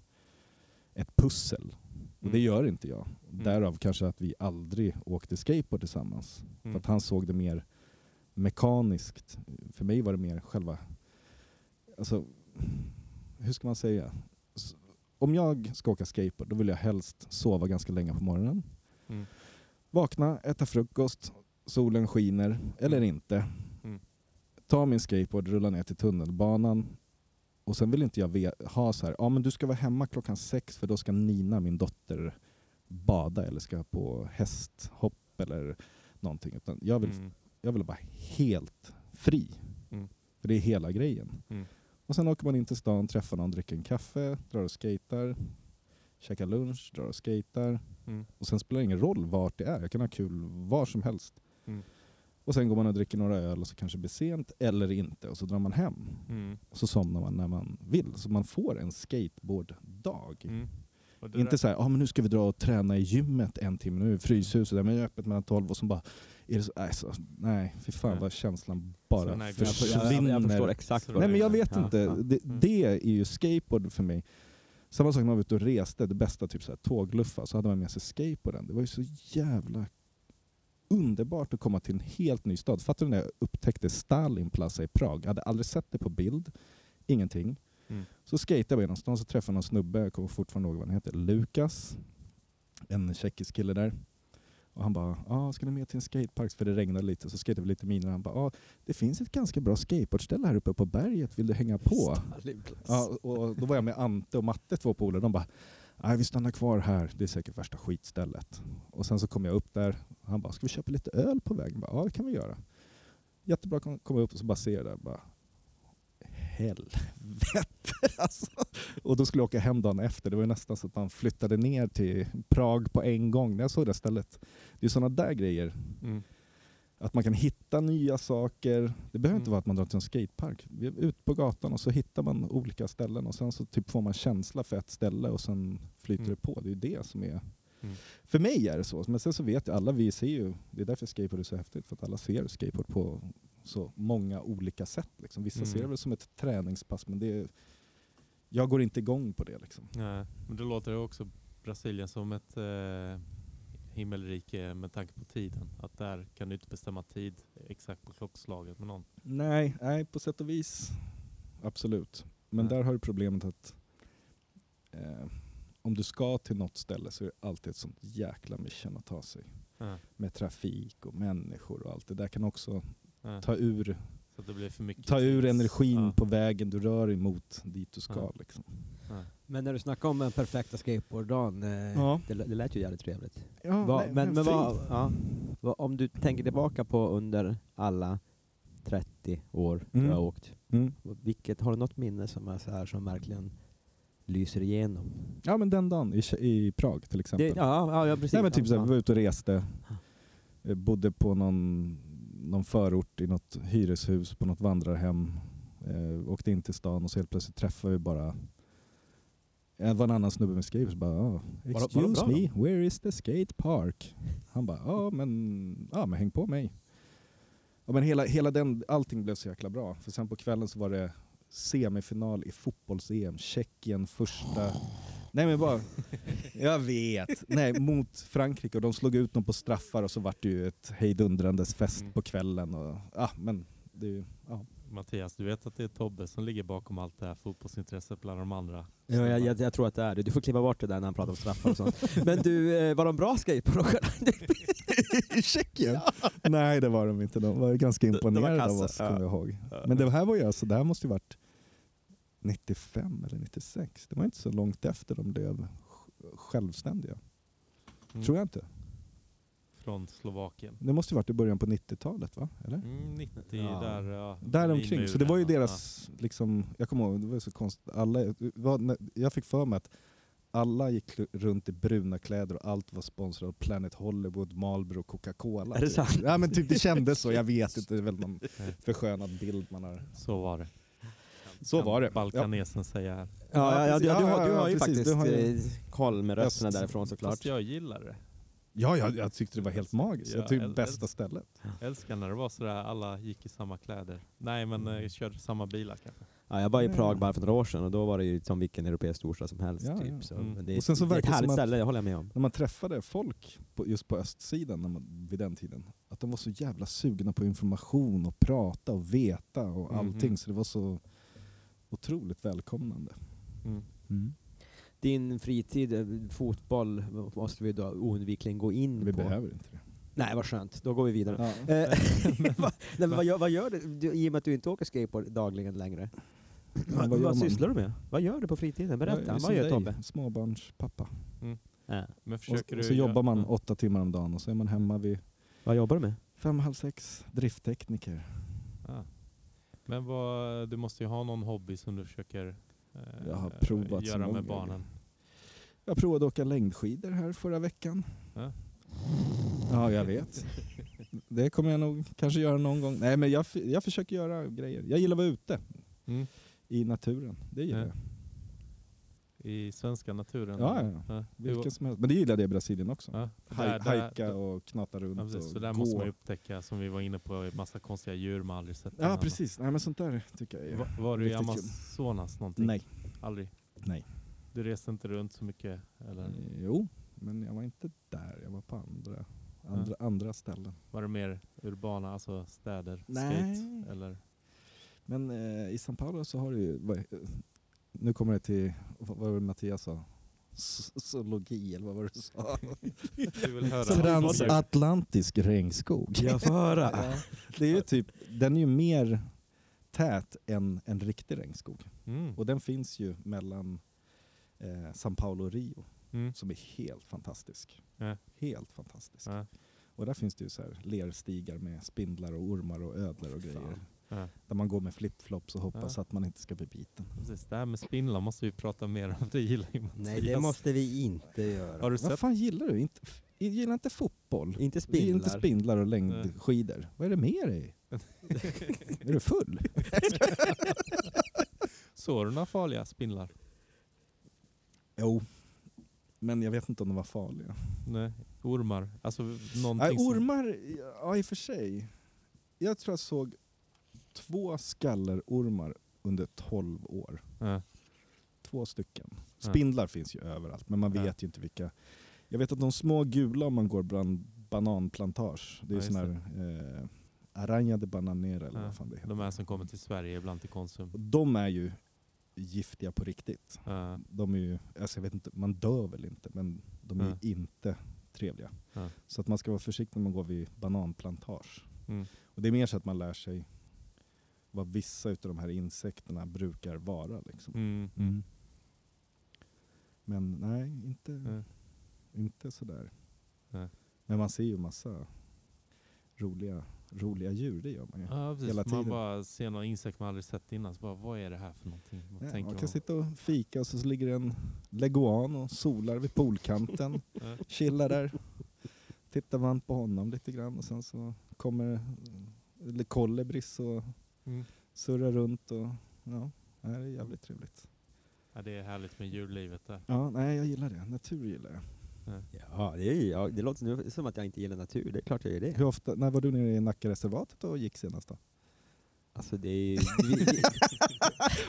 Speaker 1: ett pussel. Och det
Speaker 2: Mm.
Speaker 1: gör inte jag. Därav kanske att vi aldrig åkte skateboard tillsammans.
Speaker 2: Mm.
Speaker 1: För att han såg det mer mekaniskt. För mig var det mer själva... Alltså, hur ska man säga? S- Om jag ska åka skateboard då vill jag helst sova ganska länge på morgonen.
Speaker 2: Mm.
Speaker 1: Vakna, äta frukost, solen skiner, eller inte.
Speaker 2: Mm.
Speaker 1: Ta min skateboard, rulla ner till tunnelbanan. Och sen vill inte jag ve- ha så här, ja men du ska vara hemma klockan sex för då ska Nina, min dotter, bada eller ska på hästhopp eller någonting. Utan jag vill
Speaker 2: Mm.
Speaker 1: jag vill vara helt fri.
Speaker 2: Mm.
Speaker 1: För det är hela grejen.
Speaker 2: Mm.
Speaker 1: Och sen åker man in till stan, träffar någon, dricker en kaffe, drar och skater, käkar lunch, drar och skater.
Speaker 2: Mm.
Speaker 1: Och sen spelar det ingen roll vart det är, jag kan ha kul var som helst.
Speaker 2: Mm.
Speaker 1: Och sen går man och dricker några öl och så kanske det blir sent, eller inte, och så drar man hem.
Speaker 2: Mm.
Speaker 1: Och så somnar man när man vill, så man får en skateboarddag.
Speaker 2: Mm. Och det
Speaker 1: Inte
Speaker 2: där-
Speaker 1: så här, ah, men nu ska vi dra och träna i gymmet en timme, nu är Fryshuset där, men det är öppet mellan 12 och så bara... Är det så, nej, så, nej, fy fan
Speaker 2: Nej.
Speaker 1: vad känslan
Speaker 2: Så
Speaker 1: bara
Speaker 2: nej, jag för-
Speaker 1: försvinner.
Speaker 3: Jag, jag förstår exakt vad
Speaker 1: nej
Speaker 3: du
Speaker 1: men jag
Speaker 3: menar.
Speaker 1: vet
Speaker 3: Ja,
Speaker 1: inte,
Speaker 3: ja.
Speaker 1: Det,
Speaker 2: Mm.
Speaker 1: det är ju skateboard för mig. Samma sak när man var ute och reste, det bästa typ så här, tågluffa, så hade man med sig skateboarden. Det var ju så jävla underbart att komma till en helt ny stad. Fattar du när jag upptäckte Stalinplaza i Prag? Jag hade aldrig sett det på bild, ingenting.
Speaker 2: Mm.
Speaker 1: Så skejtade vi någonstans och träffade någon snubbe, jag kommer fortfarande ihåg vad han heter, Lukas. En tjeckisk kille där. Och han bara, ah, ska ni med till en skatepark? För det regnade lite. Så skejtade vi lite miner och han bara, ah, det finns ett ganska bra skateboardställe här uppe på berget, vill du hänga på? Ja, och då var jag med Ante och Matte, två polare. De bara, nej vi stannar kvar här, det är säkert värsta skitstället. Och sen så kom jag upp där, han bara, ska vi köpa lite öl på vägen? Jag bara, ja det kan vi göra. Jättebra kom komma upp och så bara ser jag det där, bara, helvete alltså. Och då skulle jag åka hem dagen efter, det var ju nästan så att man flyttade ner till Prag på en gång när jag såg det stället. Det är sådana där grejer
Speaker 2: Mm.
Speaker 1: att man kan hitta nya saker. Det behöver inte
Speaker 2: Mm.
Speaker 1: vara att man drar till en skatepark. Vi är ute på gatan och så hittar man olika ställen och sen så typ får man känsla för ett ställe och sen flyter
Speaker 2: Mm.
Speaker 1: det på. Det är ju det som är...
Speaker 2: Mm.
Speaker 1: För mig är det så. Men sen så vet jag, alla vi ser ju, det är därför skateboard är så häftigt, för att alla ser skateboard på så många olika sätt. Liksom. Vissa
Speaker 2: Mm.
Speaker 1: ser det väl som ett träningspass, men det är, jag går inte igång på det. Liksom.
Speaker 2: Nej, men det låter ju också Brasilien som ett eh, himmelrike med tanke på tiden. Att där kan du inte bestämma tid exakt på klockslaget med någon.
Speaker 1: Nej, nej, på sätt och vis. Absolut. Men
Speaker 2: Nej.
Speaker 1: där har du problemet att eh, om du ska till något ställe så är det alltid ett sånt jäkla mission att ta sig.
Speaker 2: Ja,
Speaker 1: Med trafik och människor och allt det där kan också
Speaker 2: ja.
Speaker 1: ta ur,
Speaker 2: Så att det blir för mycket.
Speaker 1: ta ur
Speaker 2: tids-
Speaker 1: energin
Speaker 2: Ja.
Speaker 1: på vägen du rör dig mot dit du ska.
Speaker 2: Ja.
Speaker 1: Liksom.
Speaker 2: Ja.
Speaker 3: Men när du snackade om den perfekta skateboarddagen, eh,
Speaker 1: Ja.
Speaker 3: det, lä- det lät ju jävligt trevligt.
Speaker 1: Ja,
Speaker 3: Va,
Speaker 1: nej,
Speaker 3: men men vad,
Speaker 1: fint.
Speaker 3: ja, vad, om du tänker tillbaka på under alla 30 år
Speaker 1: Mm.
Speaker 3: du har åkt,
Speaker 1: Mm.
Speaker 3: vilket, har du något minne som är så här som verkligen lyser igenom?
Speaker 1: ja men den dagen i, Tje- i Prag till exempel.
Speaker 3: Det, ja, ja, ja, precis.
Speaker 1: Nej men typ
Speaker 3: Ja,
Speaker 1: såhär, vi
Speaker 3: ja.
Speaker 1: var ute och reste. Eh, Bodde på någon, någon förort i något hyreshus på något vandrarhem. Eh, åkte in till stan och så helt plötsligt träffade vi bara det var en annan snubbe med skateboard så bara ah,
Speaker 3: det bra
Speaker 1: “Excuse
Speaker 3: då?"
Speaker 1: me, where is the skate park?” Han bara “Ja men, ja men häng på mig”. Ja, men hela, hela den, allting blev så jäkla bra. För sen på kvällen så var det semifinal i fotbolls-EM, Tjeckien första... Nej men bara... Jag vet. Nej, mot Frankrike och de slog ut dem på straffar och så vart det ju ett hejdundrandes fest
Speaker 2: Mm.
Speaker 1: på kvällen. Och, ah, men det är ju, ja.
Speaker 2: Mattias, du vet att det är Tobbe som ligger bakom allt det här fotbollsintresset bland de andra.
Speaker 3: Ja, jag, jag, jag tror att det är det. Du får kliva bort det där när han pratar om straffar och sånt. Men du, eh, var de bra skateboardåkare?
Speaker 1: I Tjeckien? Nej det var de inte. De var ju ganska imponerade av
Speaker 3: kassa,
Speaker 1: oss
Speaker 3: ja.
Speaker 1: kommer jag ihåg.
Speaker 2: Eh,
Speaker 1: Men det här var ju alltså, det här måste ju varit 95 eller 96. Det var inte så långt efter de blev sj- självständiga.
Speaker 2: Mm.
Speaker 1: Tror jag inte.
Speaker 2: Från Slovakien.
Speaker 1: Det måste ju varit i början på 90-talet va? Eller?
Speaker 2: Mm, 90
Speaker 3: Ja.
Speaker 2: där. Ja,
Speaker 1: Däromkring.
Speaker 2: vid
Speaker 1: Så det var ju
Speaker 2: muren,
Speaker 1: deras, liksom, jag kommer ihåg, det var ju så konstigt. Alla, vad, när- jag fick för mig att alla gick lu- runt i bruna kläder och allt var sponsrat av Planet Hollywood, Marlboro och Coca-Cola.
Speaker 3: Är det
Speaker 1: typ.
Speaker 3: sant?
Speaker 1: Ja men typ det kändes så, jag vet inte. Det är väl någon förskönad bild man har.
Speaker 2: Så var det.
Speaker 1: Så
Speaker 2: Kan
Speaker 1: var det.
Speaker 2: Balkanesen säger här.
Speaker 3: Ja, ja, ja,
Speaker 1: precis.
Speaker 3: du, du, har, du
Speaker 1: Ja,
Speaker 3: har ju
Speaker 1: ja, precis.
Speaker 3: faktiskt
Speaker 1: Du har ju-
Speaker 3: eh, koll med rösterna
Speaker 1: Röst.
Speaker 3: därifrån såklart.
Speaker 2: Fast jag gillar det.
Speaker 1: Ja, jag, jag tyckte det var helt magiskt.
Speaker 2: Ja,
Speaker 1: Jag tyckte
Speaker 2: äl-
Speaker 1: bästa stället.
Speaker 2: Jag älskar när det var sådär, alla gick i samma kläder. Nej men
Speaker 1: Mm.
Speaker 2: eh, körde samma bilar kanske.
Speaker 3: Ja, jag var i Prag bara för några år sedan och då var det ju som vilken europeisk storstad som helst.
Speaker 1: Ja,
Speaker 3: typ.
Speaker 1: ja.
Speaker 3: Så,
Speaker 2: Mm.
Speaker 3: men det, är-
Speaker 1: Och sen så
Speaker 3: det är ett
Speaker 1: verkar det
Speaker 3: härligt
Speaker 1: som att-
Speaker 3: ställe, det håller jag med om.
Speaker 1: När man träffade folk på, just på östsidan när man, vid den tiden, att de var så jävla sugna på information och prata och veta och
Speaker 2: Mhm.
Speaker 1: allting så det var så otroligt välkomnande.
Speaker 2: Mm.
Speaker 3: Din fritid, eh, fotboll, måste vi då oundvikligen gå in
Speaker 1: Vi
Speaker 3: på.
Speaker 1: behöver inte det.
Speaker 3: Nej, vad skönt. Då går vi vidare.
Speaker 1: Ja.
Speaker 3: Eh, vad- Nej, men vad, gör, vad gör du, du i och med att du inte åker skateboard dagligen längre?
Speaker 1: vad
Speaker 3: vad
Speaker 1: gör man?
Speaker 3: sysslar du med? Vad gör du på fritiden?
Speaker 1: Jag
Speaker 3: Berätta,
Speaker 1: är
Speaker 3: vad
Speaker 1: som
Speaker 3: gör
Speaker 1: dig,
Speaker 3: Tobbe?
Speaker 1: Småbarnspappa.
Speaker 3: Äh.
Speaker 2: Men
Speaker 1: Och,
Speaker 2: försöker
Speaker 1: och
Speaker 2: du Mm.
Speaker 1: så
Speaker 2: göra-
Speaker 1: jobbar man
Speaker 2: Ja.
Speaker 1: åtta timmar om dagen och så är man hemma vid
Speaker 3: Vad jobbar du med?
Speaker 1: fem, halv sex, drifttekniker.
Speaker 2: Ja. Men vad, du måste ju ha någon hobby som du försöker eh,
Speaker 1: Jag har provat så
Speaker 2: göra
Speaker 1: många
Speaker 2: med barnen.
Speaker 1: Jag provade att åka längdskidor här förra veckan.
Speaker 2: Ja.
Speaker 1: Ja, jag vet. Det kommer jag nog kanske göra någon gång. Nej, men jag, f- jag försöker göra grejer. Jag gillar att vara ute
Speaker 2: Mm.
Speaker 1: i naturen. Det gillar
Speaker 2: Ja.
Speaker 1: jag.
Speaker 2: I svenska naturen.
Speaker 1: Ja, ja,
Speaker 2: ja.
Speaker 1: Vilken som helst. Men det gillade jag i Brasilien också.
Speaker 2: ja.
Speaker 1: Haj-
Speaker 2: Där- där-
Speaker 1: Hajka och knata runt
Speaker 2: Ja, precis. Så
Speaker 1: och
Speaker 2: där
Speaker 1: gå.
Speaker 2: måste man ju upptäcka, som vi var inne på, massa konstiga djur man aldrig sett
Speaker 1: ja,
Speaker 2: innan.
Speaker 1: precis. Nej, men sånt där tycker jag är...
Speaker 2: Va, var du i
Speaker 1: Riktigt kul.
Speaker 2: Amazonas någonting?
Speaker 1: Nej.
Speaker 2: Aldrig?
Speaker 1: Nej.
Speaker 2: Du reste inte runt så mycket? Eller
Speaker 1: Jo, men jag var inte där. Jag var på andra, andra, andra ställen.
Speaker 2: var det mer urbana, alltså städer?
Speaker 1: Nej.
Speaker 2: Skate? Eller?
Speaker 1: Men eh, i São Paulo så har du ju... vad- eh, Nu kommer det till... Vad vad var det Mattias sa? S- Zoologi, eller vad var det du sa?
Speaker 2: Du vill höra?
Speaker 1: Transatlantisk regnskog.
Speaker 3: Jag får höra.
Speaker 1: Ja, det är ju typ, den är ju mer tät än en riktig regnskog.
Speaker 2: Mm.
Speaker 1: Och den finns ju mellan eh, São Paulo och Rio,
Speaker 2: Mm.
Speaker 1: som är helt fantastisk.
Speaker 2: Ja.
Speaker 1: Helt fantastisk.
Speaker 2: Ja.
Speaker 1: Och där finns det ju så här lerstigar med spindlar och ormar och ödlor och grejer.
Speaker 2: Ja.
Speaker 1: Där man går med flipflops och hoppas
Speaker 2: Ja.
Speaker 1: att man inte ska bli biten.
Speaker 2: Precis. Det här med spindlar måste vi prata mer om. Det gillar ju Mattias.
Speaker 3: Nej, det måste vi inte göra.
Speaker 2: Har du
Speaker 1: Vad
Speaker 2: sett?
Speaker 1: fan gillar du? Inte, f- gillar inte fotboll?
Speaker 3: Inte
Speaker 1: Du gillar
Speaker 3: spindlar.
Speaker 1: inte spindlar och längdskidor. Vad är det med dig? är du full?
Speaker 2: Såg du några farliga spindlar?
Speaker 1: Jo. Men jag vet inte om de var farliga.
Speaker 2: Nej. Ormar? Alltså någonting
Speaker 1: Nej,
Speaker 2: som-
Speaker 1: ormar, ja i och för sig. Jag tror jag såg två skallerormar under 12 år.
Speaker 2: Ja.
Speaker 1: Två stycken.
Speaker 2: Ja.
Speaker 1: Spindlar finns ju överallt, men man
Speaker 2: Ja.
Speaker 1: vet ju inte vilka. Jag vet att de små gula om man går bland bananplantage, det är
Speaker 2: Ja,
Speaker 1: ju
Speaker 2: just
Speaker 1: såna här eh, arañade bananera eller
Speaker 2: Ja.
Speaker 1: vad fan det heter.
Speaker 2: De här som kommer till Sverige ibland till Konsum.
Speaker 1: Och de är ju giftiga på riktigt.
Speaker 2: Ja.
Speaker 1: de är ju, alltså jag vet inte, man dör väl inte, men de är
Speaker 2: Nej.
Speaker 1: ju inte trevliga.
Speaker 2: Nej.
Speaker 1: Så att man ska vara försiktig när man går vid bananplantage.
Speaker 2: Mm.
Speaker 1: Och det är mer så att man lär sig vad vissa utav de här insekterna brukar vara. Liksom.
Speaker 2: Mm.
Speaker 1: Men nej, inte,
Speaker 2: Nej.
Speaker 1: inte sådär.
Speaker 2: Nej.
Speaker 1: Men man ser ju massa roliga, roliga djur, det gör man ju.
Speaker 2: Ja, precis.
Speaker 1: Hela
Speaker 2: Man
Speaker 1: tiden.
Speaker 2: bara ser någon insekt man aldrig sett innan. Så bara, vad är det här för någonting? Vad
Speaker 1: Nej,
Speaker 2: tänker
Speaker 1: man
Speaker 2: man?
Speaker 1: kan sitta och fika och så ligger en leguan och solar vid poolkanten.
Speaker 2: Ja.
Speaker 1: chillar där. Tittar man på honom lite grann och sen så kommer eller Kolibris och
Speaker 2: Mm.
Speaker 1: surrar runt och ja, det här är jävligt trevligt.
Speaker 2: Ja, det är härligt med djurlivet där.
Speaker 1: Ja, nej jag gillar det. Natur gillar jag.
Speaker 3: Ja, det, är, ja, det låter nu som att jag inte gillar natur. Det är klart jag gör det.
Speaker 1: Hur ofta, när var du nere i Nackareservatet och gick senast då?
Speaker 3: Alltså det är vi- vi-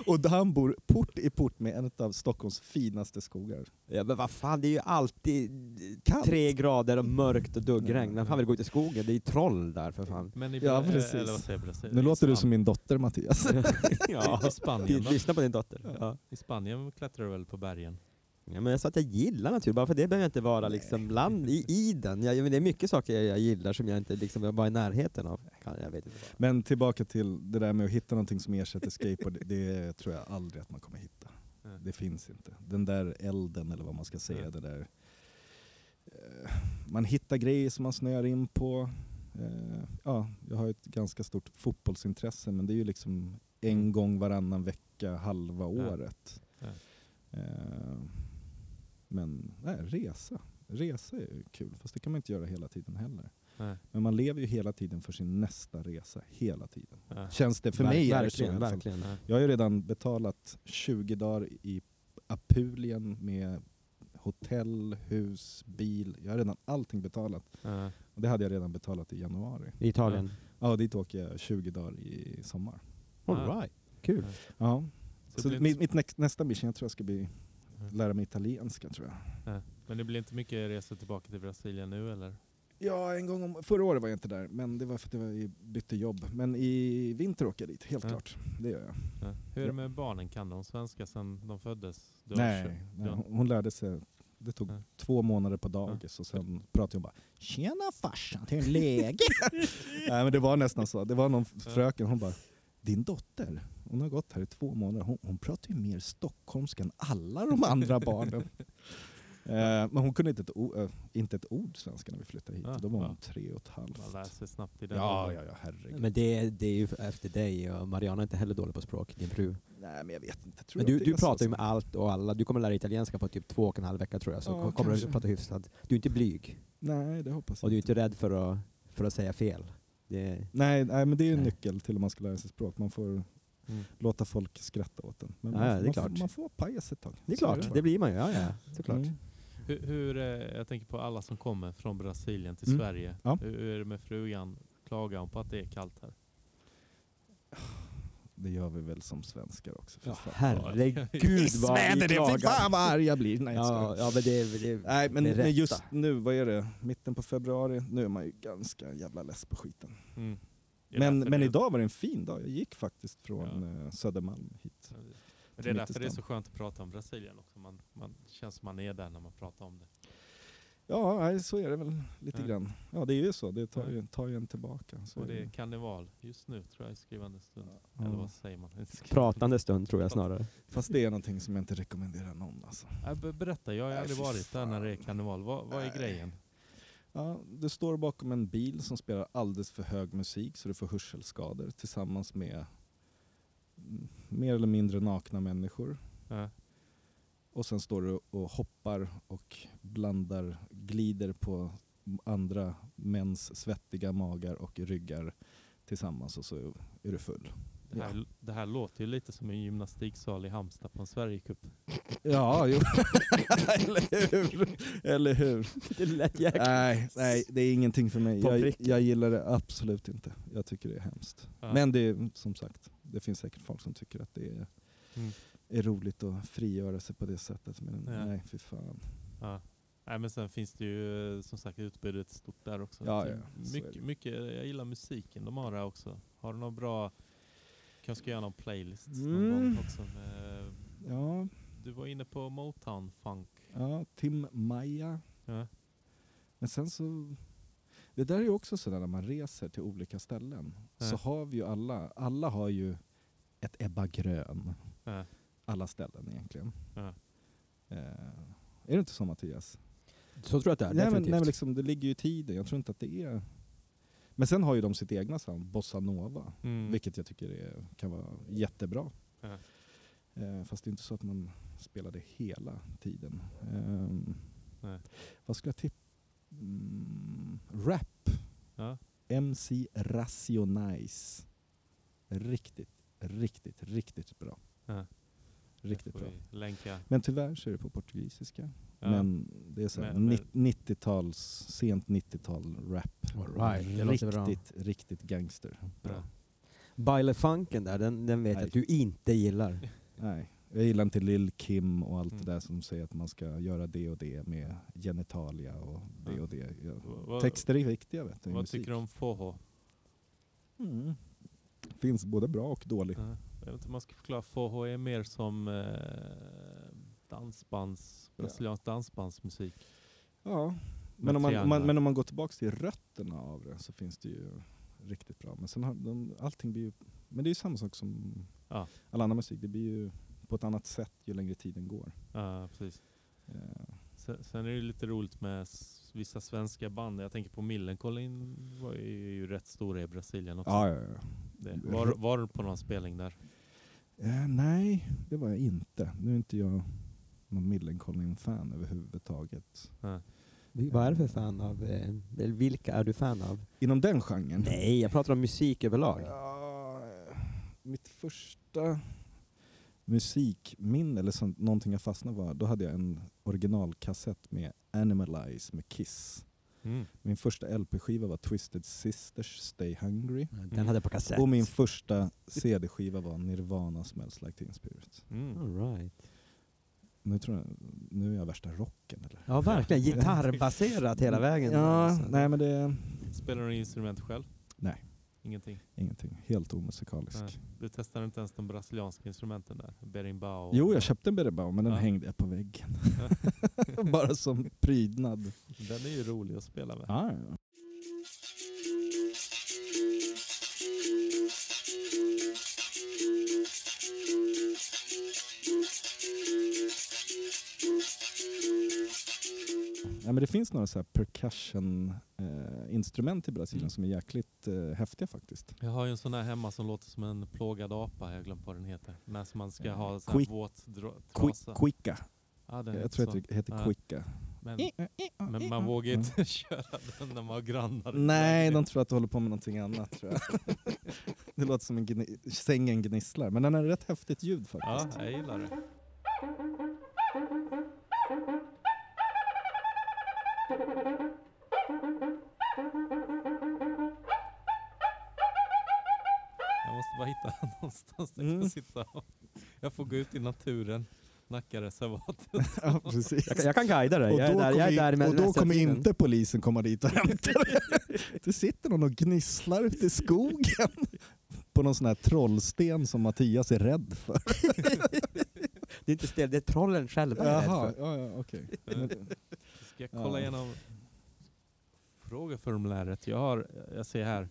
Speaker 1: Och där han bor port i port med en av Stockholms finaste skogar.
Speaker 3: ja, men vad fan, det är ju alltid tre grader och mörkt och duggregn. Vem fan vill gå ut i skogen? Det är ju troll där för fan.
Speaker 2: Men i,
Speaker 1: Ja,
Speaker 2: eh,
Speaker 1: precis.
Speaker 2: Eller vad säger jag? Brasilien?
Speaker 1: Nu
Speaker 2: I
Speaker 1: låter du
Speaker 2: Span-
Speaker 1: som min dotter Mattias.
Speaker 2: I Spanien då?
Speaker 3: Lyssna på din dotter. Ja.
Speaker 2: I Spanien klättrar du väl på bergen?
Speaker 3: Ja, men jag sa att jag gillar natur, bara för det behöver jag inte vara liksom bland, i, i den. Jag, men det är mycket saker jag, jag gillar som jag inte liksom, var i närheten av. Kan- Jag vet inte. vad.
Speaker 1: Men tillbaka till det där med att hitta någonting som ersätter skateboard. Det tror jag aldrig att man kommer hitta.
Speaker 2: Nej.
Speaker 1: Det finns inte. Den där elden eller vad man ska säga.
Speaker 2: Nej.
Speaker 1: Det där. eh, Man hittar grejer som man snöar in på. Eh, Ja, jag har ju ett ganska stort fotbollsintresse men det är ju liksom en gång varannan vecka halva
Speaker 2: Mm. Ja.
Speaker 1: året.
Speaker 2: Ja.
Speaker 1: Eh, Men nej, resa. Resa är ju kul, fast det kan man inte göra hela tiden heller.
Speaker 2: Nej.
Speaker 1: Men man lever ju hela tiden för sin nästa resa, hela tiden.
Speaker 2: Ja.
Speaker 1: Känns det, för
Speaker 3: Ver-
Speaker 1: mig är det så alltså. i
Speaker 3: verkligen,
Speaker 1: alla fall.
Speaker 3: verkligen.
Speaker 1: Jag har ju redan betalat 20 dagar i Apulien med hotell, hus, bil. Jag har redan allting betalat.
Speaker 2: Ja.
Speaker 1: Och det hade jag redan betalat i januari.
Speaker 3: I Italien.
Speaker 1: Ja, dit åker jag 20 dagar i sommar.
Speaker 2: Ja.
Speaker 3: All right. Kul.
Speaker 1: Ja.
Speaker 2: Så
Speaker 1: Så,
Speaker 2: det blir
Speaker 1: mitt,
Speaker 2: inte-
Speaker 1: mitt näx- nästa mission, jag tror jag ska bli,
Speaker 2: Ja.
Speaker 1: lära mig italienska tror jag.
Speaker 2: Men det blir inte mycket resor tillbaka till Brasilien nu eller?
Speaker 1: Ja, en gång om, förra året var jag inte där, men det var för att jag var i- bytte jobb. Men i vinter åker jag dit, helt
Speaker 2: Ja.
Speaker 1: klart. Det gör jag.
Speaker 2: Ja. Hur är
Speaker 1: Ja.
Speaker 2: det med barnen? Kan de svenska sedan de föddes? Du har kö-
Speaker 1: Nej, nej
Speaker 2: ja.
Speaker 1: hon- hon lärde sig. Det tog
Speaker 2: Ja.
Speaker 1: två månader på dagis och sen pratade hon bara ”Tjena farsan, hur är läget?” Nej men det var nästan så. Det var någon fröken, hon bara ”Din dotter, hon har gått här i två månader, hon, hon pratar ju mer stockholmska än alla de andra barnen”. Eh, men hon kunde inte ett, o- eh, inte ett ord svenska när vi flyttade hit.
Speaker 3: Ah,
Speaker 2: Ja,
Speaker 1: Då var hon
Speaker 2: ja.
Speaker 1: tre och ett halvt.
Speaker 2: Man lär sig snabbt i den
Speaker 1: Ja,
Speaker 2: åldern.
Speaker 1: ja, ja, herregud.
Speaker 3: Men det, det är ju efter dig och Mariana är inte heller dålig på språk, din fru.
Speaker 1: Nej men jag vet inte. Tror
Speaker 3: Men
Speaker 1: jag
Speaker 3: du,
Speaker 1: att det är
Speaker 3: du
Speaker 1: så
Speaker 3: pratar ju
Speaker 1: som-
Speaker 3: med allt och alla. Du kommer lära dig italienska på typ två och en halv vecka tror jag, så
Speaker 1: Ja,
Speaker 3: kom- kommer du
Speaker 1: kanske.
Speaker 3: att prata hyfsat. Du är inte blyg
Speaker 1: Nej, det hoppas
Speaker 3: och
Speaker 1: jag
Speaker 3: du är inte rädd för att, för att säga fel. Det,
Speaker 1: Nej, nej, men det är ju en
Speaker 3: Nej.
Speaker 1: nyckel till om man ska lära sig språk. Man får
Speaker 2: Mm.
Speaker 1: låta folk skratta åt den. Men
Speaker 3: Ja,
Speaker 1: man,
Speaker 3: ja, det är
Speaker 1: man,
Speaker 3: klart.
Speaker 1: Får, man får vara pajas ett tag.
Speaker 3: det är
Speaker 1: Så
Speaker 3: klart,
Speaker 2: det.
Speaker 3: det blir man ju. Ja, ja, såklart.
Speaker 1: Mm.
Speaker 2: Hur, hur, eh, jag tänker på alla som kommer från Brasilien till
Speaker 1: Mm.
Speaker 2: Sverige.
Speaker 1: Ja.
Speaker 2: Hur, hur är det med frugan? Klagar hon på att det är kallt här?
Speaker 1: Det gör vi väl som svenskar också. för
Speaker 3: Ja,
Speaker 1: fan.
Speaker 3: herregud vad vi klagar.
Speaker 1: vad arg jag blir. Nej, jag
Speaker 3: Ja,
Speaker 1: skojar.
Speaker 3: ja, men det, det,
Speaker 1: nej men,
Speaker 3: det är
Speaker 1: men
Speaker 3: rätta.
Speaker 1: just nu, vad är det? Mitten på februari, nu är man ju ganska jävla less på skiten.
Speaker 2: Mm. Det är
Speaker 1: Men,
Speaker 2: därför
Speaker 1: men
Speaker 2: det är-
Speaker 1: idag var det en fin dag. Jag gick faktiskt från eh, Södermalm hit.
Speaker 2: Men det är
Speaker 1: mitt i
Speaker 2: därför det är
Speaker 1: stan.
Speaker 2: så skönt att prata om Brasilien också. Man, man känns som man är där när man pratar om det.
Speaker 1: Ja, nej, så är det väl lite
Speaker 2: Ja.
Speaker 1: grann. Ja, det är ju så. Det tar
Speaker 2: Ja.
Speaker 1: ju, tar ju en tillbaka. Så
Speaker 2: Och
Speaker 1: är
Speaker 2: det
Speaker 1: ju.
Speaker 2: är karneval just nu tror jag i skrivande stund.
Speaker 1: Ja.
Speaker 2: Eller vad säger man? I skrivande-
Speaker 3: Pratande stund tror jag snarare.
Speaker 1: Fast det är någonting som jag inte rekommenderar någon alltså.
Speaker 2: Ja, be- berätta, jag har ju
Speaker 1: Nej,
Speaker 2: aldrig
Speaker 1: fy
Speaker 2: varit där när det är
Speaker 1: fan.
Speaker 2: karneval. Vad, vad är
Speaker 1: Nej.
Speaker 2: grejen?
Speaker 1: Ja, du står bakom en bil som spelar alldeles för hög musik så du får hörselskador tillsammans med mm, mer eller mindre nakna människor.
Speaker 2: Ja.
Speaker 1: Och sen står du och hoppar och blandar, glider på andra mäns svettiga magar och ryggar tillsammans och så är du full.
Speaker 2: Det, här, det här låter ju lite som en gymnastiksal i Halmstad på en Sverigecup.
Speaker 1: Ja, jo. eller hur? Eller hur?
Speaker 3: Det lät jäkligt.
Speaker 1: Nej, nej, det är ingenting för mig.
Speaker 3: På
Speaker 1: Jag,
Speaker 3: pricken.
Speaker 1: jag gillar det absolut inte. Jag tycker det är hemskt.
Speaker 2: Ja.
Speaker 1: Men det är som sagt, det finns säkert folk som tycker att det är,
Speaker 2: Mm.
Speaker 1: är roligt att frigöra sig på det sättet. Men
Speaker 2: Ja.
Speaker 1: nej, fy fan.
Speaker 2: Ja. Nej, men sen finns det ju eh, som sagt utbudet stort där också.
Speaker 1: Ja,
Speaker 2: Det
Speaker 1: ja,
Speaker 2: är
Speaker 1: så är det.
Speaker 2: mycket, mycket, jag gillar musiken de har där också. Har du någon bra, kanske ska göra någon playlist någon
Speaker 1: Mm.
Speaker 2: gång också. med-
Speaker 1: Ja,
Speaker 2: Du var inne på Motown Funk.
Speaker 1: ja Tim Maja.
Speaker 2: Ja.
Speaker 1: Men sen så... Det där är ju också sådär när man reser till olika ställen.
Speaker 2: Ja.
Speaker 1: Så har vi ju alla, alla har ju ett Ebba Grön.
Speaker 2: Ja.
Speaker 1: Alla ställen egentligen.
Speaker 2: Ja.
Speaker 1: Eh, är det inte så Mattias?
Speaker 3: Så tror jag att det är,
Speaker 1: nej, men,
Speaker 3: definitivt.
Speaker 1: nej, men liksom, det ligger ju i tiden. Jag tror inte att det är... Men sen har ju de sitt egna sound, Bossa Nova.
Speaker 2: Mm.
Speaker 1: Vilket jag tycker är, kan vara jättebra.
Speaker 2: Ja.
Speaker 1: Eh, fast det är inte så att man spelar det hela tiden. Ehm,
Speaker 2: Nej.
Speaker 1: vad skulle jag tippa? Mm, rap.
Speaker 2: Ja.
Speaker 1: MC Rationais. Riktigt, riktigt, riktigt bra.
Speaker 2: Ja.
Speaker 1: Riktigt
Speaker 2: Får
Speaker 1: bra.
Speaker 2: vi Länka.
Speaker 1: Men tyvärr så är det på portugisiska.
Speaker 2: Ja.
Speaker 1: Men det är så här,
Speaker 2: Men- men-
Speaker 1: nitt- 90-tals, sent 90-tal rap.
Speaker 3: All right, det låter
Speaker 1: riktigt,
Speaker 3: bra.
Speaker 1: riktigt gangster.
Speaker 2: Bra.
Speaker 3: Bailefunken där, den, den vet jag
Speaker 1: Nej.
Speaker 3: att du inte gillar.
Speaker 1: Nej. Jag gillar inte Lil Kim och allt
Speaker 2: Mm.
Speaker 1: det där som säger att man ska göra det och det med genitalia och det
Speaker 2: Ja.
Speaker 1: och det. Ja.
Speaker 2: Mm. Vad- vad-
Speaker 1: Texter är viktiga vet du. i
Speaker 2: Vad
Speaker 1: musik.
Speaker 2: tycker du om FOHO?
Speaker 1: Mm. Finns både bra och dåligt.
Speaker 2: Ja. Jag vet inte om man ska förklara. FOHO är mer som eh, dansbands,
Speaker 1: Ja.
Speaker 2: brasiliansk dansbandsmusik.
Speaker 1: Ja.
Speaker 2: Med
Speaker 1: Men, om man, om man,
Speaker 2: trianglar.
Speaker 1: men om man går tillbaka till rötterna av det så finns det ju riktigt bra. Men sen har de, allting blir ju, men det är ju samma sak som
Speaker 2: Ja.
Speaker 1: all annan musik. Det blir ju på ett annat sätt ju längre tiden går.
Speaker 2: Ja, precis.
Speaker 1: Eh,
Speaker 2: Sen, sen är det lite roligt med s- vissa svenska band. Jag tänker på Millencolin var ju, ju rätt stora i Brasilien också.
Speaker 1: Ja, ja, ja.
Speaker 2: Det. Var, var du på någon spelning där?
Speaker 1: Eh, nej, det var jag inte. Nu är inte jag någon Millencolin-fan överhuvudtaget.
Speaker 3: Vad är du för fan av, eh, eller vilka är du fan av?
Speaker 1: Inom den genren?
Speaker 3: Nej, jag pratar om musik överlag.
Speaker 1: Ja, eh, mitt första musikminne, eller sånt, någonting jag fastnade var, då hade jag en originalkassett med Animalize med Kiss.
Speaker 2: Mm.
Speaker 1: Min första LP-skiva var Twisted Sisters Stay Hungry.
Speaker 3: Den hade jag på kassett.
Speaker 1: Och min första CD-skiva var Nirvana Smells Like Teen Spirit.
Speaker 2: Mm.
Speaker 3: All right.
Speaker 1: Nu, tror jag, nu är jag värsta rocken eller?
Speaker 3: Ja, verkligen. Gitarrbaserat hela vägen.
Speaker 1: Ja,
Speaker 3: Alltså.
Speaker 1: nej men det är
Speaker 2: Spelar du instrument själv?
Speaker 1: Nej.
Speaker 2: Ingenting?
Speaker 1: ingenting. Helt omusikalisk.
Speaker 2: Nej. Du testar inte ens de brasilianska instrumenten där? Berimbau? och-
Speaker 1: Jo, jag köpte en Berebau men den
Speaker 2: Ja.
Speaker 1: hängde jag på väggen. Bara som prydnad.
Speaker 2: Den är ju rolig att spela med.
Speaker 1: Ah, ja. Ja, men det finns några så här percussion-instrument i Brasilien
Speaker 2: Mm.
Speaker 1: som är jäkligt eh, häftiga faktiskt.
Speaker 2: Jag har ju en sån här hemma som låter som en plågad apa, jag har glömt vad den heter. När som man ska
Speaker 1: Eh,
Speaker 2: ha sån här
Speaker 1: quick-
Speaker 2: våt dra-
Speaker 1: Qui-
Speaker 2: trasa.
Speaker 1: Quica.
Speaker 2: Ja, den
Speaker 1: Jag Eh,
Speaker 2: heter
Speaker 1: tror
Speaker 2: så.
Speaker 1: att det heter
Speaker 2: Ja.
Speaker 1: Quica.
Speaker 2: Men, men man vågar ju
Speaker 1: Mm.
Speaker 2: inte köra den när man har grannar. i
Speaker 1: Nej, de
Speaker 2: lägenheten.
Speaker 1: tror att du håller på med någonting annat tror jag. det låter som en gni- sängen gnisslar, men den har rätt häftigt ljud faktiskt.
Speaker 2: Ja, jag gillar det. Jag måste bara hitta någonstans där jag
Speaker 1: Mm.
Speaker 2: kan sitta. och- Jag får gå ut i naturen, Nackareservatet.
Speaker 1: Ja, precis.
Speaker 3: Jag, kan- jag kan guida dig.
Speaker 1: Och
Speaker 3: Jag är
Speaker 1: då
Speaker 3: där, jag är
Speaker 1: kommer,
Speaker 3: där
Speaker 1: i-
Speaker 3: med
Speaker 1: och då
Speaker 3: mesta
Speaker 1: kommer
Speaker 3: tiden.
Speaker 1: inte polisen komma dit och hämta dig. Det sitter någon och gnisslar ute i skogen på någon sån här trollsten som Mattias är rädd för.
Speaker 3: Det är inte stel, det är trollen själva jag är rädd
Speaker 1: Jaha,
Speaker 3: för.
Speaker 1: ja, ja, okej.
Speaker 2: Eh.
Speaker 1: Men-
Speaker 2: Ska jag kolla
Speaker 1: Ja.
Speaker 2: igenom frågeformuläret? Jag har, jag ser här,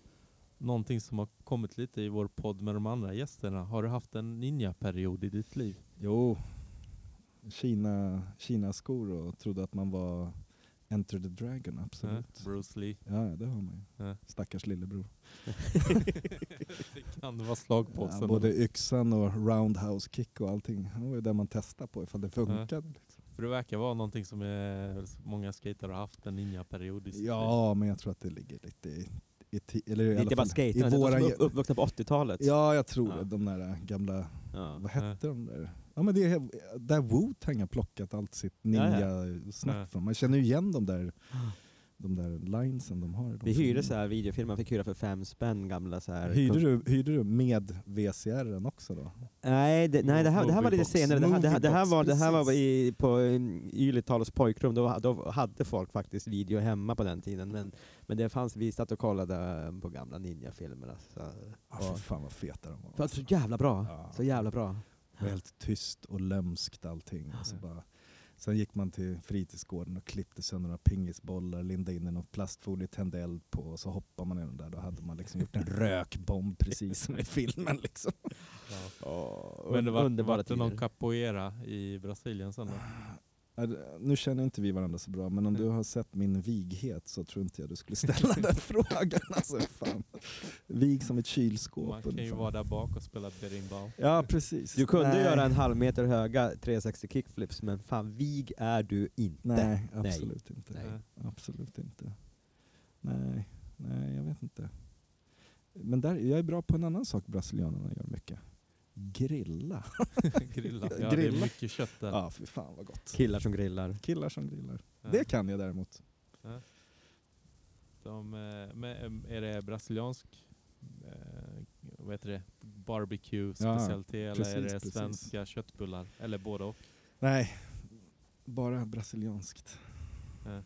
Speaker 2: någonting som har kommit lite i vår podd med de andra gästerna. Har du haft en ninja-period i ditt liv?
Speaker 1: Jo, Kina, Kina-skor och trodde att man var Enter the Dragon, absolut.
Speaker 2: Eh, Bruce Lee.
Speaker 1: Ja, ja, det har man ju.
Speaker 2: Ja.
Speaker 1: Stackars lillebror.
Speaker 2: Det kan vara slagpåsen.
Speaker 1: Ja, både yxan och roundhouse kick och allting. Det var ju det man testade på ifall det funkade. liksom.
Speaker 2: För det verkar vara någonting som är, många skater har haft en typ. ninja-period i sitt liv.
Speaker 1: Ja, men jag tror att det ligger lite i... i ti- eller i
Speaker 3: Det är
Speaker 1: alla
Speaker 3: inte bara
Speaker 1: fall
Speaker 3: skaterna,
Speaker 1: i
Speaker 3: det är de
Speaker 1: våran
Speaker 3: som är
Speaker 1: ge-
Speaker 3: upp- uppvuxna på 80-talet.
Speaker 1: Ja, jag tror
Speaker 3: Ja.
Speaker 1: det. De där äh, gamla...
Speaker 3: Ja.
Speaker 1: Vad hette de där? Ja, men det är, där Wu-Tang har plockat allt sitt ninja-snack
Speaker 2: Ja.
Speaker 1: från. Man känner ju igen de där, de där linesen de har. i de
Speaker 3: Vi hyrde
Speaker 1: filmerna.
Speaker 3: så här videofilmer, man fick hyra för fem spänn gamla så här.
Speaker 1: Hyrde du, hyrde du med VCR också då?
Speaker 3: Nej, det, nej det, här, det här var lite
Speaker 2: Moviebox.
Speaker 3: senare. Det här, det här, det här var, det här var
Speaker 1: Moviebox,
Speaker 3: i, på mm, Yletals pojkrum, då, då hade folk faktiskt video hemma på den tiden. Men, men det fanns, vi satt och kollade eh, på gamla ninjafilmer. Alltså.
Speaker 1: Ja, fy fan vad feta de var.
Speaker 3: För att så jävla bra.
Speaker 1: Ja.
Speaker 3: Så jävla bra.
Speaker 1: Det var helt tyst och lömskt allting. Och så
Speaker 2: Ja.
Speaker 1: bara, sen gick man till fritidsgården och klippte sönder några pingisbollar, lindade in i någon plastfolie, tände eld på och så hoppade man i den där. Då hade man liksom gjort en rökbomb precis som i filmen. Liksom.
Speaker 2: Ja.
Speaker 3: Oh,
Speaker 2: Men det var, var det någon capoeira i Brasilien sen då?
Speaker 1: Ja, det- Nu känner inte vi varandra så bra, men om du har sett min vighet så tror inte jag du skulle ställa den frågan. Alltså, fan. Vig som ett kylskåp.
Speaker 2: Man kan ju
Speaker 1: ungefär.
Speaker 2: vara där bak och spela berimbau.
Speaker 1: Ja, precis.
Speaker 3: Du kunde
Speaker 1: Nej.
Speaker 3: göra en halv meter höga 360 kickflips, men fan vig är du inte.
Speaker 1: Nej, absolut inte.
Speaker 3: Nej.
Speaker 2: Eh,
Speaker 1: Absolut inte. Nej, nej jag vet inte. Men där, jag är bra på en annan sak brasilianerna gör mycket. Grilla.
Speaker 2: Eh, Grilla. Ja, det är
Speaker 1: Grilla.
Speaker 2: mycket kött där. Eh,
Speaker 1: Ja, fy fan vad gott.
Speaker 3: Killar som grillar.
Speaker 1: Killar som grillar.
Speaker 2: Ja.
Speaker 1: Det kan jag däremot.
Speaker 2: De, eh, med, em, är det brasiliansk eh, vad heter det? barbecue specialitet eller är
Speaker 1: precis,
Speaker 2: det
Speaker 1: precis.
Speaker 2: svenska köttbullar? Eller båda och?
Speaker 1: Nej, bara brasilianskt.
Speaker 2: Ja.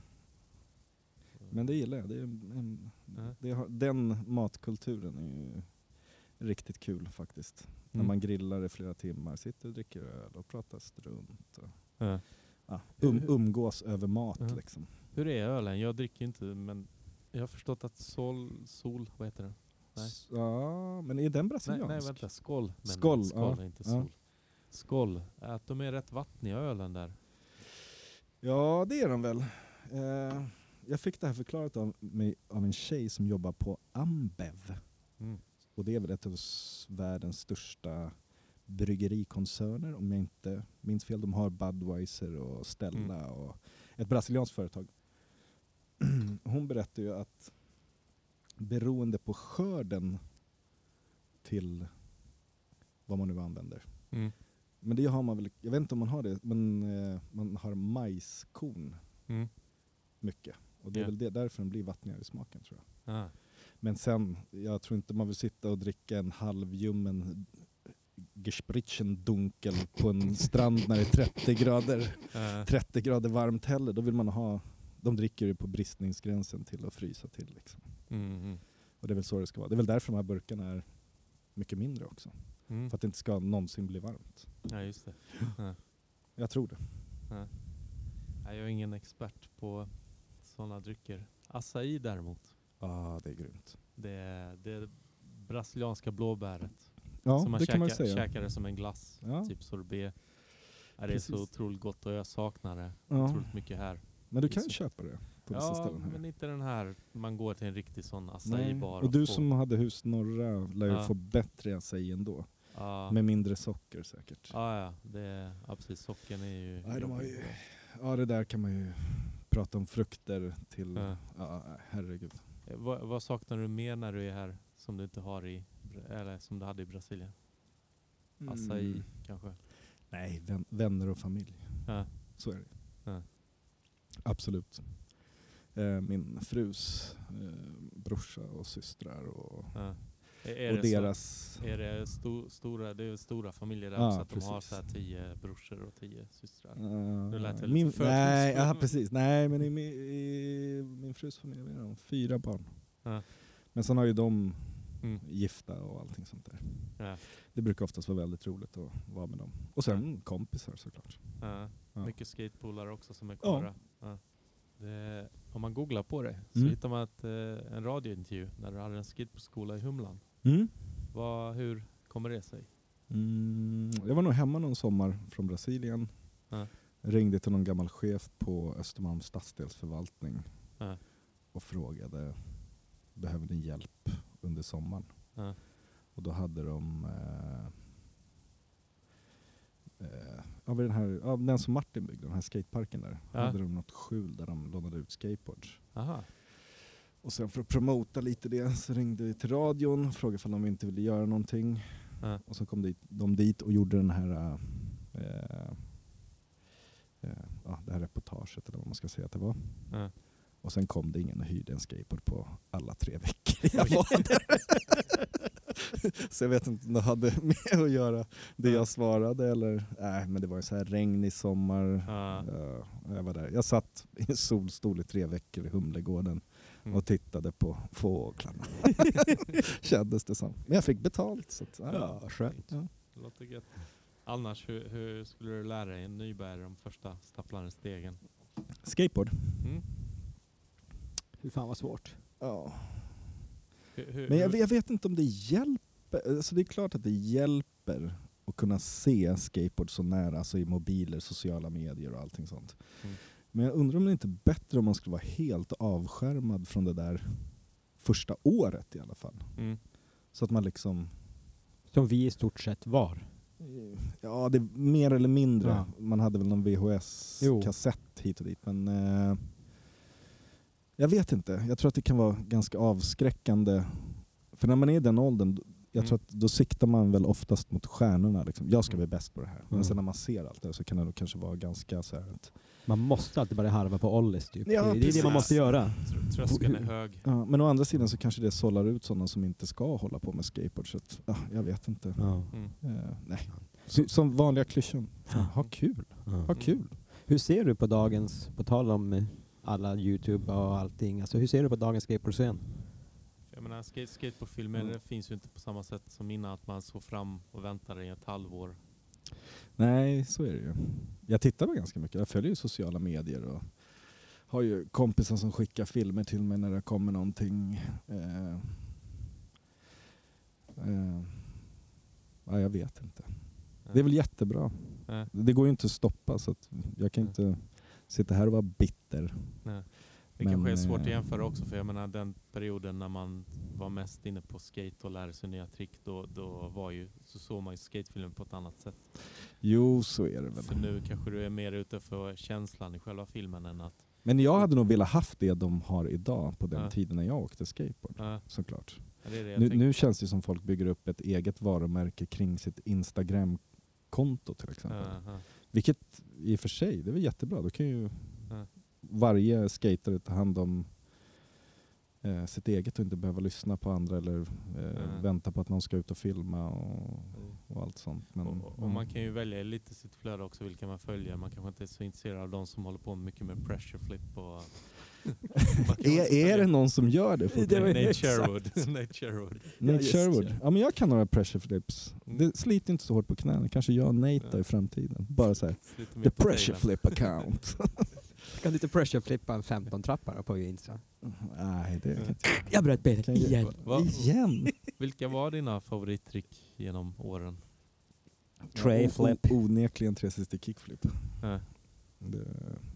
Speaker 1: Men det gillar jag. Det är en, en,
Speaker 2: Ja.
Speaker 1: det har, den matkulturen är ju riktigt kul faktiskt. När
Speaker 2: Mm.
Speaker 1: man grillar i flera timmar, sitter och dricker öl och pratar strunt. Och,
Speaker 2: Ja.
Speaker 1: ja, um, umgås över mat
Speaker 2: Ja.
Speaker 1: liksom.
Speaker 2: Hur är ölen? Jag dricker ju inte men jag har förstått att sol, sol vad heter den? Nej.
Speaker 1: S- Ja, men är den
Speaker 2: Nej,
Speaker 1: brasiliansk?
Speaker 2: nej vänta, skål. Men
Speaker 1: Skål,
Speaker 2: skål
Speaker 1: ja,
Speaker 2: inte
Speaker 1: ja.
Speaker 2: sol. Skål. Att de är rätt vattniga ölen där.
Speaker 1: Ja, det är den väl. Eh, jag fick det här förklarat av mig av en tjej som jobbar på Ambev.
Speaker 2: Mm.
Speaker 1: Och det är väl ett av s- världens största bryggerikoncerner om jag inte minns fel. De har Budweiser och Stella
Speaker 2: Mm.
Speaker 1: och ett brasilianskt företag. Hon berättar ju att beroende på skörden till vad man nu använder.
Speaker 2: Mm.
Speaker 1: Men det har man väl, jag vet inte om man har det, men eh, man har majskorn
Speaker 2: Mm.
Speaker 1: mycket. Och det är
Speaker 2: Ja.
Speaker 1: väl det, därför den blir vattnigare i smaken tror jag.
Speaker 2: Ah.
Speaker 1: Men sen, jag tror inte man vill sitta och dricka en halvljummen Gespritchen dunkel på en strand när det är 30 grader,
Speaker 2: Eh,
Speaker 1: 30 grader varmt heller. Då vill man ha, de dricker ju på bristningsgränsen till att frysa till. Liksom.
Speaker 2: mm, mm,
Speaker 1: Och det är väl så det ska vara. Det är väl därför de här burkarna är mycket mindre också.
Speaker 2: mm.
Speaker 1: För att det inte ska någonsin bli varmt.
Speaker 2: Ja, just det.
Speaker 1: Jag tror det.
Speaker 2: Nej, jag är ingen expert på sådana drycker. Acai däremot.
Speaker 1: ah, det är grymt.
Speaker 2: Det är det brasilianska blåbäret.
Speaker 1: Ja,
Speaker 2: som man,
Speaker 1: det
Speaker 2: käkar,
Speaker 1: kan man säga.
Speaker 2: käkar det som en glass.
Speaker 1: Ja.
Speaker 2: Typ sorbet. Ja, det är
Speaker 1: Precis.
Speaker 2: så otroligt gott och jag saknar det
Speaker 1: Ja.
Speaker 2: otroligt mycket här.
Speaker 1: Men du kan
Speaker 2: Liksom.
Speaker 1: köpa det på vissa
Speaker 2: Ja,
Speaker 1: ställen här.
Speaker 2: men inte den här. Man går till en riktig sån
Speaker 1: Nej.
Speaker 2: acai-bar.
Speaker 1: Och du
Speaker 2: får-
Speaker 1: som hade hus norra lär ju
Speaker 2: Ja.
Speaker 1: få bättre acai ändå.
Speaker 2: Ja.
Speaker 1: Med mindre socker säkert. Ja.
Speaker 2: Ja, ja, det, ja precis. Sockern är ju...
Speaker 1: Nej, de har ju- det där kan man ju prata om frukter till...
Speaker 2: Ja.
Speaker 1: Ja. herregud.
Speaker 2: Eh, Vad, vad saknar du mer när du är här som du inte har i, Bra- eller som du hade i Brasilien?
Speaker 1: Mm.
Speaker 2: Acai kanske?
Speaker 1: Nej, vän, vänner och familj.
Speaker 2: Ja.
Speaker 1: Så är det.
Speaker 2: Ja.
Speaker 1: Absolut. Eh, min frus eh, brorsa och systrar och,
Speaker 2: ja. Är,
Speaker 1: och
Speaker 2: det
Speaker 1: deras...
Speaker 2: Så, är det sto, stora, det är stora familjer där
Speaker 1: Ja,
Speaker 2: också, att de har
Speaker 1: precis.
Speaker 2: så här tio brorsor och tio systrar?
Speaker 1: Eh,
Speaker 2: Nu lät jag lite
Speaker 1: min,
Speaker 2: fördomsfull.
Speaker 1: nej, ja, precis. Nej, men i, mi- i min frus familj är de fyra barn.
Speaker 2: Ja.
Speaker 1: Men sen har ju de
Speaker 2: Mm.
Speaker 1: gifta och allting sånt där.
Speaker 2: Ja.
Speaker 1: Det brukar oftast vara väldigt roligt att vara med dem. Och sen
Speaker 2: Mm.
Speaker 1: kompisar såklart.
Speaker 2: Ja.
Speaker 1: Ja.
Speaker 2: Mycket skatepolare också som är
Speaker 1: Ja.
Speaker 2: kvar. Ja. Det, om man googlar på det så
Speaker 1: Mm.
Speaker 2: hittar man ett, eh, en radiointervju när du hade en skateboardskola i Humlan.
Speaker 1: Mm.
Speaker 2: Vad, hur kommer det sig?
Speaker 1: Mm. Jag var nog hemma någon sommar från Brasilien.
Speaker 2: Ja.
Speaker 1: Ringde till någon gammal chef på Östermalms stadsdelsförvaltning
Speaker 2: Ja.
Speaker 1: och frågade behöver ni hjälp under sommaren.
Speaker 2: Ja.
Speaker 1: Och då hade de eh, eh, ja, vid den, här, ja, den som Martin byggde, den här skateparken där,
Speaker 2: Ja.
Speaker 1: hade de något skjul där de lånade ut skateboards.
Speaker 2: Aha.
Speaker 1: Och sen för att promota lite det så ringde vi till radion och frågade om de inte ville göra någonting.
Speaker 2: Ja.
Speaker 1: Och så kom dit, de dit och gjorde den här eh, eh, ja, det här reportaget eller vad man ska säga att det var.
Speaker 2: Ja.
Speaker 1: Och sen kom det ingen och hyrde en skateboard på alla tre veckor jag var där. så jag vet inte om det hade med att göra det jag svarade eller nej men det var ju så här regn i sommar.
Speaker 2: Ja.
Speaker 1: Ja, jag var där. Jag satt i en solstol i tre veckor i Humlegården
Speaker 2: Mm.
Speaker 1: och tittade på fåglarna. Kändes det som. Men jag fick betalt. Så att, ja,
Speaker 3: Ja, skönt.
Speaker 1: ja.
Speaker 2: Det låter gött. Annars, hur, hur skulle du lära dig en nybärare de första stapplande stegen?
Speaker 1: Skateboard.
Speaker 2: Mm?
Speaker 3: Hur fan vad svårt.
Speaker 1: Ja.
Speaker 2: Hur, hur,
Speaker 1: Men jag,
Speaker 2: hur-
Speaker 1: jag vet inte om det hjälper. Alltså det är klart att det hjälper att kunna se skateboard så nära, alltså i mobiler, sociala medier och allting sånt.
Speaker 2: Mm.
Speaker 1: Men jag undrar om det inte är bättre om man skulle vara helt avskärmad från det där första året i alla fall.
Speaker 2: Mm.
Speaker 1: Så att man liksom
Speaker 3: Som vi i stort sett var.
Speaker 1: Ja, det mer eller mindre.
Speaker 3: Ja.
Speaker 1: Man hade väl någon
Speaker 3: Jo.
Speaker 1: VHS-kassett hit och dit. Men eh, jag vet inte. Jag tror att det kan vara ganska avskräckande. För när man är i den åldern, då- jag
Speaker 2: Mm.
Speaker 1: tror att då siktar man väl oftast mot stjärnorna. Liksom. Jag ska bli
Speaker 2: Mm.
Speaker 1: bäst på det här. Men
Speaker 3: Mm.
Speaker 1: sen när man ser allt det här så kan det nog kanske vara ganska så här att,
Speaker 3: Man måste alltid börja harva på Ollis typ.
Speaker 1: Ja,
Speaker 3: det är det
Speaker 1: precis.
Speaker 3: man måste göra.
Speaker 2: Tr- Tröskeln är hög.
Speaker 1: ja, Men å andra sidan så kanske det sållar ut sådana som inte ska hålla på med skateboard. Så att, ja, jag vet inte.
Speaker 3: Ja.
Speaker 2: Mm.
Speaker 1: Eh, nej. Så, som vanliga klyschan. Fan, Ha kul. Ha
Speaker 2: Mm.
Speaker 3: Ja.
Speaker 1: kul.
Speaker 3: Hur ser du på dagens, på tal om eh, alla Youtube och allting, alltså hur ser du på dagens skateboardscen?
Speaker 2: Jag menar, skate, skateboardfilmer
Speaker 1: Mm.
Speaker 2: det finns ju inte på samma sätt som innan, att man såg fram och väntade i ett halvår.
Speaker 1: Nej, så är det ju. Jag tittar på ganska mycket. Jag följer ju sociala medier och har ju kompisar som skickar filmer till mig när det kommer någonting. Eh, eh, ja, jag vet inte. Det är väl jättebra.
Speaker 2: Ja.
Speaker 1: Det går ju inte att stoppa så att jag kan
Speaker 2: Nej.
Speaker 1: inte sitta här och vara bitter.
Speaker 2: Nej. Det kanske är
Speaker 1: Men,
Speaker 2: svårt att
Speaker 1: eh,
Speaker 2: jämföra också, för jag menar den perioden när man var mest inne på skate och lärde sig nya trick, då, då var ju, så såg man ju skatefilmen på ett annat sätt.
Speaker 1: Jo, så är det väl.
Speaker 2: Så nu kanske du är mer ute för känslan i själva filmen än att...
Speaker 1: Men jag hade nog velat haft det de har idag på den
Speaker 2: Ja.
Speaker 1: tiden när jag åkte skateboard.
Speaker 2: Ja,
Speaker 1: Såklart.
Speaker 2: det är det jag
Speaker 1: Nu,
Speaker 2: tänker.
Speaker 1: nu känns det som folk bygger upp ett eget varumärke kring sitt Instagram-konto till exempel.
Speaker 2: Ja, ja.
Speaker 1: Vilket i och för sig, det är väl jättebra. Då kan ju
Speaker 2: Ja.
Speaker 1: varje skater ta hand om eh, sitt eget och inte behöva lyssna på andra eller eh,
Speaker 2: Ja.
Speaker 1: vänta på att någon ska ut och filma och, och allt sånt. Men,
Speaker 2: Och- och,
Speaker 1: ja.
Speaker 2: och man kan ju välja lite sitt flöde också, vilka man följer. Man kanske inte är så intresserad av de som håller på mycket med pressure flip och... Man kan
Speaker 1: är,
Speaker 2: också
Speaker 1: är
Speaker 2: följa-
Speaker 1: det någon som gör det
Speaker 2: Nate-
Speaker 1: fortfarande?
Speaker 2: Nate Sherwood. Nate Sherwood.
Speaker 1: Nate
Speaker 3: Ja, just
Speaker 1: Sherwood.
Speaker 3: det.
Speaker 1: Ja men jag kan några pressure flips.
Speaker 2: Mm.
Speaker 1: Det sliter inte så hårt på knäna. Kanske jag och Nate då
Speaker 2: Ja.
Speaker 1: i framtiden. Bara så här.
Speaker 2: Sliter
Speaker 1: The
Speaker 2: mer på
Speaker 1: pressure
Speaker 2: tailen.
Speaker 1: flip account.
Speaker 3: Kan du inte pressure-flippa en 15-trappare på Insta?
Speaker 1: Nej, det kan jag
Speaker 3: Jag bröt benet
Speaker 1: Kan jag-
Speaker 3: igen.
Speaker 2: Va-
Speaker 1: inte. Igen?
Speaker 2: Vilka var dina favorittrick genom åren?
Speaker 1: Ja, o- o- Onekligen 360 kickflip.
Speaker 2: Ja.
Speaker 1: Det,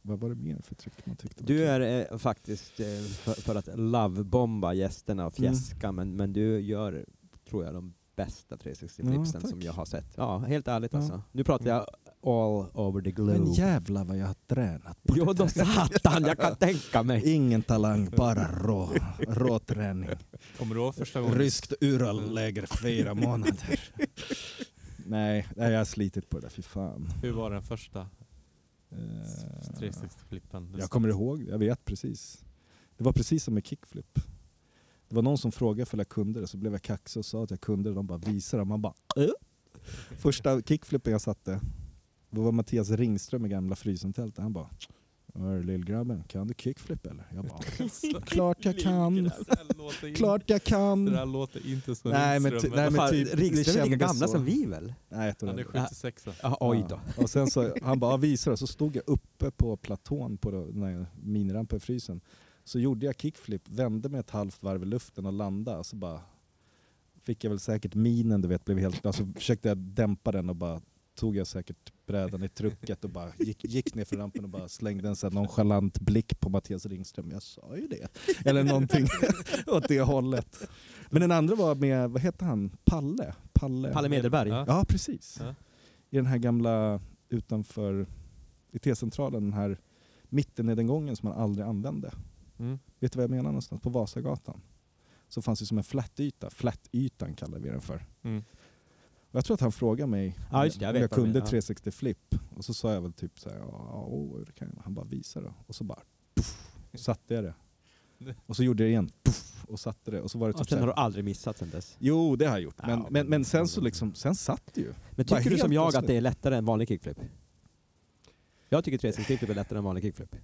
Speaker 1: vad var det mer för trick man tyckte var
Speaker 3: Du
Speaker 1: kul?
Speaker 3: är eh, faktiskt eh, för, för att lovebomba gästerna och fjäska, men, men du gör, tror jag, de bästa 360-flipsen
Speaker 1: Ja, tack.
Speaker 3: som jag har sett. Ja, Mm. helt ärligt
Speaker 1: Ja.
Speaker 3: alltså. Nu pratar jag all over the globe.
Speaker 1: Men jävlar vad jag har tränat på
Speaker 3: Jo
Speaker 1: det
Speaker 3: då
Speaker 1: där.
Speaker 3: satan, jag kan tänka mig.
Speaker 1: Ingen talang, bara rå, rå träning.
Speaker 2: Kommer du ihåg första gången? Mm.
Speaker 1: Ryskt Uralläger fyra månader. nej, nej, jag har slitit på det där, fy fan.
Speaker 2: Hur var den första
Speaker 1: Eh,
Speaker 2: 360-flippen?
Speaker 1: jag kommer ihåg, jag vet precis. Det var precis som med kickflip. Det var någon som frågade för jag kunde det, så blev jag kaxig och sa att jag kunde det. De bara visade det, man bara "Eh?" Första kickflippen jag satte, då var Mattias Ringström i gamla Frysentältet. Han bara "Hör, lillgrabben, kan du kickflip eller? Jag bara klart jag kan. Klart jag
Speaker 2: Det
Speaker 1: kan!
Speaker 2: där låter inte som
Speaker 1: Nej, men
Speaker 2: Lindström.
Speaker 1: ty- nej, men
Speaker 3: Fan,
Speaker 1: typ, det
Speaker 3: Ringström är lika
Speaker 1: kändes
Speaker 3: gamla
Speaker 1: så.
Speaker 3: som vi väl?
Speaker 1: Nej, jag tror
Speaker 2: Han är
Speaker 1: det.
Speaker 2: 76
Speaker 3: Ja, oj då.
Speaker 1: Ja. Och sen så, han bara, "Ja, visa då. Så stod jag uppe på platån på då- den här minirampen i frysen. Så gjorde jag kickflip, vände mig ett halvt varv i luften och landade. Och så bara fick jag väl säkert minen, du vet, blev helt... Alltså försökte jag dämpa den och bara tog jag säkert brädan i trucket och bara gick, gick ner för rampen och bara slängde en sån här nonchalant blick på Mattias Ringström. Jag sa ju det. Eller någonting åt det hållet. Men den andra var med, vad hette han, Palle? Palle,
Speaker 3: Palle Mederberg.
Speaker 2: Ja.
Speaker 1: Ja, precis.
Speaker 2: Ja.
Speaker 1: I den här gamla utanför i T-centralen, den här mittennedgången som man aldrig använde.
Speaker 2: Mm.
Speaker 1: Vet du vad jag menar någonstans? På Vasagatan. Så fanns det som en flätyta. Flätytan kallar vi den för.
Speaker 2: Mm.
Speaker 1: Och jag tror att han frågade mig
Speaker 3: Ja, just det, jag
Speaker 1: om
Speaker 3: vet
Speaker 1: jag
Speaker 3: vad du
Speaker 1: kunde
Speaker 3: menar.
Speaker 1: 360 flip. Och så sa jag väl typ så här, ja, åh, det kan jag. Han bara visa då. Och så bara puff, satte jag det. Och så gjorde jag det igen. Puff, och satte det. Och så var det typ
Speaker 3: Och
Speaker 1: så
Speaker 3: sen
Speaker 1: här,
Speaker 3: har du aldrig missat sen dess.
Speaker 1: Jo, det har jag gjort.
Speaker 3: Ja,
Speaker 1: Men, men,
Speaker 3: men-
Speaker 1: men sen så liksom, sen satt det ju.
Speaker 3: Men
Speaker 1: Bara
Speaker 3: tycker du som
Speaker 1: helt
Speaker 3: jag att
Speaker 1: plötsligt.
Speaker 3: det är lättare än vanlig kickflip? Jag tycker 360-flip är lättare än vanlig kickflip.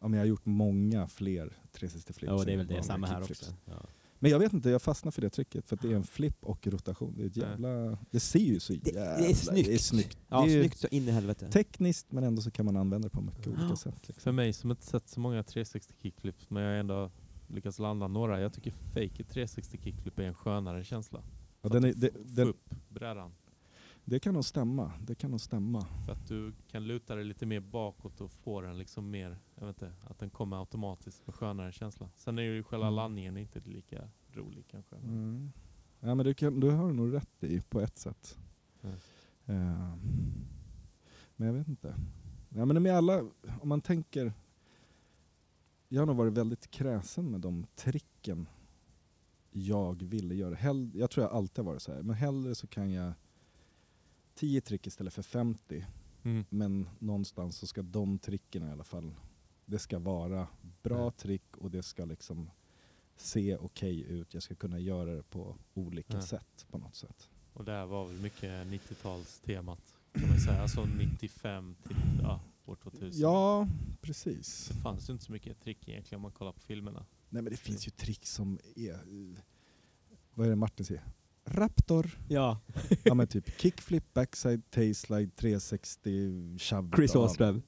Speaker 1: Ja, men jag har gjort många fler 360 flips.
Speaker 3: Ja, det är
Speaker 1: än
Speaker 3: väl det.
Speaker 1: vanliga
Speaker 3: Samma här
Speaker 1: kickflips.
Speaker 3: också. Ja.
Speaker 1: Men jag vet inte, jag fastnar för det tricket för att det är en flipp och rotation. Det är ett
Speaker 2: Ja.
Speaker 1: jävla... Det ser ju så
Speaker 3: det
Speaker 1: jävla...
Speaker 3: är snyggt.
Speaker 1: Det är snyggt.
Speaker 3: Ja,
Speaker 1: det är ju
Speaker 3: snyggt så in i helvete.
Speaker 1: tekniskt men ändå så kan man använda det på mycket olika sätt. Liksom.
Speaker 2: För mig som inte sett så många 360 kickflips, men jag har ändå lyckats landa några. Jag tycker fake 360 kickflip är en skönare känsla.
Speaker 1: Ja, den är, det,
Speaker 2: Få
Speaker 1: den,
Speaker 2: upp brädan.
Speaker 1: det kan nog stämma. Det kan nog stämma.
Speaker 2: För att du kan luta dig lite mer bakåt och få den liksom mer, jag vet inte, att den kommer automatiskt med skönare känsla. Sen är ju själva
Speaker 1: Mm.
Speaker 2: landningen inte lika rolig kanske.
Speaker 1: Mm. Ja, men du, kan, du har nog rätt i på ett sätt.
Speaker 2: Mm.
Speaker 1: Eh, men jag vet inte. Ja, men med alla, om man tänker... Jag har nog varit väldigt kräsen med de tricken jag ville göra. Hell, jag tror jag alltid har varit så här. Men hellre så kan jag 10 trick istället för 50.
Speaker 2: Mm.
Speaker 1: Men någonstans så ska de tricken i alla fall, det ska vara bra
Speaker 2: Mm.
Speaker 1: trick och det ska liksom se okej ut. Jag ska kunna göra det på olika
Speaker 2: Mm.
Speaker 1: sätt på något sätt.
Speaker 2: Och där var väl mycket 90-talstemat kan man ju säga. Alltså 95 till ja, år 2000.
Speaker 1: Ja, precis.
Speaker 2: Det fanns ju inte så mycket trick egentligen om man kollar på filmerna.
Speaker 1: Nej men det finns ju trick som är... eh, Vad är det Martin säger? Raptor.
Speaker 3: Ja,
Speaker 1: ja men typ kickflip, backside, tailslide, 360, shove.
Speaker 3: Chris
Speaker 1: Ja.
Speaker 3: Åström.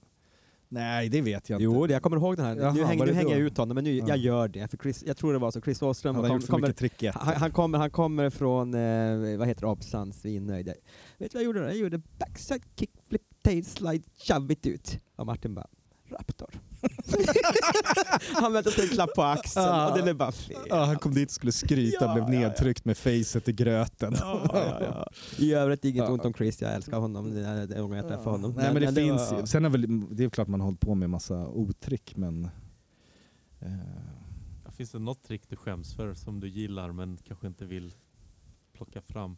Speaker 1: Nej det vet jag inte.
Speaker 3: Jo, det- jag kommer ihåg den här.
Speaker 1: Jaha,
Speaker 3: nu hänger,
Speaker 1: var
Speaker 3: nu
Speaker 1: det
Speaker 3: hänger
Speaker 1: då?
Speaker 3: jag ut honom, men nu,
Speaker 1: Ja.
Speaker 3: jag gör det. För Chris, jag tror det var så. Chris Åström
Speaker 1: Han har
Speaker 3: kom-
Speaker 1: gjort för
Speaker 3: kommer,
Speaker 1: mycket trick i ett.
Speaker 3: han, han, kommer, han kommer från, eh, vad heter det, Absan, svinnöjd. Vet du vad jag gjorde? då? Jag gjorde backside kickflip tailslide shovigt ut. Och Martin bara, Raptor. Han väntade sig en klapp på axeln
Speaker 1: Ja.
Speaker 3: och det blev bara fel.
Speaker 1: Ja, han kom dit och skulle skryta,
Speaker 3: Ja,
Speaker 1: blev
Speaker 3: ja, ja.
Speaker 1: nedtryckt med facet i gröten.
Speaker 3: Ja, ja, ja. I övrigt inget
Speaker 1: Ja.
Speaker 3: ont om Chris, jag älskar honom. Det är det är gången jag träffar honom.
Speaker 1: Nej, men det finns
Speaker 3: var-
Speaker 1: ju. Sen är väl, det är klart man har hållit på med massa otrick men... Eh,
Speaker 2: Finns det något trick du skäms för som du gillar men kanske inte vill plocka fram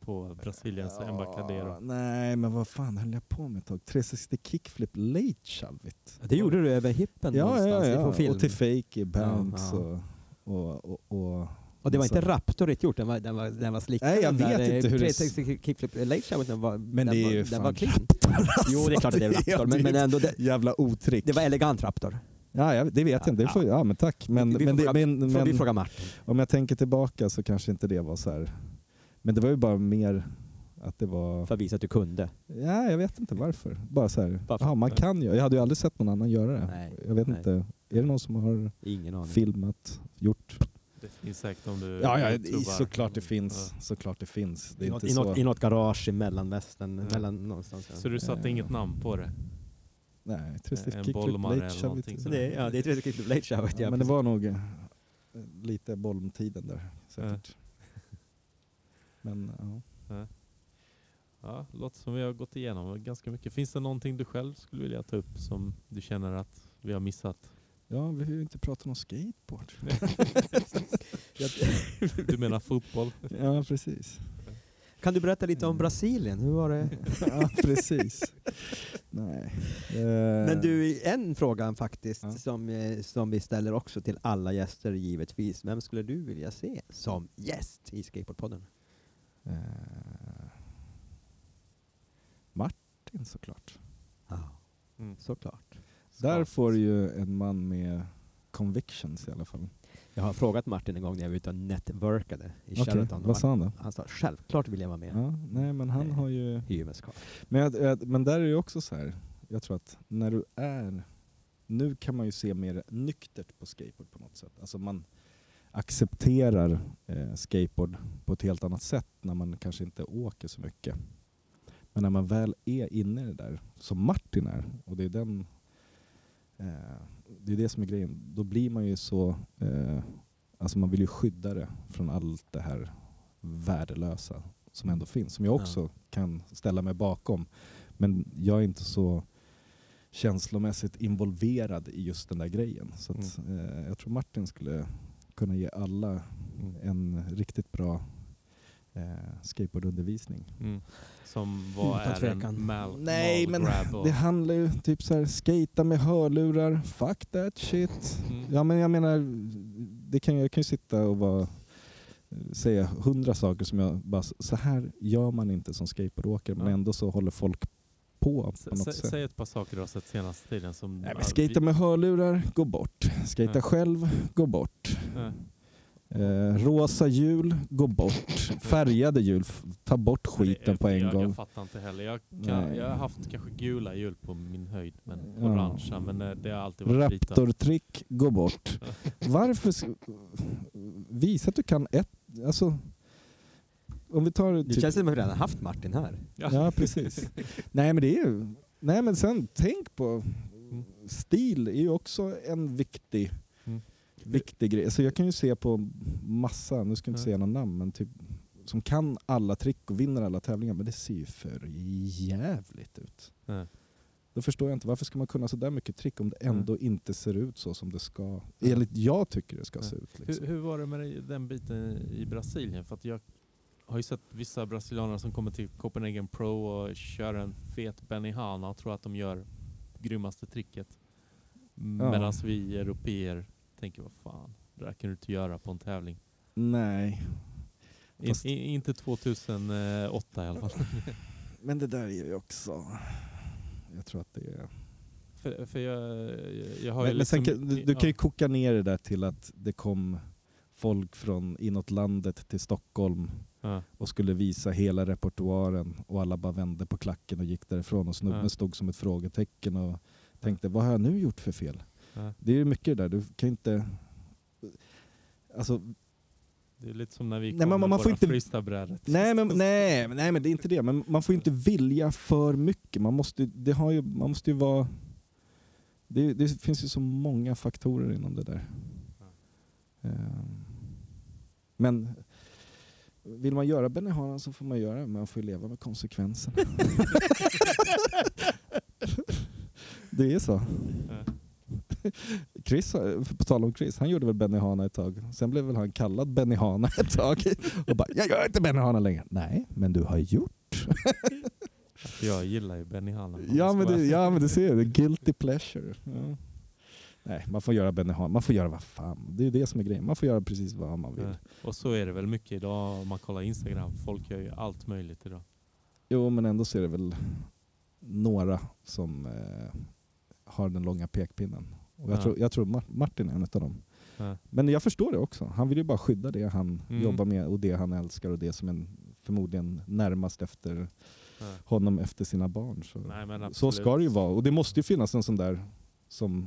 Speaker 2: på Brasiliens
Speaker 1: ja,
Speaker 2: Embacadero?
Speaker 1: Nej men vad fan höll jag på med ett tag? 360 kickflip late shovit.
Speaker 3: Det gjorde du över hippen någonstans ifrån film.
Speaker 1: och till fake i bounce
Speaker 3: Ja,
Speaker 1: Och, och, och, och...
Speaker 3: Och det var inte
Speaker 1: Så-
Speaker 3: raptorigt gjort, den var, den var, den var slickad.
Speaker 1: Nej, jag
Speaker 3: Den
Speaker 1: vet
Speaker 3: där,
Speaker 1: inte
Speaker 3: eh,
Speaker 1: hur det-
Speaker 3: 360 kickflip eh, late show, den var,
Speaker 1: Men
Speaker 3: den
Speaker 1: det är
Speaker 3: var,
Speaker 1: ju
Speaker 3: den
Speaker 1: fan
Speaker 3: var clean. Jo, det är
Speaker 1: alltså,
Speaker 3: klart att det är
Speaker 1: det är
Speaker 3: raptor, men, men
Speaker 1: ju-
Speaker 3: ändå, det,
Speaker 1: Jävla otrick.
Speaker 3: det var elegant raptor.
Speaker 1: Ja, jag, det vet jag inte. Det får, ja, men tack. Men,
Speaker 3: Vi- vi
Speaker 1: men,
Speaker 3: får
Speaker 1: det,
Speaker 3: fråga-
Speaker 1: men,
Speaker 3: Får vi
Speaker 1: men
Speaker 3: fråga Martin?
Speaker 1: om jag tänker tillbaka så kanske inte det var så här. Men det var ju bara mer att det var...
Speaker 3: För att visa att du kunde.
Speaker 1: Ja, jag vet inte varför. Bara så här.
Speaker 3: Bara för-
Speaker 1: Aha, man kan ju. Jag hade ju aldrig sett någon annan göra det.
Speaker 3: Nej,
Speaker 1: jag vet
Speaker 3: nej.
Speaker 1: inte. Är det någon som har
Speaker 3: Ingen aning.
Speaker 1: filmat, gjort?
Speaker 2: Det finns säkert om du
Speaker 1: Ja, ja
Speaker 2: youtubar.
Speaker 1: i- såklart det finns.
Speaker 2: Ja.
Speaker 1: Såklart det finns. Det
Speaker 3: I
Speaker 1: är
Speaker 3: något,
Speaker 1: inte
Speaker 3: i, något, I
Speaker 1: så.
Speaker 3: något garage i mellanvästern.
Speaker 2: Ja.
Speaker 3: Mellan någonstans.
Speaker 2: Så du satte
Speaker 1: Ja.
Speaker 2: inget namn på det?
Speaker 1: Nej,
Speaker 3: Eh,
Speaker 1: Twisted Kick
Speaker 2: en
Speaker 1: Flip
Speaker 2: bollmare
Speaker 1: Late
Speaker 2: eller
Speaker 1: Shove
Speaker 2: någonting
Speaker 1: It.
Speaker 2: sådär.
Speaker 3: det, ja, det är ett kickflip late show.
Speaker 1: Ja, men det var nog eh, lite bolmtiden där säkert. Men ja.
Speaker 2: Ja, låter som vi har gått igenom ganska mycket. Finns det någonting du själv skulle vilja ta upp som du känner att vi har missat?
Speaker 1: Ja, vi har ju inte pratat om skateboard.
Speaker 2: Du menar fotboll?
Speaker 1: ja, precis.
Speaker 3: Kan du berätta lite om Brasilien? Hur var det?
Speaker 1: ja, precis. Nej.
Speaker 3: Men du, en fråga faktiskt
Speaker 1: Ja.
Speaker 3: som, eh, som vi ställer också till alla gäster givetvis. Vem skulle du vilja se som gäst i Skateboardpodden?
Speaker 1: Eh, Martin såklart.
Speaker 3: Ja,
Speaker 2: Mm.
Speaker 3: såklart.
Speaker 1: Där får ju en man med convictions i alla fall.
Speaker 3: Jag har frågat Martin en gång när jag var ute och networkade i
Speaker 1: Okej,
Speaker 3: Sheraton.
Speaker 1: Vad sa han då?
Speaker 3: Han sa självklart vill jag vara med.
Speaker 1: Ja, nej, men han
Speaker 3: Nej.
Speaker 1: har ju...
Speaker 3: Hyreskarl.
Speaker 1: Men, jag, jag, men där är det ju också så här. jag tror att när du är... Nu kan man ju se mer nyktert på skateboard på något sätt. Alltså man accepterar eh, skateboard på ett helt annat sätt när man kanske inte åker så mycket. Men när man väl är inne i det där, som Martin är, och det är den... Eh, det är det som är grejen. Då blir man ju så... Eh, alltså man vill ju skydda det från allt det här värdelösa som ändå finns. Som jag också kan ställa mig bakom. Men jag är inte så känslomässigt involverad i just den där grejen. Så att, eh, jag tror Martin skulle kunna ge alla en riktigt bra eh, skateboardundervisning.
Speaker 2: Mm. Som vad
Speaker 3: Utan
Speaker 2: är
Speaker 3: tvekan.
Speaker 2: en mal,
Speaker 1: Nej,
Speaker 2: mal
Speaker 1: men
Speaker 2: grab och,
Speaker 1: Det handlar ju typ så här, skata med hörlurar, fuck that shit.
Speaker 2: Mm.
Speaker 1: Ja men jag menar, det kan, jag kan ju sitta och vara, säga hundra saker som jag bara, så här gör man inte som skateboardåkare men
Speaker 2: Ja.
Speaker 1: ändå så håller folk på
Speaker 2: S-
Speaker 1: på något
Speaker 2: sä-
Speaker 1: sätt.
Speaker 2: Säg ett par saker du har sett senaste tiden som...
Speaker 1: Nej, men
Speaker 2: Ja,
Speaker 1: skata med hörlurar, gå bort. Skata
Speaker 2: Ja.
Speaker 1: själv, gå bort.
Speaker 2: vi- Ja.
Speaker 1: Eh, rosa hjul, gå bort. Färgade hjul, f- ta bort
Speaker 2: Det
Speaker 1: skiten
Speaker 2: är-
Speaker 1: på en
Speaker 2: jag,
Speaker 1: gång.
Speaker 2: Jag fattar inte heller. Jag, kan,
Speaker 1: Nej.
Speaker 2: jag har haft kanske gula hjul på min höjd, men
Speaker 1: Ja.
Speaker 2: orangea. Men eh, det har alltid varit vita.
Speaker 1: Raptortrick, gå bort. Varför... sk- Visa att du kan ett... Alltså... Om vi tar... typ-
Speaker 3: Det känns som att vi redan haft Martin här.
Speaker 1: Ja, precis. Nej, men det är ju... Nej, men sen tänk på... Stil är ju också en viktig,
Speaker 2: Mm.
Speaker 1: viktig grej. Så jag kan ju se på massa, nu ska jag inte
Speaker 2: Ja.
Speaker 1: säga några namn, men typ som kan alla trick och vinner alla tävlingar, men det ser ju för jävligt ut.
Speaker 2: Ja.
Speaker 1: Då förstår jag inte, varför ska man kunna så där mycket trick om det
Speaker 2: Mm.
Speaker 1: ändå inte ser ut så som det ska, enligt jag tycker det ska
Speaker 2: Ja.
Speaker 1: se ut. Liksom.
Speaker 2: Hur, hur var det med den biten i Brasilien? För att jag har ju sett vissa brasilianer som kommer till Copenhagen Pro och kör en fet Benihana och tror att de gör grymmaste tricket.
Speaker 1: Ja.
Speaker 2: Medan vi europeer tänker, vad fan, det där kan du inte göra på en tävling.
Speaker 1: Nej,
Speaker 2: In-
Speaker 1: Fast-
Speaker 2: i- inte 2008 i alla fall.
Speaker 1: men det där är ju också... Jag tror att det är...
Speaker 2: För, för jag, jag har
Speaker 1: Men,
Speaker 2: ju
Speaker 1: men sen,
Speaker 2: liksom,
Speaker 1: kan- du, du kan ju koka ner det där till att det kom folk från inåt landet till Stockholm
Speaker 2: ja,
Speaker 1: och skulle visa hela repertoaren och alla bara vände på klacken och gick därifrån och snubben
Speaker 2: Ja.
Speaker 1: stod som ett frågetecken och tänkte vad har jag nu gjort för fel?
Speaker 2: ja.
Speaker 1: Det är ju mycket det där, du kan ju inte... Alltså,
Speaker 2: Det är lite som när vi
Speaker 1: Nej,
Speaker 2: kom
Speaker 1: men
Speaker 2: med
Speaker 1: man får
Speaker 2: våra
Speaker 1: inte-
Speaker 2: freestylebrädet.
Speaker 1: nej, men, nej, men- nej men det är inte det, men man får ju inte vilja för mycket. Man måste, ju- det har ju, man måste ju vara... Det, det finns ju så många faktorer inom det där. Eh, Men vill man göra Benny Hanan så får man göra det, men man får ju leva med konsekvenserna. det är så. Chris, har- på tal om Chris, han gjorde väl Benny Hana ett tag. Sen blev väl han kallad Benny Hana ett tag. Och bara, jag gör inte Benny Hana längre. Nej, men du har gjort.
Speaker 2: Alltså, jag gillar ju Benny Hanna.
Speaker 1: Ja men, du, ja men du ser, det guilty pleasure. Ja. Nej, man får göra Benny Hana, man får göra vad fan. Det är det som är grejen, man får göra precis vad man vill.
Speaker 2: Ja. Eh, Och så är det väl mycket idag om man kollar Instagram. Folk gör ju allt möjligt idag.
Speaker 1: Jo, men ändå så är det väl några som eh, har den långa pekpinnen. Och jag,
Speaker 2: Ja.
Speaker 1: tror, jag tror Mar- Martin är en av dem.
Speaker 2: Ja.
Speaker 1: Men jag förstår det också. Han vill ju bara skydda det han
Speaker 2: Mm.
Speaker 1: jobbar med och det han älskar och det som är förmodligen närmast efter
Speaker 2: Ja.
Speaker 1: honom efter sina barn. Så,
Speaker 2: eh. Nej, men
Speaker 1: så ska det ju vara. Och det måste ju finnas en sån där som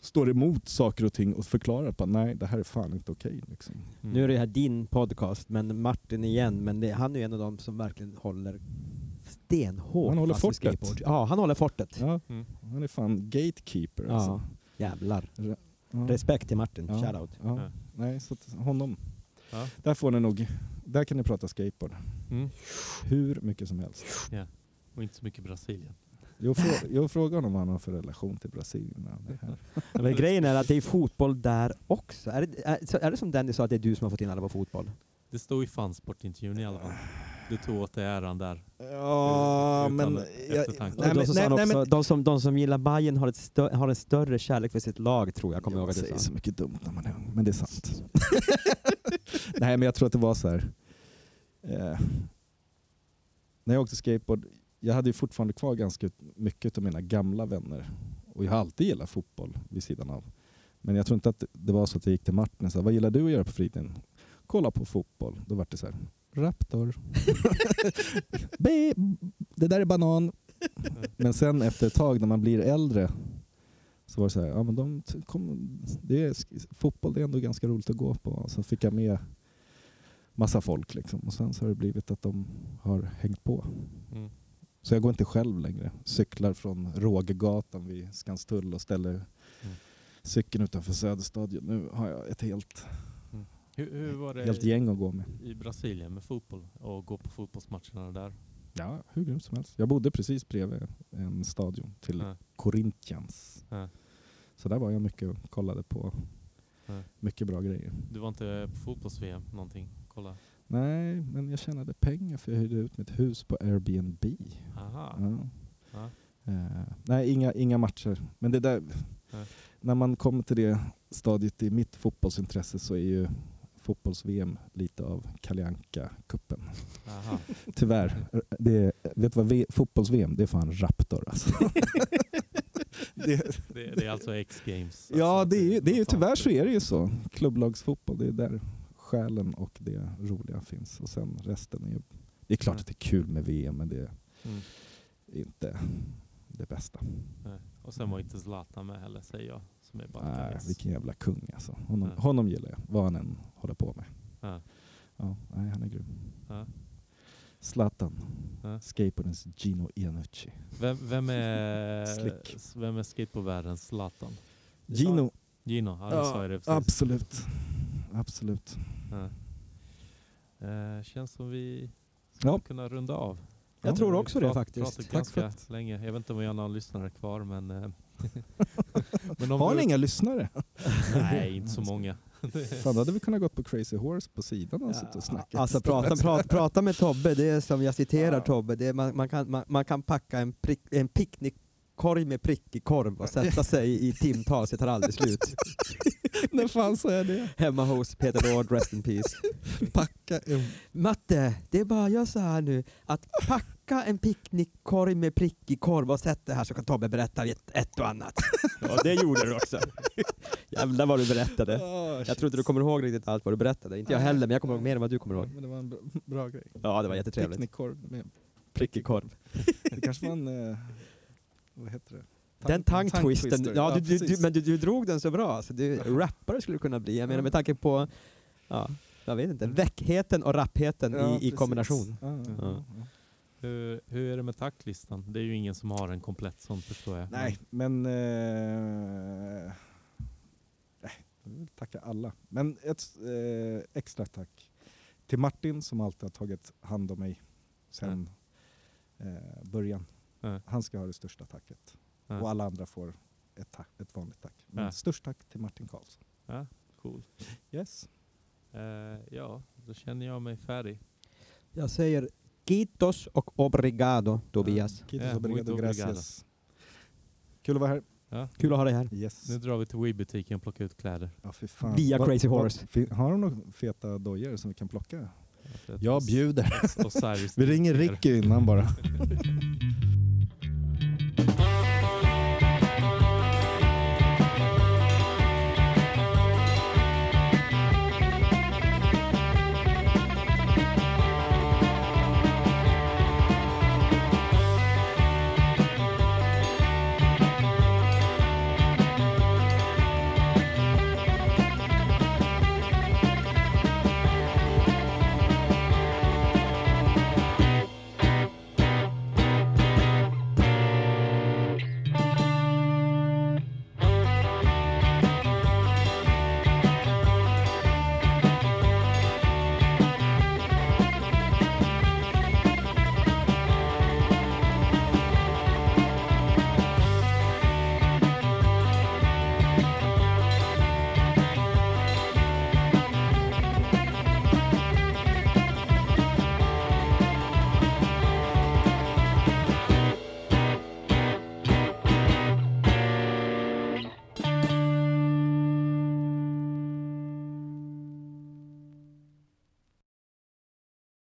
Speaker 1: står emot saker och ting och förklarar på nej, det här är fan inte okej. Liksom.
Speaker 2: Mm.
Speaker 3: Nu är det här din podcast, men Martin igen, men det, han är ju en av dem som verkligen håller stenhårt
Speaker 1: Han håller
Speaker 3: fast vid
Speaker 1: fortet.
Speaker 3: skateboard. Ja, han håller fortet.
Speaker 1: Ja,
Speaker 2: Mm.
Speaker 1: han är fan gatekeeper.
Speaker 3: Ja.
Speaker 1: Alltså.
Speaker 3: Jävlar.
Speaker 1: Ja.
Speaker 3: Respekt till Martin,
Speaker 1: Ja.
Speaker 3: shoutout.
Speaker 1: Ja.
Speaker 2: Ja.
Speaker 1: Nej, så att honom.
Speaker 2: Ja.
Speaker 1: Där får ni nog, där kan ni prata skateboard.
Speaker 2: Mm.
Speaker 1: Hur mycket som helst.
Speaker 2: Och inte så mycket Brasilien.
Speaker 1: Jag, frå, jag frågar honom vad han har för relation till Brasilien. när han är här.
Speaker 3: Men grejen är att det är fotboll där också. Är det, är, så- är det som Dennis sa, att det är du som har fått in alla på fotboll?
Speaker 2: Det stod i fansportintervjun i alla fall. Du tog åt dig äran där.
Speaker 1: Ja,
Speaker 2: Utan
Speaker 1: men...
Speaker 2: eftertanke.
Speaker 1: nej,
Speaker 3: och då
Speaker 1: men,
Speaker 3: så sa
Speaker 1: nej,
Speaker 3: han
Speaker 1: nej,
Speaker 3: också,
Speaker 1: men
Speaker 3: de, som, de som gillar Bayern har, ett stö- har en större kärlek för sitt lag, tror jag. Kommer jag ihåg
Speaker 1: jag
Speaker 3: att
Speaker 1: säger
Speaker 3: du sa.
Speaker 1: så mycket dumt när man är ung, men det är sant. Nej, men jag tror att det var så här. Eh, när jag åkte skateboard, jag hade ju fortfarande kvar ganska mycket av mina gamla vänner. Och jag har alltid gillat fotboll vid sidan av. Men jag tror inte att det var så att jag gick till Martin och sa, vad gillar du att göra på fritiden? Kolla på fotboll. Då var det så här, Raptor. Be, det där är banan. Men sen efter ett tag när man blir äldre så var det så här, ja, men de t- kom, det är, sk- fotboll det är ändå ganska roligt att gå på. Och Så fick jag med massa folk liksom. och sen så har det blivit att de har hängt på.
Speaker 2: Mm.
Speaker 1: Så jag går inte själv längre. Cyklar från Rågegatan vid Skanstull och ställer
Speaker 2: Mm.
Speaker 1: cykeln utanför Söderstadion. Nu har jag ett helt,
Speaker 2: Hur, hur var
Speaker 1: helt
Speaker 2: det
Speaker 1: gäng att gå med.
Speaker 2: i Brasilien med fotboll och gå på fotbollsmatcherna där?
Speaker 1: Ja, hur grymt som helst. Jag bodde precis bredvid en stadion till
Speaker 2: Ja.
Speaker 1: Corinthians.
Speaker 2: Ja.
Speaker 1: Så där var jag mycket och kollade på
Speaker 2: Ja.
Speaker 1: mycket bra grejer.
Speaker 2: Du var inte på fotbolls-VM någonting? Kolla.
Speaker 1: Nej, men jag tjänade pengar för jag hyrde ut mitt hus på Airbnb.
Speaker 2: Aha.
Speaker 1: Ja.
Speaker 2: Ja.
Speaker 1: Eh, nej, inga, inga matcher. Men det där,
Speaker 2: Nej.
Speaker 1: när man kommer till det stadiet i mitt fotbollsintresse så är ju fotbolls-VM lite av Kalle Anka-cupen.
Speaker 2: Aha.
Speaker 1: Tyvärr. Det, är- vet du vad V- fotbolls-VM, det är fan Raptor alltså. det,
Speaker 2: Det, det är alltså X-Games?
Speaker 1: ja,
Speaker 2: alltså,
Speaker 1: det är, ju- det är ju,
Speaker 2: något
Speaker 1: tyvärr
Speaker 2: annat.
Speaker 1: så är det ju så. Klubblagsfotboll, det är där själen och det roliga finns. Och sen resten är ju... Det är klart att det är kul med VM, men det
Speaker 2: Mm.
Speaker 1: är inte det bästa.
Speaker 2: Nej. Eh, Och sen var inte Zlatan med heller säger jag. Som är bara
Speaker 1: Nej,
Speaker 2: tennis.
Speaker 1: vilken jävla kung alltså. Honom,
Speaker 2: Ja.
Speaker 1: honom gillar jag, vad han än håller på med.
Speaker 2: Ja.
Speaker 1: Ja, nej, han är grym.
Speaker 2: Ja.
Speaker 1: Zlatan,
Speaker 2: Ja.
Speaker 1: skateboardens Gino Iannucci.
Speaker 2: Vem, vem är,
Speaker 1: Slick.
Speaker 2: s- vem är skateboardvärldens Zlatan?
Speaker 1: Gino,
Speaker 2: Gino, ja, det sa jag det precis.
Speaker 1: absolut. Absolut.
Speaker 2: Ja. Eh, känns som vi skulle
Speaker 1: Ja.
Speaker 2: kunna runda av.
Speaker 3: Jag
Speaker 1: Ja.
Speaker 3: tror
Speaker 2: Vi
Speaker 3: också det
Speaker 2: prat-
Speaker 3: faktiskt.
Speaker 2: pratat
Speaker 3: Tack för
Speaker 2: ganska länge. Jag vet inte om jag har någon lyssnare kvar men... eh, men om
Speaker 1: Har
Speaker 2: du-
Speaker 1: ni inga lyssnare?
Speaker 2: Nej, inte så många.
Speaker 1: Fan, då hade vi kunnat gått på Crazy Horse på sidan och suttit och snackat.
Speaker 3: Alltså prata, prata, prata med Tobbe, det är som jag citerar Tobbe, det är, man, man, kan, man, man kan packa en, prick, en picknickkorg med prickig korv och sätta sig i timtals, det tar aldrig slut.
Speaker 1: När fan sa jag det?
Speaker 3: Hemma hos Peter Lord, rest in peace.
Speaker 1: Packa en...
Speaker 3: Matte, det är bara att göra så här nu, att packa en picknickkorg med prickig korv och sätta här så kan Tobbe berätta ett, ett och annat. Ja, det gjorde du också. Jävlar vad du berättade.
Speaker 1: Oh,
Speaker 3: Jag tror inte du kommer ihåg riktigt allt vad du berättade, inte jag heller, men jag kommer ihåg mer än vad du kommer ihåg.
Speaker 1: Men det var en bra, bra grej.
Speaker 3: Ja, det var jättetrevligt.
Speaker 1: Picknickkorv med...
Speaker 3: Prickig korv.
Speaker 1: Det kanske var en... Eh, vad heter det?
Speaker 3: Den
Speaker 1: Tang-
Speaker 3: tangtwisten,
Speaker 1: tangtwister.
Speaker 3: ja, du, du, du,
Speaker 1: precis.
Speaker 3: men du, du drog den så bra. Så du, rappare skulle du kunna bli. Jag menar med tanke på, ja, jag vet inte, väckheten och rappheten
Speaker 1: Ja,
Speaker 3: i, i
Speaker 1: precis.
Speaker 3: kombination.
Speaker 1: Ja, ja,
Speaker 3: Ja.
Speaker 1: ja.
Speaker 2: Hur, hur är det med tacklistan? Det är ju ingen som har en komplett sån förstår jag.
Speaker 1: Nej, men... Eh, nej, jag vill tacka alla. Men ett eh, extra tack till Martin som alltid har tagit hand om mig sedan eh, början.
Speaker 2: Ja.
Speaker 1: Han ska ha det största tacket.
Speaker 2: Ja.
Speaker 1: Och alla andra får ett, tack, ett vanligt tack. Men
Speaker 2: Ja.
Speaker 1: störst tack till Martin Karlsson.
Speaker 2: Ja, Mm, cool.
Speaker 1: Yes.
Speaker 2: Eh, ja, då känner jag mig färdig.
Speaker 3: Jag säger Kitos och obrigado Tobias.
Speaker 1: Kitos
Speaker 2: Ja,
Speaker 1: obrigado,
Speaker 2: muito obrigado.
Speaker 1: gracias. Kul att vara här.
Speaker 3: Kul att ha dig här.
Speaker 1: Yes.
Speaker 2: Nu drar vi till Wii-butiken och plockar ut kläder.
Speaker 1: Ja, fy fan.
Speaker 3: Via Crazy
Speaker 1: vad-
Speaker 3: Horse.
Speaker 1: fin- har de några feta dojor som vi kan plocka?
Speaker 2: Att-
Speaker 1: bjuder.
Speaker 2: Osiris
Speaker 1: Vi ringer Ricky innan bara.